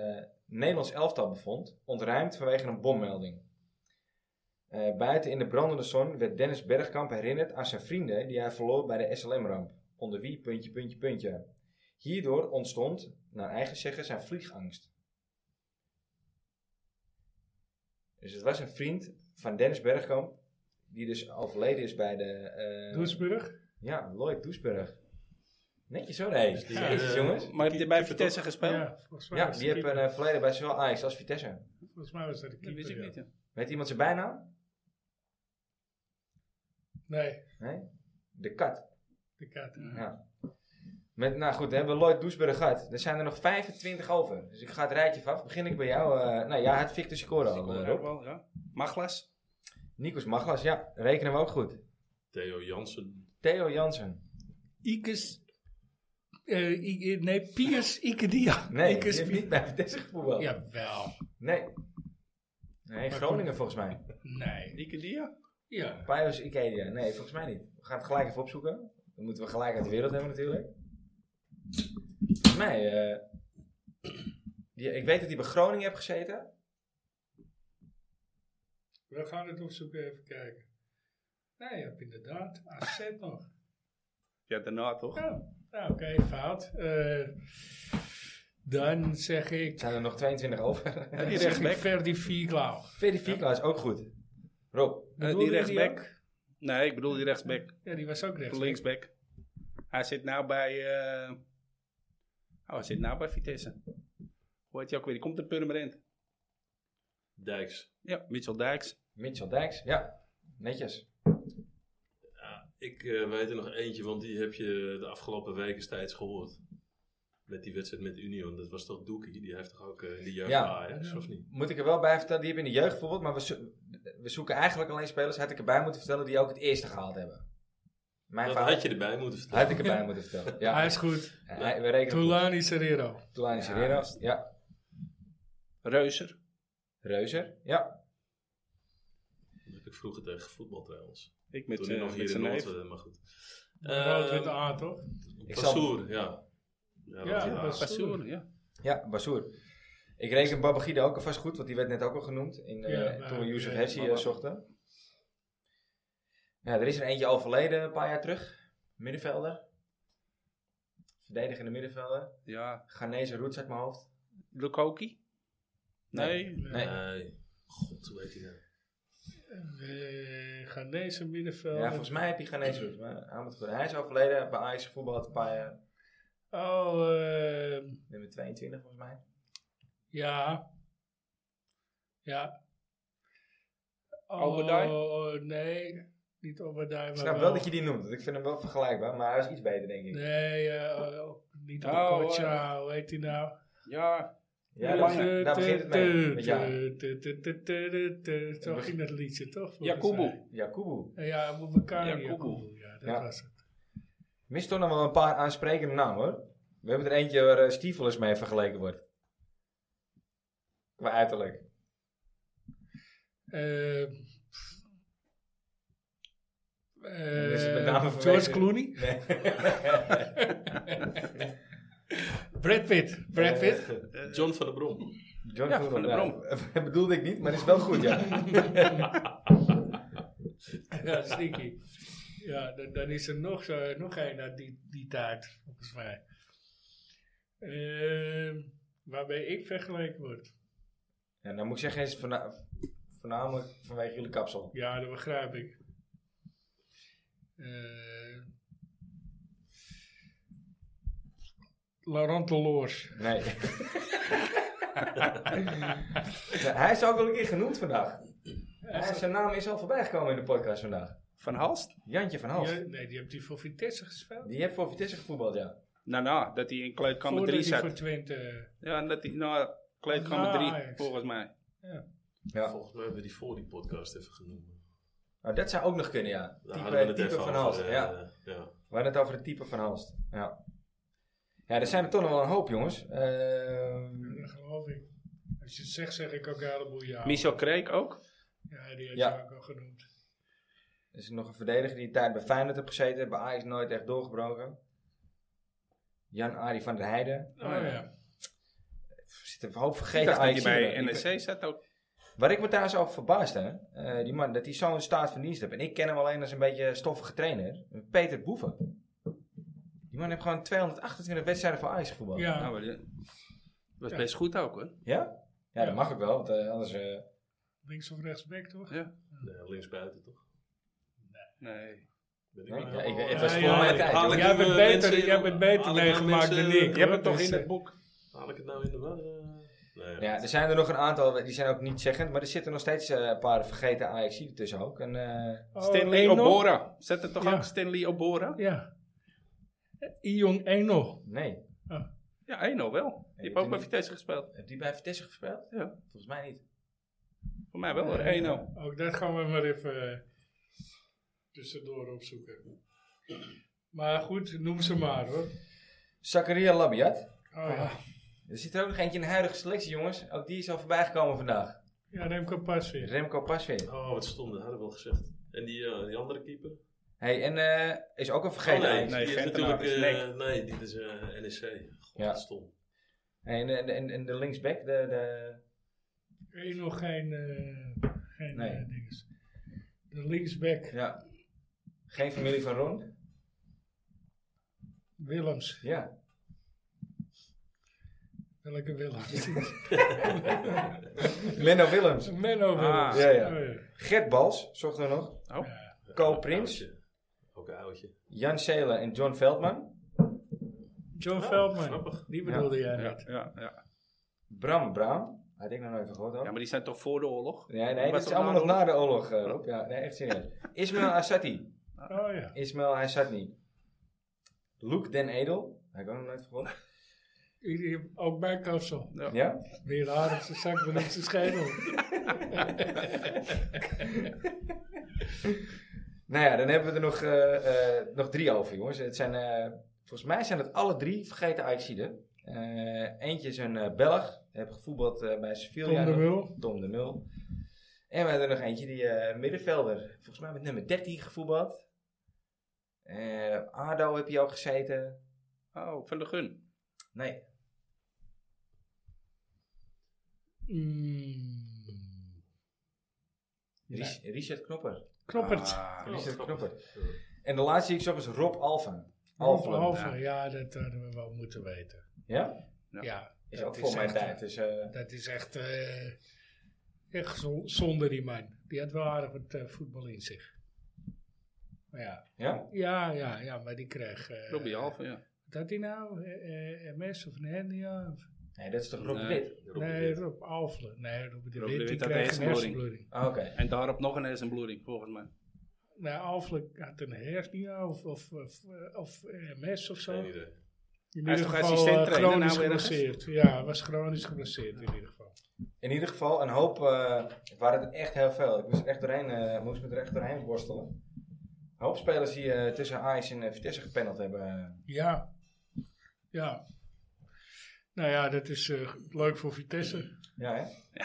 Speaker 1: Nederlands elftal bevond, ontruimd vanwege een bommelding. Eh, buiten in de brandende zon werd Dennis Bergkamp herinnerd aan zijn vrienden die hij verloor bij de SLM-ramp, onder wie puntje, puntje, puntje. Hierdoor ontstond, naar eigen zeggen, zijn vliegangst. Dus het was een vriend van Dennis Bergkamp, die dus overleden is bij de... eh,
Speaker 2: Doesburg.
Speaker 1: ja, Lloyd Doesburg. Netjes hoor, hé.
Speaker 4: die,
Speaker 1: Jezus,
Speaker 4: eh,
Speaker 1: jongens.
Speaker 3: Maar die bij Vitesse gespeeld?
Speaker 2: Ja, volgens mij
Speaker 1: Ja,
Speaker 2: was
Speaker 1: die eh,
Speaker 2: het
Speaker 1: hebben een verleden bij zowel Ajax als Vitesse.
Speaker 2: Volgens mij was dat de
Speaker 3: Dat
Speaker 2: keeper.
Speaker 3: wist ik
Speaker 2: ja.
Speaker 3: niet, ja.
Speaker 1: Weet iemand zijn bijnaam?
Speaker 2: Nee,
Speaker 1: Nee? De kat.
Speaker 2: de kat.
Speaker 3: Mhm.
Speaker 1: Ja. Met, nou goed, dan hebben we Lloyd Doesburg gehad. Er zijn er nog 25 over. Dus ik ga het rijtje van af. Begin ik bij jou. eh, nou ja, het Victor Sicora al. eh,
Speaker 3: Ook
Speaker 1: Rob.
Speaker 3: wel, ja. Maglas.
Speaker 1: Nikos Maglas, ja. Rekenen we ook goed.
Speaker 4: Theo Jansen.
Speaker 1: Theo Jansen.
Speaker 2: Ikes. eh, I- I- nee, Piers Ikedia.
Speaker 1: Nee, die
Speaker 2: Ikes
Speaker 1: heeft niet bij Vitesse gevoetbald.
Speaker 2: Jawel.
Speaker 1: Nee. Nee, Groningen volgens mij.
Speaker 2: Nee.
Speaker 3: Ikedia.
Speaker 2: Ja.
Speaker 1: Pius Ikedia. Nee, volgens mij niet. We gaan het gelijk even opzoeken. Dan moeten we gelijk uit de wereld hebben natuurlijk. Volgens mij... eh, die- ik weet dat hij bij Groningen heeft gezeten.
Speaker 2: We gaan het opzoeken, even kijken. Nee, je hebt inderdaad. AZ nog.
Speaker 3: Ja, daarna toch?
Speaker 2: Ja. Nou, oké, fout. Eh, dan zeg ik.
Speaker 1: Er zijn er nog 22 over. [LAUGHS]
Speaker 3: Ja, die
Speaker 2: dan zeg ik
Speaker 3: rechtsback.
Speaker 2: Verdi Vierklauw.
Speaker 1: Ferry Fiekla is ook goed. Rob.
Speaker 3: Eh,
Speaker 2: Bedoelde
Speaker 3: die
Speaker 2: je die
Speaker 3: rechtsback. Nee, ik bedoel die rechtsback.
Speaker 2: Ja, die was ook rechts.
Speaker 3: Linksback. Hij zit nou bij... eh, Oh, hij zit nou bij Vitesse. Hoe heet je ook weer? Die komt uit Purmerend.
Speaker 4: Dijks.
Speaker 3: Ja, Mitchell Dijks.
Speaker 1: Mitchell Dijks, ja. Netjes.
Speaker 4: Ik eh, weet er nog eentje, want die heb je de afgelopen weken steeds gehoord. Met die wedstrijd met Union. Dat was toch Doekie? Die heeft toch ook eh, in de jeugd
Speaker 1: Ja.
Speaker 4: bij Ajax, of niet?
Speaker 1: Moet ik er wel bij vertellen, die hebben in de jeugd bijvoorbeeld, maar we, zo- we zoeken eigenlijk alleen spelers, had ik erbij moeten vertellen, die ook het eerste gehaald hebben. Mijn
Speaker 4: Dat
Speaker 1: verhaal
Speaker 4: had je erbij moeten vertellen.
Speaker 1: had ik erbij moeten vertellen. Ja,
Speaker 2: Hij is goed.
Speaker 1: Hij- we rekenen goed.
Speaker 2: Toulani Serrero.
Speaker 1: Toulani Serrero, ja.
Speaker 3: Reuser.
Speaker 1: Reuzer, ja.
Speaker 4: [LAUGHS] Dat heb ik vroeger tegen voetbal trouwens.
Speaker 3: Ik met,
Speaker 4: Toen hij
Speaker 3: eh,
Speaker 4: nog
Speaker 3: met
Speaker 4: hier in
Speaker 3: zijn
Speaker 4: Noord,
Speaker 3: neef.
Speaker 4: eh, maar goed.
Speaker 1: Eh,
Speaker 2: Rood-witte
Speaker 4: Ehm,
Speaker 2: A, toch?
Speaker 1: Ik zal-
Speaker 4: Bassoer, ja. Ja,
Speaker 2: Ja,
Speaker 4: rood-wit
Speaker 2: dat
Speaker 4: A.
Speaker 3: Bassoer, ja.
Speaker 1: Ja, Bassoer. Ik reken Babagida ook alvast goed, want die werd net ook al genoemd in, eh,
Speaker 2: Ja, maar-
Speaker 1: toen we Youssef
Speaker 2: ja,
Speaker 1: Hessie
Speaker 2: maar-
Speaker 1: eh, zochten. Ja, er is er eentje overleden een paar jaar terug. Middenvelder. Verdedigende middenvelder.
Speaker 3: Ja.
Speaker 1: Ghanese roots uit mijn hoofd.
Speaker 3: Lukoki. Nee.
Speaker 1: Nee.
Speaker 4: Nee. Eh, God, hoe heet hij nou?
Speaker 2: Eh, Ghanese middenveld.
Speaker 1: Ja, volgens mij heb je Ghanese roots. Maar hij, moet goed. hij is overleden bij Ajax voetbal een paar jaar.
Speaker 2: Oh, ehm,
Speaker 1: Nummer 22 volgens mij.
Speaker 2: ja. Ja. Oh,
Speaker 3: Obadai?
Speaker 2: nee, niet Obadai.
Speaker 1: Ik
Speaker 2: maar
Speaker 1: snap wel dat je die noemt, want ik vind hem wel vergelijkbaar. Maar hij is iets beter, denk ik.
Speaker 2: Nee, eh, oh, niet
Speaker 3: Oh,
Speaker 2: Okocha. Hoe heet die nou?
Speaker 3: Ja.
Speaker 1: Ja,
Speaker 3: Lange.
Speaker 1: daar, daar begint het mee. Met ja,
Speaker 2: mee. Zo ging dat liedje, toch? volgens mij? Eh,
Speaker 3: Jacobo.
Speaker 1: Jakubu.
Speaker 2: Ja, Moubakari.
Speaker 3: Jacobo.
Speaker 2: Jacobo. Ja, dat
Speaker 1: Ja.
Speaker 2: was het.
Speaker 1: Mist toch nog wel een paar aansprekende namen hoor. We hebben er eentje waar eh, Stiefelus mee vergeleken wordt. Qua uiterlijk.
Speaker 2: Eh,
Speaker 1: Dat is met name
Speaker 2: eh,
Speaker 1: vanwege-
Speaker 2: George Clooney.
Speaker 1: Nee.
Speaker 2: [LAUGHS] Brad Pitt. Brad Pitt.
Speaker 4: Eh, John van der Brom.
Speaker 1: John
Speaker 3: Ja, van de
Speaker 1: Dat [LAUGHS] bedoelde ik niet, maar dat is wel goed, ja.
Speaker 2: [LAUGHS] Ja, sneaky. Ja, dan, dan is er nog, zo, nog een uit die, die taart, volgens mij. Ehm, waarbij ik vergeleken word.
Speaker 1: ja dan moet ik zeggen, is voorna- voornamelijk vanwege jullie kapsel.
Speaker 2: Ja, dat begrijp ik. Eh Laurent Deloors.
Speaker 1: Nee. Ja, hij is ook wel een keer genoemd vandaag. Hij- zijn naam is al voorbij gekomen in de podcast vandaag.
Speaker 3: Van Halst?
Speaker 1: Jantje van Hals.
Speaker 2: Ja, nee, die heeft die voor Vitesse gespeeld.
Speaker 1: Die heeft voor Vitesse gevoetbald, ja.
Speaker 3: Nou, nou, dat hij in kleedkamer
Speaker 2: Voordat
Speaker 3: 3
Speaker 2: hij voor
Speaker 3: zat.
Speaker 2: Twente.
Speaker 3: Ja, en dat hij, nou, kleedkamer
Speaker 2: Ah,
Speaker 3: 3,
Speaker 2: Ajax.
Speaker 3: volgens mij.
Speaker 1: ja.
Speaker 4: Volgens mij hebben we die voor die podcast even genoemd.
Speaker 1: Nou, dat zou ook nog kunnen, ja.
Speaker 4: Daar
Speaker 1: type
Speaker 4: hadden we het
Speaker 1: type
Speaker 4: even
Speaker 1: van
Speaker 4: over.
Speaker 1: Hals.
Speaker 4: eh,
Speaker 1: ja.
Speaker 4: ja.
Speaker 1: We hadden het over het type van Halst. Ja. Ja, er zijn er toch nog wel een hoop, jongens. Ehm,
Speaker 2: Dat eh, geloof ik. Als je het zegt, zeg ik ook een heleboel ja.
Speaker 3: Michel Kreek ook.
Speaker 2: Ja, die heeft
Speaker 1: Ja.
Speaker 2: je ook al genoemd.
Speaker 1: er is nog een verdediger die een tijd bij Feyenoord heeft gezeten. Bij Ajax nooit echt doorgebroken. Jan-Ari van der Heijden.
Speaker 2: Oh ja.
Speaker 1: Er zitten een hoop
Speaker 3: Ik
Speaker 1: vergeten
Speaker 3: dacht dat hij
Speaker 1: Ajax
Speaker 3: bij NEC zat ook.
Speaker 1: Waar ik me trouwens over verbaasd, hè. eh, die man, dat hij zo'n staat van dienst heeft. En ik ken hem alleen als een beetje stoffige trainer. Peter Boeven. Die man heeft gewoon 228 wedstrijden voor Ajax gevoetbald.
Speaker 2: Ja.
Speaker 3: Nou, maar die- was
Speaker 2: Ja.
Speaker 3: best goed ook, hoor.
Speaker 1: Ja? Ja, dat
Speaker 2: Ja.
Speaker 1: mag ik wel, want eh, anders... eh,
Speaker 2: Links of rechts back, toch?
Speaker 4: Nee, linksbuiten toch?
Speaker 3: Nee.
Speaker 4: Ben ik
Speaker 1: nee,
Speaker 4: niet.
Speaker 1: ja, ik, het was
Speaker 2: Ja,
Speaker 1: voor
Speaker 2: ja,
Speaker 1: mijn
Speaker 4: ik
Speaker 1: tijd.
Speaker 4: haal
Speaker 1: hoor.
Speaker 4: het
Speaker 2: Jij
Speaker 4: doen
Speaker 2: bent
Speaker 4: we
Speaker 2: beter,
Speaker 4: mensen
Speaker 2: jij
Speaker 4: in-
Speaker 2: bent beter
Speaker 4: alle
Speaker 2: meegemaakt dan
Speaker 4: mensen-
Speaker 2: ik.
Speaker 3: Je hebt
Speaker 2: hoor.
Speaker 3: het toch
Speaker 2: Dus,
Speaker 3: in
Speaker 2: eh,
Speaker 3: het boek?
Speaker 4: Haal ik het nou in de war? eh? Nee,
Speaker 1: Ja, er zijn er nog een aantal, die zijn ook niet zeggend, maar er zitten nog steeds eh, een paar vergeten Ajax ertussen ook. En, eh,
Speaker 2: Oh,
Speaker 3: Stanley
Speaker 2: Eno?
Speaker 3: Obora. Zet er toch
Speaker 2: Ja.
Speaker 3: ook Stanley Obora?
Speaker 2: Ja. Ion Eno.
Speaker 1: nee,
Speaker 3: Ja, Eno wel. Die
Speaker 1: Nee,
Speaker 3: heeft ook
Speaker 1: die
Speaker 3: bij
Speaker 1: niet.
Speaker 3: Vitesse gespeeld.
Speaker 1: heeft die bij Vitesse gespeeld?
Speaker 3: Ja.
Speaker 1: Volgens mij niet.
Speaker 3: Voor mij wel, hoor. Eno.
Speaker 2: Ook dat gaan we maar even eh, tussendoor opzoeken. Maar goed, noem ze maar hoor.
Speaker 1: Zakaria Labiat.
Speaker 2: Oh ja.
Speaker 3: Ah.
Speaker 1: Er zit er ook nog eentje in de huidige selectie, jongens. Ook die is al voorbij gekomen vandaag.
Speaker 2: Ja, neem ik een pas weer.
Speaker 1: Remco Pasveer.
Speaker 4: Oh, wat stom, dat hadden we al gezegd. En die, eh, die andere keeper? Oh,
Speaker 1: hey, en eh, is ook al vergeten.
Speaker 4: nee,
Speaker 1: Ajax.
Speaker 4: die is
Speaker 3: Gentenaar
Speaker 4: natuurlijk...
Speaker 3: is
Speaker 4: eh, nee, die is eh, NEC. God,
Speaker 1: Ja.
Speaker 4: wat stom.
Speaker 1: En, en, en, en de linksback, de, de...
Speaker 2: Eno geen, eh geen
Speaker 1: Nee.
Speaker 2: eh, dinges. De linksback,
Speaker 1: Ja. Geen familie van Ron?
Speaker 2: Willems.
Speaker 1: Ja.
Speaker 2: Welke
Speaker 3: [LAUGHS]
Speaker 2: Willems?
Speaker 1: Menno Willems.
Speaker 2: Menno Willems.
Speaker 1: ja, ja.
Speaker 2: Oh, ja.
Speaker 1: Gert Bals, zocht er nog.
Speaker 3: Oh.
Speaker 1: Co Prins.
Speaker 4: Oudje. Ook een oudje.
Speaker 1: Jan Seelen en John Veldman.
Speaker 2: John Veldman.
Speaker 4: Grappig.
Speaker 2: Die bedoelde jij
Speaker 3: Ja,
Speaker 2: net.
Speaker 3: ja, ja.
Speaker 1: Bram Braam. Had ik nog nooit van gehoord. hoor.
Speaker 3: Ja, maar die zijn toch voor de oorlog?
Speaker 1: Nee, nee,
Speaker 3: Was
Speaker 1: dat is
Speaker 3: dat
Speaker 1: allemaal
Speaker 3: na
Speaker 1: nog
Speaker 3: de
Speaker 1: na de oorlog, eh, Rob. Ja, nee, echt serieus. [LAUGHS] Ismail Assati.
Speaker 2: Oh ja.
Speaker 1: Ismail Assati. Luke Den Edel. Heb ik ook nog nooit van gehoord.
Speaker 2: I- i- Ook mijn kapsel.
Speaker 3: Ja.
Speaker 1: [LAUGHS] Ja?
Speaker 2: Meer haar op zijn zak dan op zijn schedel.
Speaker 1: Nou ja, dan hebben we er nog, eh, eh, nog drie over, jongens. Het zijn, eh, volgens mij zijn het alle drie vergeten Ajaxiden. Eh, eentje is een eh, Belg. Heb gevoetbald eh, bij Sevilla.
Speaker 2: Tom de
Speaker 1: nog.
Speaker 2: Mul.
Speaker 1: Tom de Mul. En we hebben er nog eentje, die eh, middenvelder. Volgens mij met nummer 13 gevoetbald. Eh Ado heb je ook gezeten.
Speaker 3: Oh, van de gun.
Speaker 1: Nee,
Speaker 2: Mm.
Speaker 1: Ries- Richard Knopper.
Speaker 2: Knoppert.
Speaker 3: Ah,
Speaker 1: Richard
Speaker 4: Oh,
Speaker 1: Knopper. En de laatste die ik zag is Rob Alphen.
Speaker 2: Halve,
Speaker 1: Alphen.
Speaker 2: halve. Ja, dat hadden we wel moeten weten.
Speaker 1: Ja?
Speaker 3: Ja.
Speaker 2: Ja,
Speaker 1: Is
Speaker 2: dat
Speaker 1: ook voor mijn
Speaker 2: echt,
Speaker 1: tijd. Dus, eh,
Speaker 2: Dat is echt, eh, echt zon- zonde, die man. Die had wel aardig wat eh, voetbal in zich. Maar ja,
Speaker 1: ja?
Speaker 2: ja, ja, ja, maar die kreeg... eh,
Speaker 3: Robbie Halve, ja.
Speaker 2: Wat had hij nou? Eh, eh, MS of een hernia? Of-
Speaker 1: Nee, dat is toch Rob de
Speaker 3: Nee.
Speaker 1: Wit?
Speaker 2: Nee, Rob Alvelen. Nee, Rob de
Speaker 3: Rob
Speaker 2: Wit,
Speaker 3: de
Speaker 2: die
Speaker 3: Wit
Speaker 2: kreeg
Speaker 3: had
Speaker 2: een
Speaker 3: hersenbloeding.
Speaker 2: hersenbloeding.
Speaker 1: Ah, Oké.
Speaker 3: En daarop nog ineens een bloeding, volgens mij.
Speaker 2: Nou, Alvelen had een hernia of, of, of, eh, of MS of zo.
Speaker 4: Geen idee.
Speaker 2: In
Speaker 3: Hij is
Speaker 2: ieder
Speaker 3: toch
Speaker 2: geval eh,
Speaker 3: assistent trainer
Speaker 2: chronisch
Speaker 3: nou ergens?
Speaker 2: geblesseerd. Ja, was chronisch geblesseerd in ieder geval.
Speaker 1: In ieder geval een hoop, eh waren het echt heel veel. Ik moest, er echt doorheen, eh, moest me er echt doorheen worstelen. Een hoop spelers die eh, tussen Ajax en eh, Vitesse gepaneld hebben. eh.
Speaker 2: Ja. Ja. Nou ja, dat is eh, leuk voor Vitesse.
Speaker 1: Ja, hè?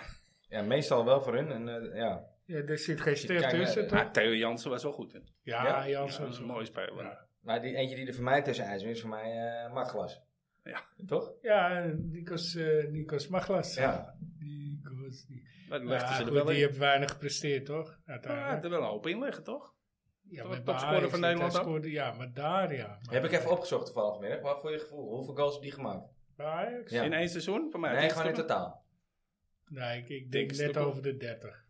Speaker 1: Ja, meestal wel voor hun. En, eh, ja.
Speaker 2: Ja, er zit geen ster
Speaker 1: kijkt naar-
Speaker 2: tussen, toch?
Speaker 3: Ah, Theo Jansen was wel goed, hè.
Speaker 2: Ja,
Speaker 1: ja,
Speaker 2: Jansen.
Speaker 3: dat is een mooie speler. Ja.
Speaker 1: Maar die eentje die er voor mij tussen ijs is, voor mij eh Maglas.
Speaker 3: Ja.
Speaker 1: Toch?
Speaker 2: Ja, Nikos, eh, Nikos Maglas.
Speaker 1: Ja.
Speaker 2: Nikos. Die,
Speaker 3: Maar die
Speaker 2: ja,
Speaker 3: legden ze er
Speaker 2: goed,
Speaker 3: wel
Speaker 2: die
Speaker 3: in.
Speaker 2: heeft weinig gepresteerd, toch?
Speaker 3: Ja, hij had
Speaker 2: Uiteindelijk.
Speaker 3: er wel een hoop in liggen, toch?
Speaker 2: Ja,
Speaker 3: toch
Speaker 2: maar
Speaker 3: een
Speaker 2: bij
Speaker 3: topscorer
Speaker 2: Ajax
Speaker 3: van
Speaker 2: zit hij,
Speaker 3: Nederland ook?
Speaker 2: scoorde- Ja, maar daar ja. Maar
Speaker 1: Heb ik even opgezocht toevallig vanmiddag. Maar voor je gevoel, hoeveel goals heb die gemaakt?
Speaker 2: Bij Ajax?
Speaker 1: Ja.
Speaker 3: In één seizoen? Van mij
Speaker 1: Nee, gewoon in
Speaker 3: het
Speaker 1: totaal.
Speaker 2: Nee, ik, ik
Speaker 3: Denk
Speaker 2: denk
Speaker 3: het
Speaker 2: net
Speaker 3: ook wel.
Speaker 2: over de 30.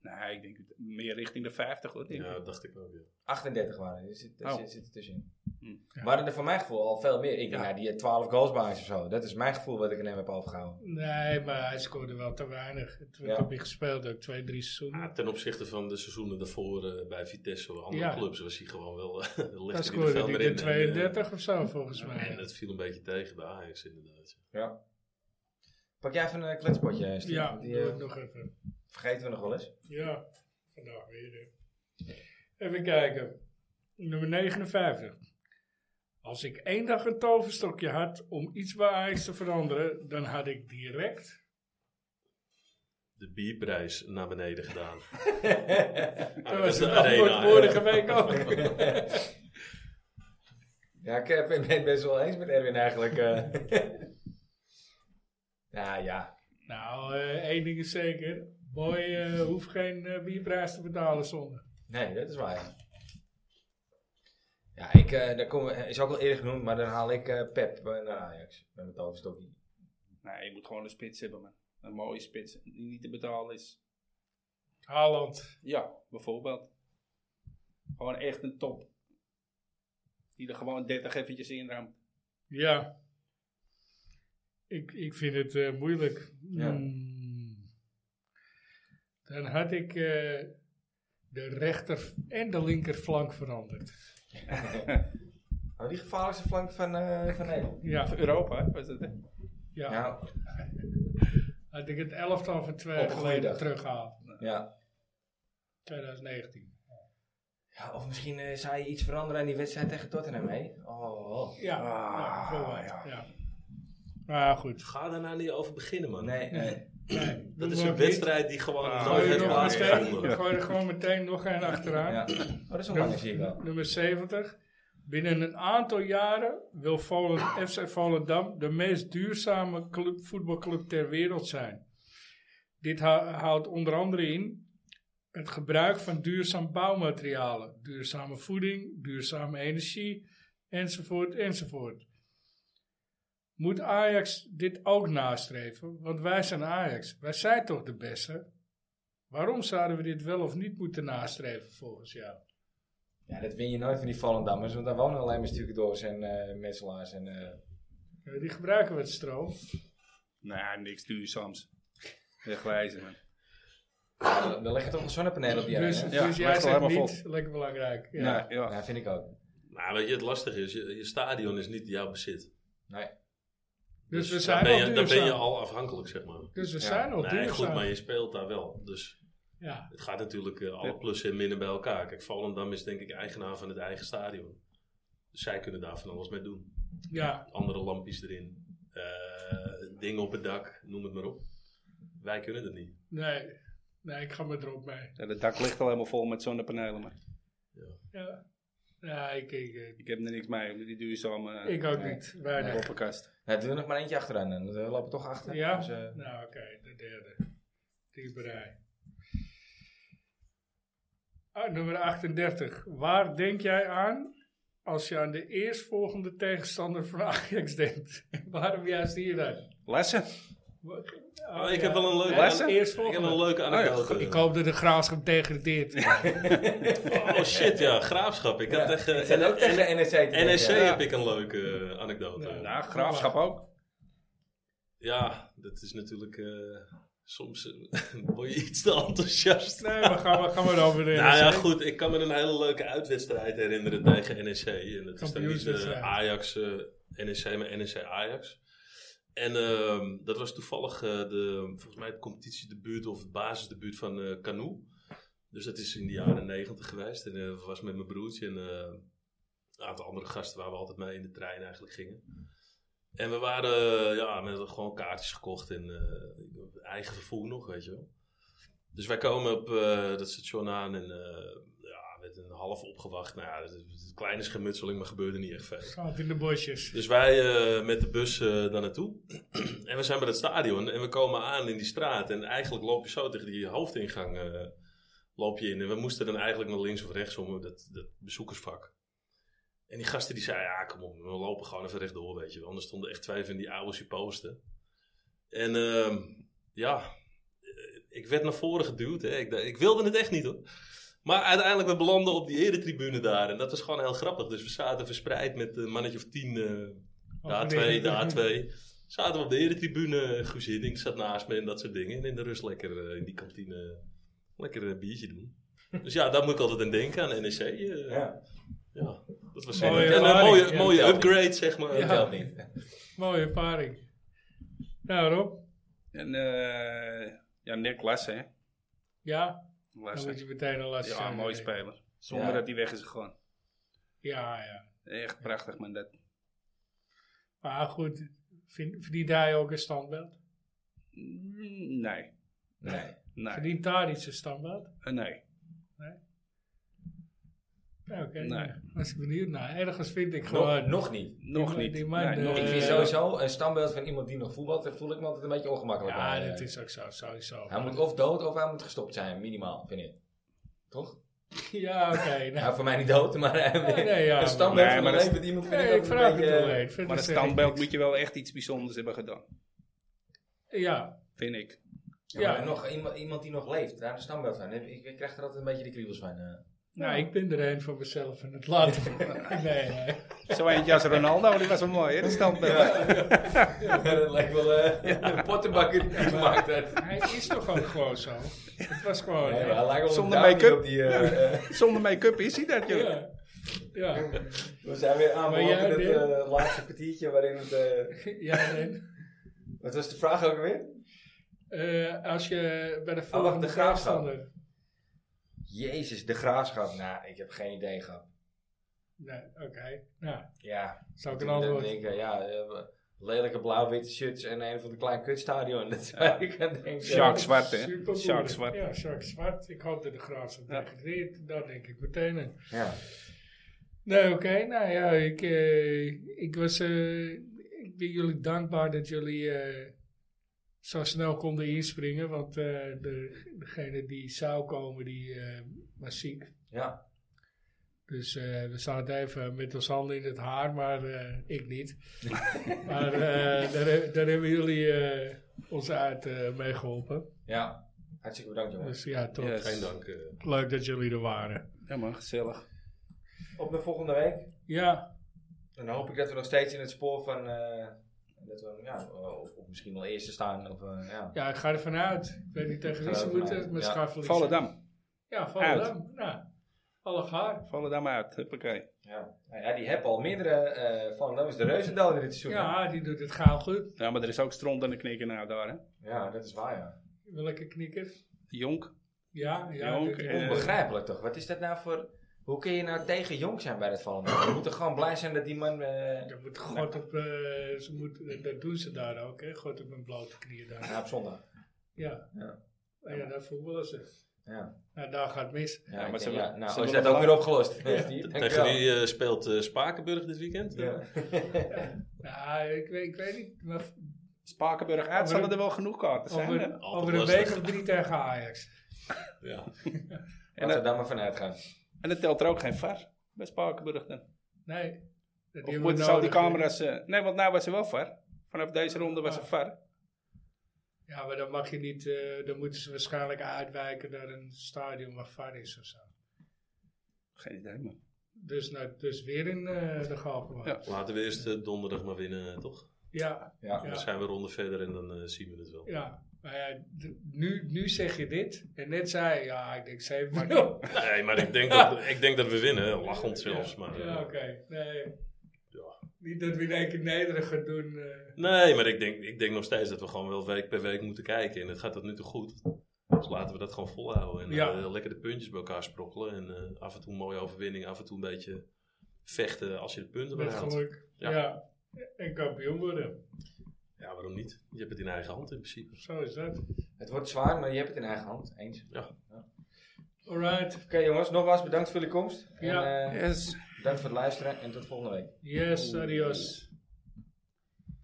Speaker 3: Nee, ik denk het- meer richting de 50 hoor. Denk
Speaker 4: Ja,
Speaker 3: ik.
Speaker 4: dat dacht ik ook, ja.
Speaker 1: 38 waren. Er zit, er
Speaker 3: Oh.
Speaker 1: zit, zit er tussenin.
Speaker 3: Hm.
Speaker 2: Ja.
Speaker 1: Waren er voor mijn gevoel al veel meer. Ik
Speaker 3: Ja.
Speaker 1: denk, nou, die had 12 goals bij Ajax of zo. Dat is mijn gevoel wat ik aan hem heb overgehouden.
Speaker 2: Nee, maar hij scoorde wel te weinig. Het
Speaker 1: Ja.
Speaker 2: werd heb ik gespeeld ook twee, drie seizoenen.
Speaker 4: Ah, ten opzichte van de seizoenen daarvoor eh, bij Vitesse of andere
Speaker 2: Ja.
Speaker 4: clubs was hij gewoon wel... eh, [LAUGHS] legde
Speaker 2: Hij
Speaker 4: hij
Speaker 2: scoorde
Speaker 4: velden
Speaker 2: die
Speaker 4: in
Speaker 2: de
Speaker 4: en, eh,
Speaker 2: 32 of zo, volgens mij.
Speaker 4: En dat viel een beetje tegen bij Ajax inderdaad.
Speaker 1: Ja. Pak jij even een eh, kletspotje, Steve?
Speaker 2: Ja,
Speaker 1: Want die,
Speaker 2: doe
Speaker 1: eh,
Speaker 2: ik nog even.
Speaker 1: vergeten we nog wel eens.
Speaker 2: Ja, vandaag weer. hè. Even kijken. Nummer 59. Als ik één dag een toverstokje had om iets bij Ajax te veranderen, dan had ik direct...
Speaker 4: De bierprijs naar beneden
Speaker 2: [LAUGHS]
Speaker 4: gedaan. Nou,
Speaker 2: Dat
Speaker 4: dat
Speaker 2: was
Speaker 4: is de
Speaker 2: het
Speaker 4: arena,
Speaker 2: antwoord
Speaker 4: hè.
Speaker 2: vorige week ook.
Speaker 4: [LAUGHS]
Speaker 1: ja, ik eh, ben ben het best wel eens met Erwin eigenlijk. eh. [LAUGHS] ja, ja.
Speaker 2: Nou, eh, één ding is zeker. Boy eh, hoeft geen eh, bierprijs te betalen zonder.
Speaker 1: Nee, dat is waar. ja. Ja, ik, eh daar kom, is ook al eerder genoemd, maar dan haal ik eh, Pep eh, naar Ajax. Met mijn toverstokje.
Speaker 3: Nee, je moet gewoon een spits hebben, man. Een mooie spits die niet te betalen is.
Speaker 2: Haaland.
Speaker 3: Ja, bijvoorbeeld. Gewoon echt een top. Die er gewoon 30 eventjes in raamt.
Speaker 2: Ja. Ik, ik vind het eh, moeilijk.
Speaker 1: Ja.
Speaker 2: Hmm. Dan had ik eh, de rechter en de linkerflank veranderd.
Speaker 1: Oh, die gevaarlijkste flank van, eh van Nederland.
Speaker 2: Ja,
Speaker 3: Europa, hè, was het? Hè?
Speaker 2: ja.
Speaker 1: Ja,
Speaker 2: Had ik het elftal van twee jaar
Speaker 1: Op een goede
Speaker 2: geleden
Speaker 1: dag.
Speaker 2: teruggehaald.
Speaker 1: ja.
Speaker 2: 2019.
Speaker 1: ja of misschien eh, zou je iets veranderen aan die wedstrijd tegen Tottenham, hè? Oh.
Speaker 2: Ja,
Speaker 4: Ah,
Speaker 2: ja, bijvoorbeeld, ja. Maar goed.
Speaker 4: Ga daar nou niet over beginnen, man.
Speaker 1: Nee, eh, nee.
Speaker 4: Dat is
Speaker 2: Doe
Speaker 4: een
Speaker 2: maar niet.
Speaker 4: wedstrijd die gewoon
Speaker 3: Ah,
Speaker 4: nooit
Speaker 2: Gooi er,
Speaker 4: heeft
Speaker 2: nog meteen,
Speaker 4: plaatsgevonden.
Speaker 2: gooi er gewoon meteen nog een achteraan.
Speaker 1: Ja. Oh, dat is een lange, zie ik wel.
Speaker 2: Nummer, nummer 70. Binnen een aantal jaren wil Volen- FC Volendam de meest duurzame club, voetbalclub ter wereld zijn. Dit hou- houdt onder andere in het gebruik van duurzaam bouwmaterialen, duurzame voeding, duurzame energie, enzovoort, enzovoort. Moet Ajax dit ook nastreven? Want wij zijn Ajax. Wij zijn toch de beste? Waarom zouden we dit wel of niet moeten nastreven volgens jou?
Speaker 1: Ja, dat win je nooit van die Volendammers, want daar wonen alleen maar stucadoors en eh metselaars. En, eh,
Speaker 2: Ja, die gebruiken we het stroom.
Speaker 3: Nee, niks duurzaams. Wegwijzen, man.
Speaker 1: Dan dan leg je toch een zonnepaneel op je
Speaker 2: dus
Speaker 1: hè?
Speaker 3: ja,
Speaker 2: dus
Speaker 3: leg
Speaker 2: jij
Speaker 3: het
Speaker 2: zegt
Speaker 3: helemaal
Speaker 2: niet, lekker belangrijk. Ja.
Speaker 3: Ja, ja.
Speaker 1: Ja, vind ik ook.
Speaker 4: Maar Nou, weet je, het lastige is, je, je stadion is niet jouw bezit.
Speaker 1: Nee.
Speaker 2: Dus we
Speaker 4: Dan
Speaker 2: zijn
Speaker 4: ben,
Speaker 2: al
Speaker 4: je, dan ben je
Speaker 2: duurzaam.
Speaker 4: al afhankelijk, zeg maar.
Speaker 2: Dus we
Speaker 1: Ja.
Speaker 2: zijn al
Speaker 4: Nee, goed, maar
Speaker 2: duurzaam.
Speaker 4: je speelt daar wel. Dus
Speaker 2: Ja,
Speaker 4: het gaat natuurlijk eh, alle plussen en minnen bij elkaar. Kijk, Volendam is denk ik eigenaar van het eigen stadion. Dus zij kunnen daar van alles mee doen.
Speaker 2: ja.
Speaker 4: Andere lampjes erin, eh, dingen op het dak, noem het maar op. Wij kunnen dat niet.
Speaker 2: Nee. nee, ik ga met erop mee.
Speaker 3: Ja, dat dak ligt al helemaal vol met zonnepanelen, maar
Speaker 2: Ja, ja ik, ik, ik,
Speaker 3: ik heb er niks mee. Met die duurzame eh,
Speaker 2: ik ook
Speaker 1: Nee.
Speaker 2: niet. Weinig.
Speaker 3: poppenkast.
Speaker 1: Nou, doe er nog maar eentje achteraan. Dan eh, lopen we toch achter.
Speaker 2: Ja?
Speaker 1: Dus, eh,
Speaker 2: Nou, oké, de derde. Dieperij. Ah, nummer 38. Waar denk jij aan als je aan de eerstvolgende tegenstander van Ajax denkt? [LAUGHS] Waarom juist hier dan?
Speaker 3: Lessen.
Speaker 2: Ah,
Speaker 4: Oh, ik
Speaker 2: ja.
Speaker 4: heb wel een leuke,
Speaker 3: Lessen?
Speaker 4: ik heb
Speaker 2: Eerstvolgende.
Speaker 4: een leuke anekdote.
Speaker 2: Ik hoop dat de graafschap degradeert.
Speaker 4: Oh shit, ja, graafschap. Ik had echt, eh,
Speaker 1: ik zat ook tegen de NEC. te denken.
Speaker 4: NEC
Speaker 1: Ja.
Speaker 4: heb ik een leuke eh, anekdote.
Speaker 2: Ja.
Speaker 3: Nou, graafschap ook.
Speaker 4: Ja, dat is natuurlijk eh, soms eh, [LAUGHS] word je iets te enthousiast.
Speaker 2: Nee, maar gaan we, gaan we over de
Speaker 4: Nou ja,
Speaker 2: NEC.
Speaker 4: goed. Ik kan me een hele leuke uitwedstrijd herinneren tegen NEC. En dat is dan niet
Speaker 2: Kampioenswedstrijd.
Speaker 4: eh, Ajax, eh, NEC, maar NEC Ajax. En ehm, dat was toevallig eh, de, volgens mij het competitiedebuut of het basisdebuut van eh Canoe. Dus dat is in de jaren negentig geweest. En eh, was met mijn broertje en eh, een aantal andere gasten waar we altijd mee in de trein eigenlijk gingen. En we waren, eh, ja, we hadden gewoon kaartjes gekocht en eh, eigen vervoer nog, weet je wel. Dus wij komen op eh, dat station aan en eh, ja, met een half opgewacht. Nou ja, dat is een kleine schermutseling, maar gebeurde niet echt veel.
Speaker 2: Gaat in de bosjes.
Speaker 4: Dus wij eh, met de bus eh, daar naartoe. en we zijn bij het stadion en we komen aan in die straat. En eigenlijk loop je zo tegen die hoofdingang eh, loop je in. En we moesten dan eigenlijk naar links of rechts om eh, dat, dat bezoekersvak. En die gasten die zeiden, ja kom op, we lopen gewoon even rechtdoor, weet je wel. Anders stonden echt twee van die oude supposten. En ehm, ja, eh, ik werd naar voren geduwd. Hè. Ik, dacht- ik wilde het echt niet hoor. Maar uiteindelijk, we belanden op die eretribune daar. En dat was gewoon heel grappig. Dus we zaten verspreid met een mannetje of tien.
Speaker 2: Oh,
Speaker 4: eh daar twee, daar twee. Zaten we op de eretribune. Guus Hiddink zat naast me en dat soort dingen. En in de rust lekker eh, in die kantine lekker een biertje doen. Dus ja, daar moet ik altijd aan denken, aan NEC. eh. ja.
Speaker 1: Ja.
Speaker 4: dat was
Speaker 2: Mooie
Speaker 4: en een
Speaker 2: ervaring.
Speaker 4: mooie,
Speaker 2: Ja,
Speaker 4: mooie
Speaker 1: telt
Speaker 4: upgrade, zeg maar.
Speaker 2: Ja.
Speaker 4: Telt niet.
Speaker 2: Mooie ervaring. Nou, Rob.
Speaker 3: En eh ja, Nick Lessen, hè.
Speaker 2: Ja, dan moet je
Speaker 3: Lessen.
Speaker 2: meteen al laten
Speaker 3: Ja,
Speaker 2: zien.
Speaker 3: mooi speler. Zonder
Speaker 1: Ja.
Speaker 3: dat hij weg is gegaan.
Speaker 2: Ja, ja.
Speaker 3: Echt prachtig, man. Dat,
Speaker 2: Maar goed, vind- verdient hij ook een standbeeld?
Speaker 3: Mm, nee.
Speaker 1: Nee.
Speaker 3: Nee.
Speaker 2: Verdient daar iets een standbeeld?
Speaker 3: Eh, nee.
Speaker 2: Ja, oké.
Speaker 3: Nee.
Speaker 2: Nou, Was ik benieuwd naar. Ergens vind ik
Speaker 1: Nog,
Speaker 2: gewoon...
Speaker 1: nog niet.
Speaker 3: Nog
Speaker 2: man-
Speaker 3: niet.
Speaker 2: die man,
Speaker 3: Nee, nog
Speaker 2: eh,
Speaker 1: Ik
Speaker 3: niet.
Speaker 1: vind
Speaker 2: Eh,
Speaker 1: sowieso een standbeeld van iemand die nog voetbalt, daar voel ik me altijd een beetje ongemakkelijk
Speaker 2: ja,
Speaker 1: bij.
Speaker 2: dat is ook zo, sowieso.
Speaker 1: Hij moet of dood of hij moet gestopt zijn, minimaal, vind ik. Toch?
Speaker 2: [LAUGHS] Ja, oké. nou.
Speaker 1: Nou, voor mij niet dood, [LAUGHS] maar eh,
Speaker 2: Nee, nee, ja,
Speaker 1: een standbeeld van
Speaker 3: maar- Nee,
Speaker 1: een
Speaker 3: maar dat-
Speaker 1: leven die moet vind
Speaker 2: Nee,
Speaker 1: ik,
Speaker 2: ik
Speaker 1: ook een
Speaker 2: vraag
Speaker 1: beetje-
Speaker 2: het alleen. Ik vind
Speaker 3: Maar een
Speaker 2: het zeg ik
Speaker 3: standbeeld
Speaker 2: niks.
Speaker 3: moet je wel echt iets bijzonders hebben gedaan.
Speaker 2: Ja,
Speaker 3: Vind ik.
Speaker 1: Ja, maar
Speaker 2: Ja.
Speaker 1: nog iemand, iemand die nog leeft, daar een standbeeld van. Ik, ik krijg er altijd een beetje de kriebels van. eh.
Speaker 2: nou, ik ben er een voor mezelf en het laten. [LAUGHS] nee, nee.
Speaker 3: Zo eentje als Ronaldo, die was wel mooi, hè? Dat standbeeld.
Speaker 1: [LAUGHS] dat lijkt wel eh, een pottenbakker die het gemaakt heeft.
Speaker 2: Hij is toch ook gewoon zo? Het was gewoon...
Speaker 1: Nee,
Speaker 2: Ja,
Speaker 1: maar hij lijkt wel
Speaker 3: Zonder
Speaker 1: een Dani
Speaker 3: make-up.
Speaker 1: op die, eh, eh,
Speaker 3: Zonder make-up is hij dat, joh.
Speaker 2: ja. ja.
Speaker 1: we zijn weer aanbeland
Speaker 2: Maar
Speaker 1: in
Speaker 2: jij,
Speaker 1: het
Speaker 2: Dirk?
Speaker 1: eh, laatste kwartiertje waarin het... eh,
Speaker 2: nee.
Speaker 1: wat was de vraag ook alweer?
Speaker 2: Eh, als je bij de
Speaker 1: Oh, wacht,
Speaker 2: volgende
Speaker 1: de graafschap.
Speaker 2: tegenstander-
Speaker 1: Jezus, de graafschap. Nou, ik heb geen idee gehad.
Speaker 2: Nee, oké. Nou,
Speaker 1: Ja,
Speaker 2: zou ik een
Speaker 1: dan
Speaker 2: antwoord...
Speaker 1: denk ik, ja, eh, lelijke blauw-witte shirts en een van de klein kutstadion. [LAUGHS] Dat is waar ik aan denk.
Speaker 3: Sjaak Zwart, hè?
Speaker 2: Supermoeilijk.
Speaker 3: Sjaak Zwart.
Speaker 2: Ja, Sjaak Zwart. Ik hoop dat de Graafschap
Speaker 3: Ja.
Speaker 2: degradeert. Daar denk ik meteen aan.
Speaker 1: Ja.
Speaker 2: Nee, oké. Nou ja, ik, eh, ik was... eh, ik ben jullie dankbaar dat jullie eh, zo snel konden inspringen. Want eh, de, degene die zou komen, die eh, was ziek.
Speaker 1: ja.
Speaker 2: Dus eh, we zaten even met ons handen in het haar, maar eh, ik niet. maar eh, daar, he- daar hebben jullie eh, ons uit eh, mee geholpen.
Speaker 1: Ja. Hartstikke bedankt, jongen.
Speaker 2: Dus ja, toch.
Speaker 3: Yes.
Speaker 4: Geen dank. eh.
Speaker 2: Leuk dat jullie er waren.
Speaker 3: Ja, man, gezellig.
Speaker 1: Op de volgende week.
Speaker 2: Ja,
Speaker 1: En dan hoop ik dat we nog steeds in het spoor van eh, En dat we ja, of, of misschien wel eerste staan. Of, eh, ja.
Speaker 2: Ja, ik ga ervan uit. Ik weet niet tegen wie
Speaker 1: Ga
Speaker 2: ze
Speaker 1: ervan
Speaker 2: moeten,
Speaker 1: uit,
Speaker 2: maar ze
Speaker 1: ja.
Speaker 2: gaan verliezen.
Speaker 3: Volendam.
Speaker 2: Ja, Volendam. Nou, alle gaar.
Speaker 3: Volendam uit. Huppakee.
Speaker 1: Ja. Nou ja, die hebben al meerdere. eh van Dam is de Reuzendal in dit seizoen.
Speaker 2: Ja, die doet het gaal goed.
Speaker 3: Ja, maar er is ook stront aan de knikker nou daar, hè.
Speaker 1: Ja, dat is waar, ja.
Speaker 2: Welke knikker?
Speaker 3: Jonk.
Speaker 2: Ja, ja.
Speaker 3: Jonk,
Speaker 2: dit-
Speaker 3: eh,
Speaker 1: Onbegrijpelijk toch? Wat is dat nou voor... Hoe kun je nou tegen Jong zijn bij dat Volendam? We moeten gewoon blij zijn dat die man... eh,
Speaker 2: Dat moet God op, eh, ze moet, dat doen ze daar ook, hè? God op hun blote knieën daar.
Speaker 1: ja, op zondag.
Speaker 2: Ja.
Speaker 1: Ja.
Speaker 2: Maar ja, dat voetballen ze.
Speaker 1: Ja,
Speaker 2: Nou, daar gaat het mis.
Speaker 1: ja,
Speaker 3: maar
Speaker 1: ik
Speaker 3: ze
Speaker 1: denk,
Speaker 3: hebben-
Speaker 1: ja,
Speaker 3: ze
Speaker 1: nou, is
Speaker 3: hebben
Speaker 1: dat ook
Speaker 3: nog-
Speaker 1: weer opgelost.
Speaker 4: Tegen [LAUGHS]
Speaker 1: Dankjewel.
Speaker 4: die eh, speelt eh, Spakenburg dit weekend.
Speaker 1: Ja.
Speaker 2: Ja, Nou, ik weet, ik weet niet. Maar
Speaker 3: Spakenburg uit.
Speaker 2: Over-
Speaker 3: Zullen er wel genoeg kaarten zijn,
Speaker 2: over,
Speaker 3: hè?
Speaker 2: over
Speaker 4: Altijd
Speaker 2: een
Speaker 4: lastig.
Speaker 2: week of drie tegen Ajax.
Speaker 4: Ja.
Speaker 1: Laten we daar maar vanuit gaan.
Speaker 3: En dat telt er ook geen var bij Spakenburg dan.
Speaker 2: Nee. Dat hebben
Speaker 3: Of
Speaker 2: we
Speaker 3: moeten
Speaker 2: nodig.
Speaker 3: zou die camera's... eh, nee, want nou was er wel var. Vanaf deze ronde was er
Speaker 2: Ah.
Speaker 3: var.
Speaker 2: Ja, maar dan mag je niet, eh, dan moeten ze waarschijnlijk uitwijken naar een stadion waar VAR is of zo.
Speaker 3: Geen idee, man.
Speaker 2: Dus, nou, dus weer in eh, de gal gemaakt.
Speaker 3: Ja.
Speaker 2: Ja.
Speaker 4: Laten we eerst eh, donderdag maar winnen, toch?
Speaker 2: Ja,
Speaker 1: Ja.
Speaker 4: Dan zijn we een ronde verder en dan eh, zien we het wel.
Speaker 2: Maar ja, d- nu, nu zeg je dit. En net zei je, ja, ik denk 7
Speaker 1: [LAUGHS]
Speaker 2: maar
Speaker 4: Nee, maar ik
Speaker 2: [LAUGHS]
Speaker 4: denk, dat, ik denk dat we winnen. Lachend zelfs.
Speaker 2: Ja,
Speaker 4: Maar, eh,
Speaker 2: ja, oké. Nee. Niet dat we in één keer nederig gaan doen. eh.
Speaker 4: Nee, maar ik denk, ik denk nog steeds dat we gewoon wel week per week moeten kijken. En het gaat tot nu toe goed. Dus laten we dat gewoon volhouden. En
Speaker 2: Ja.
Speaker 4: eh, lekker de puntjes bij elkaar sprokkelen. En eh, af en toe een mooie overwinning. Af en toe een beetje vechten als je de punten
Speaker 2: met
Speaker 4: behaalt.
Speaker 2: geluk.
Speaker 4: Ja.
Speaker 2: Ja. En kampioen worden.
Speaker 4: Ja, waarom niet? Je hebt het in eigen hand in principe.
Speaker 2: Zo is dat.
Speaker 1: Het wordt zwaar, maar je hebt het in eigen hand. Eens. Oké
Speaker 2: Alright.
Speaker 1: jongens, nogmaals bedankt voor jullie komst.
Speaker 2: Ja.
Speaker 1: En, eh,
Speaker 3: Yes.
Speaker 1: bedankt voor het luisteren en tot volgende week.
Speaker 2: Yes, adios.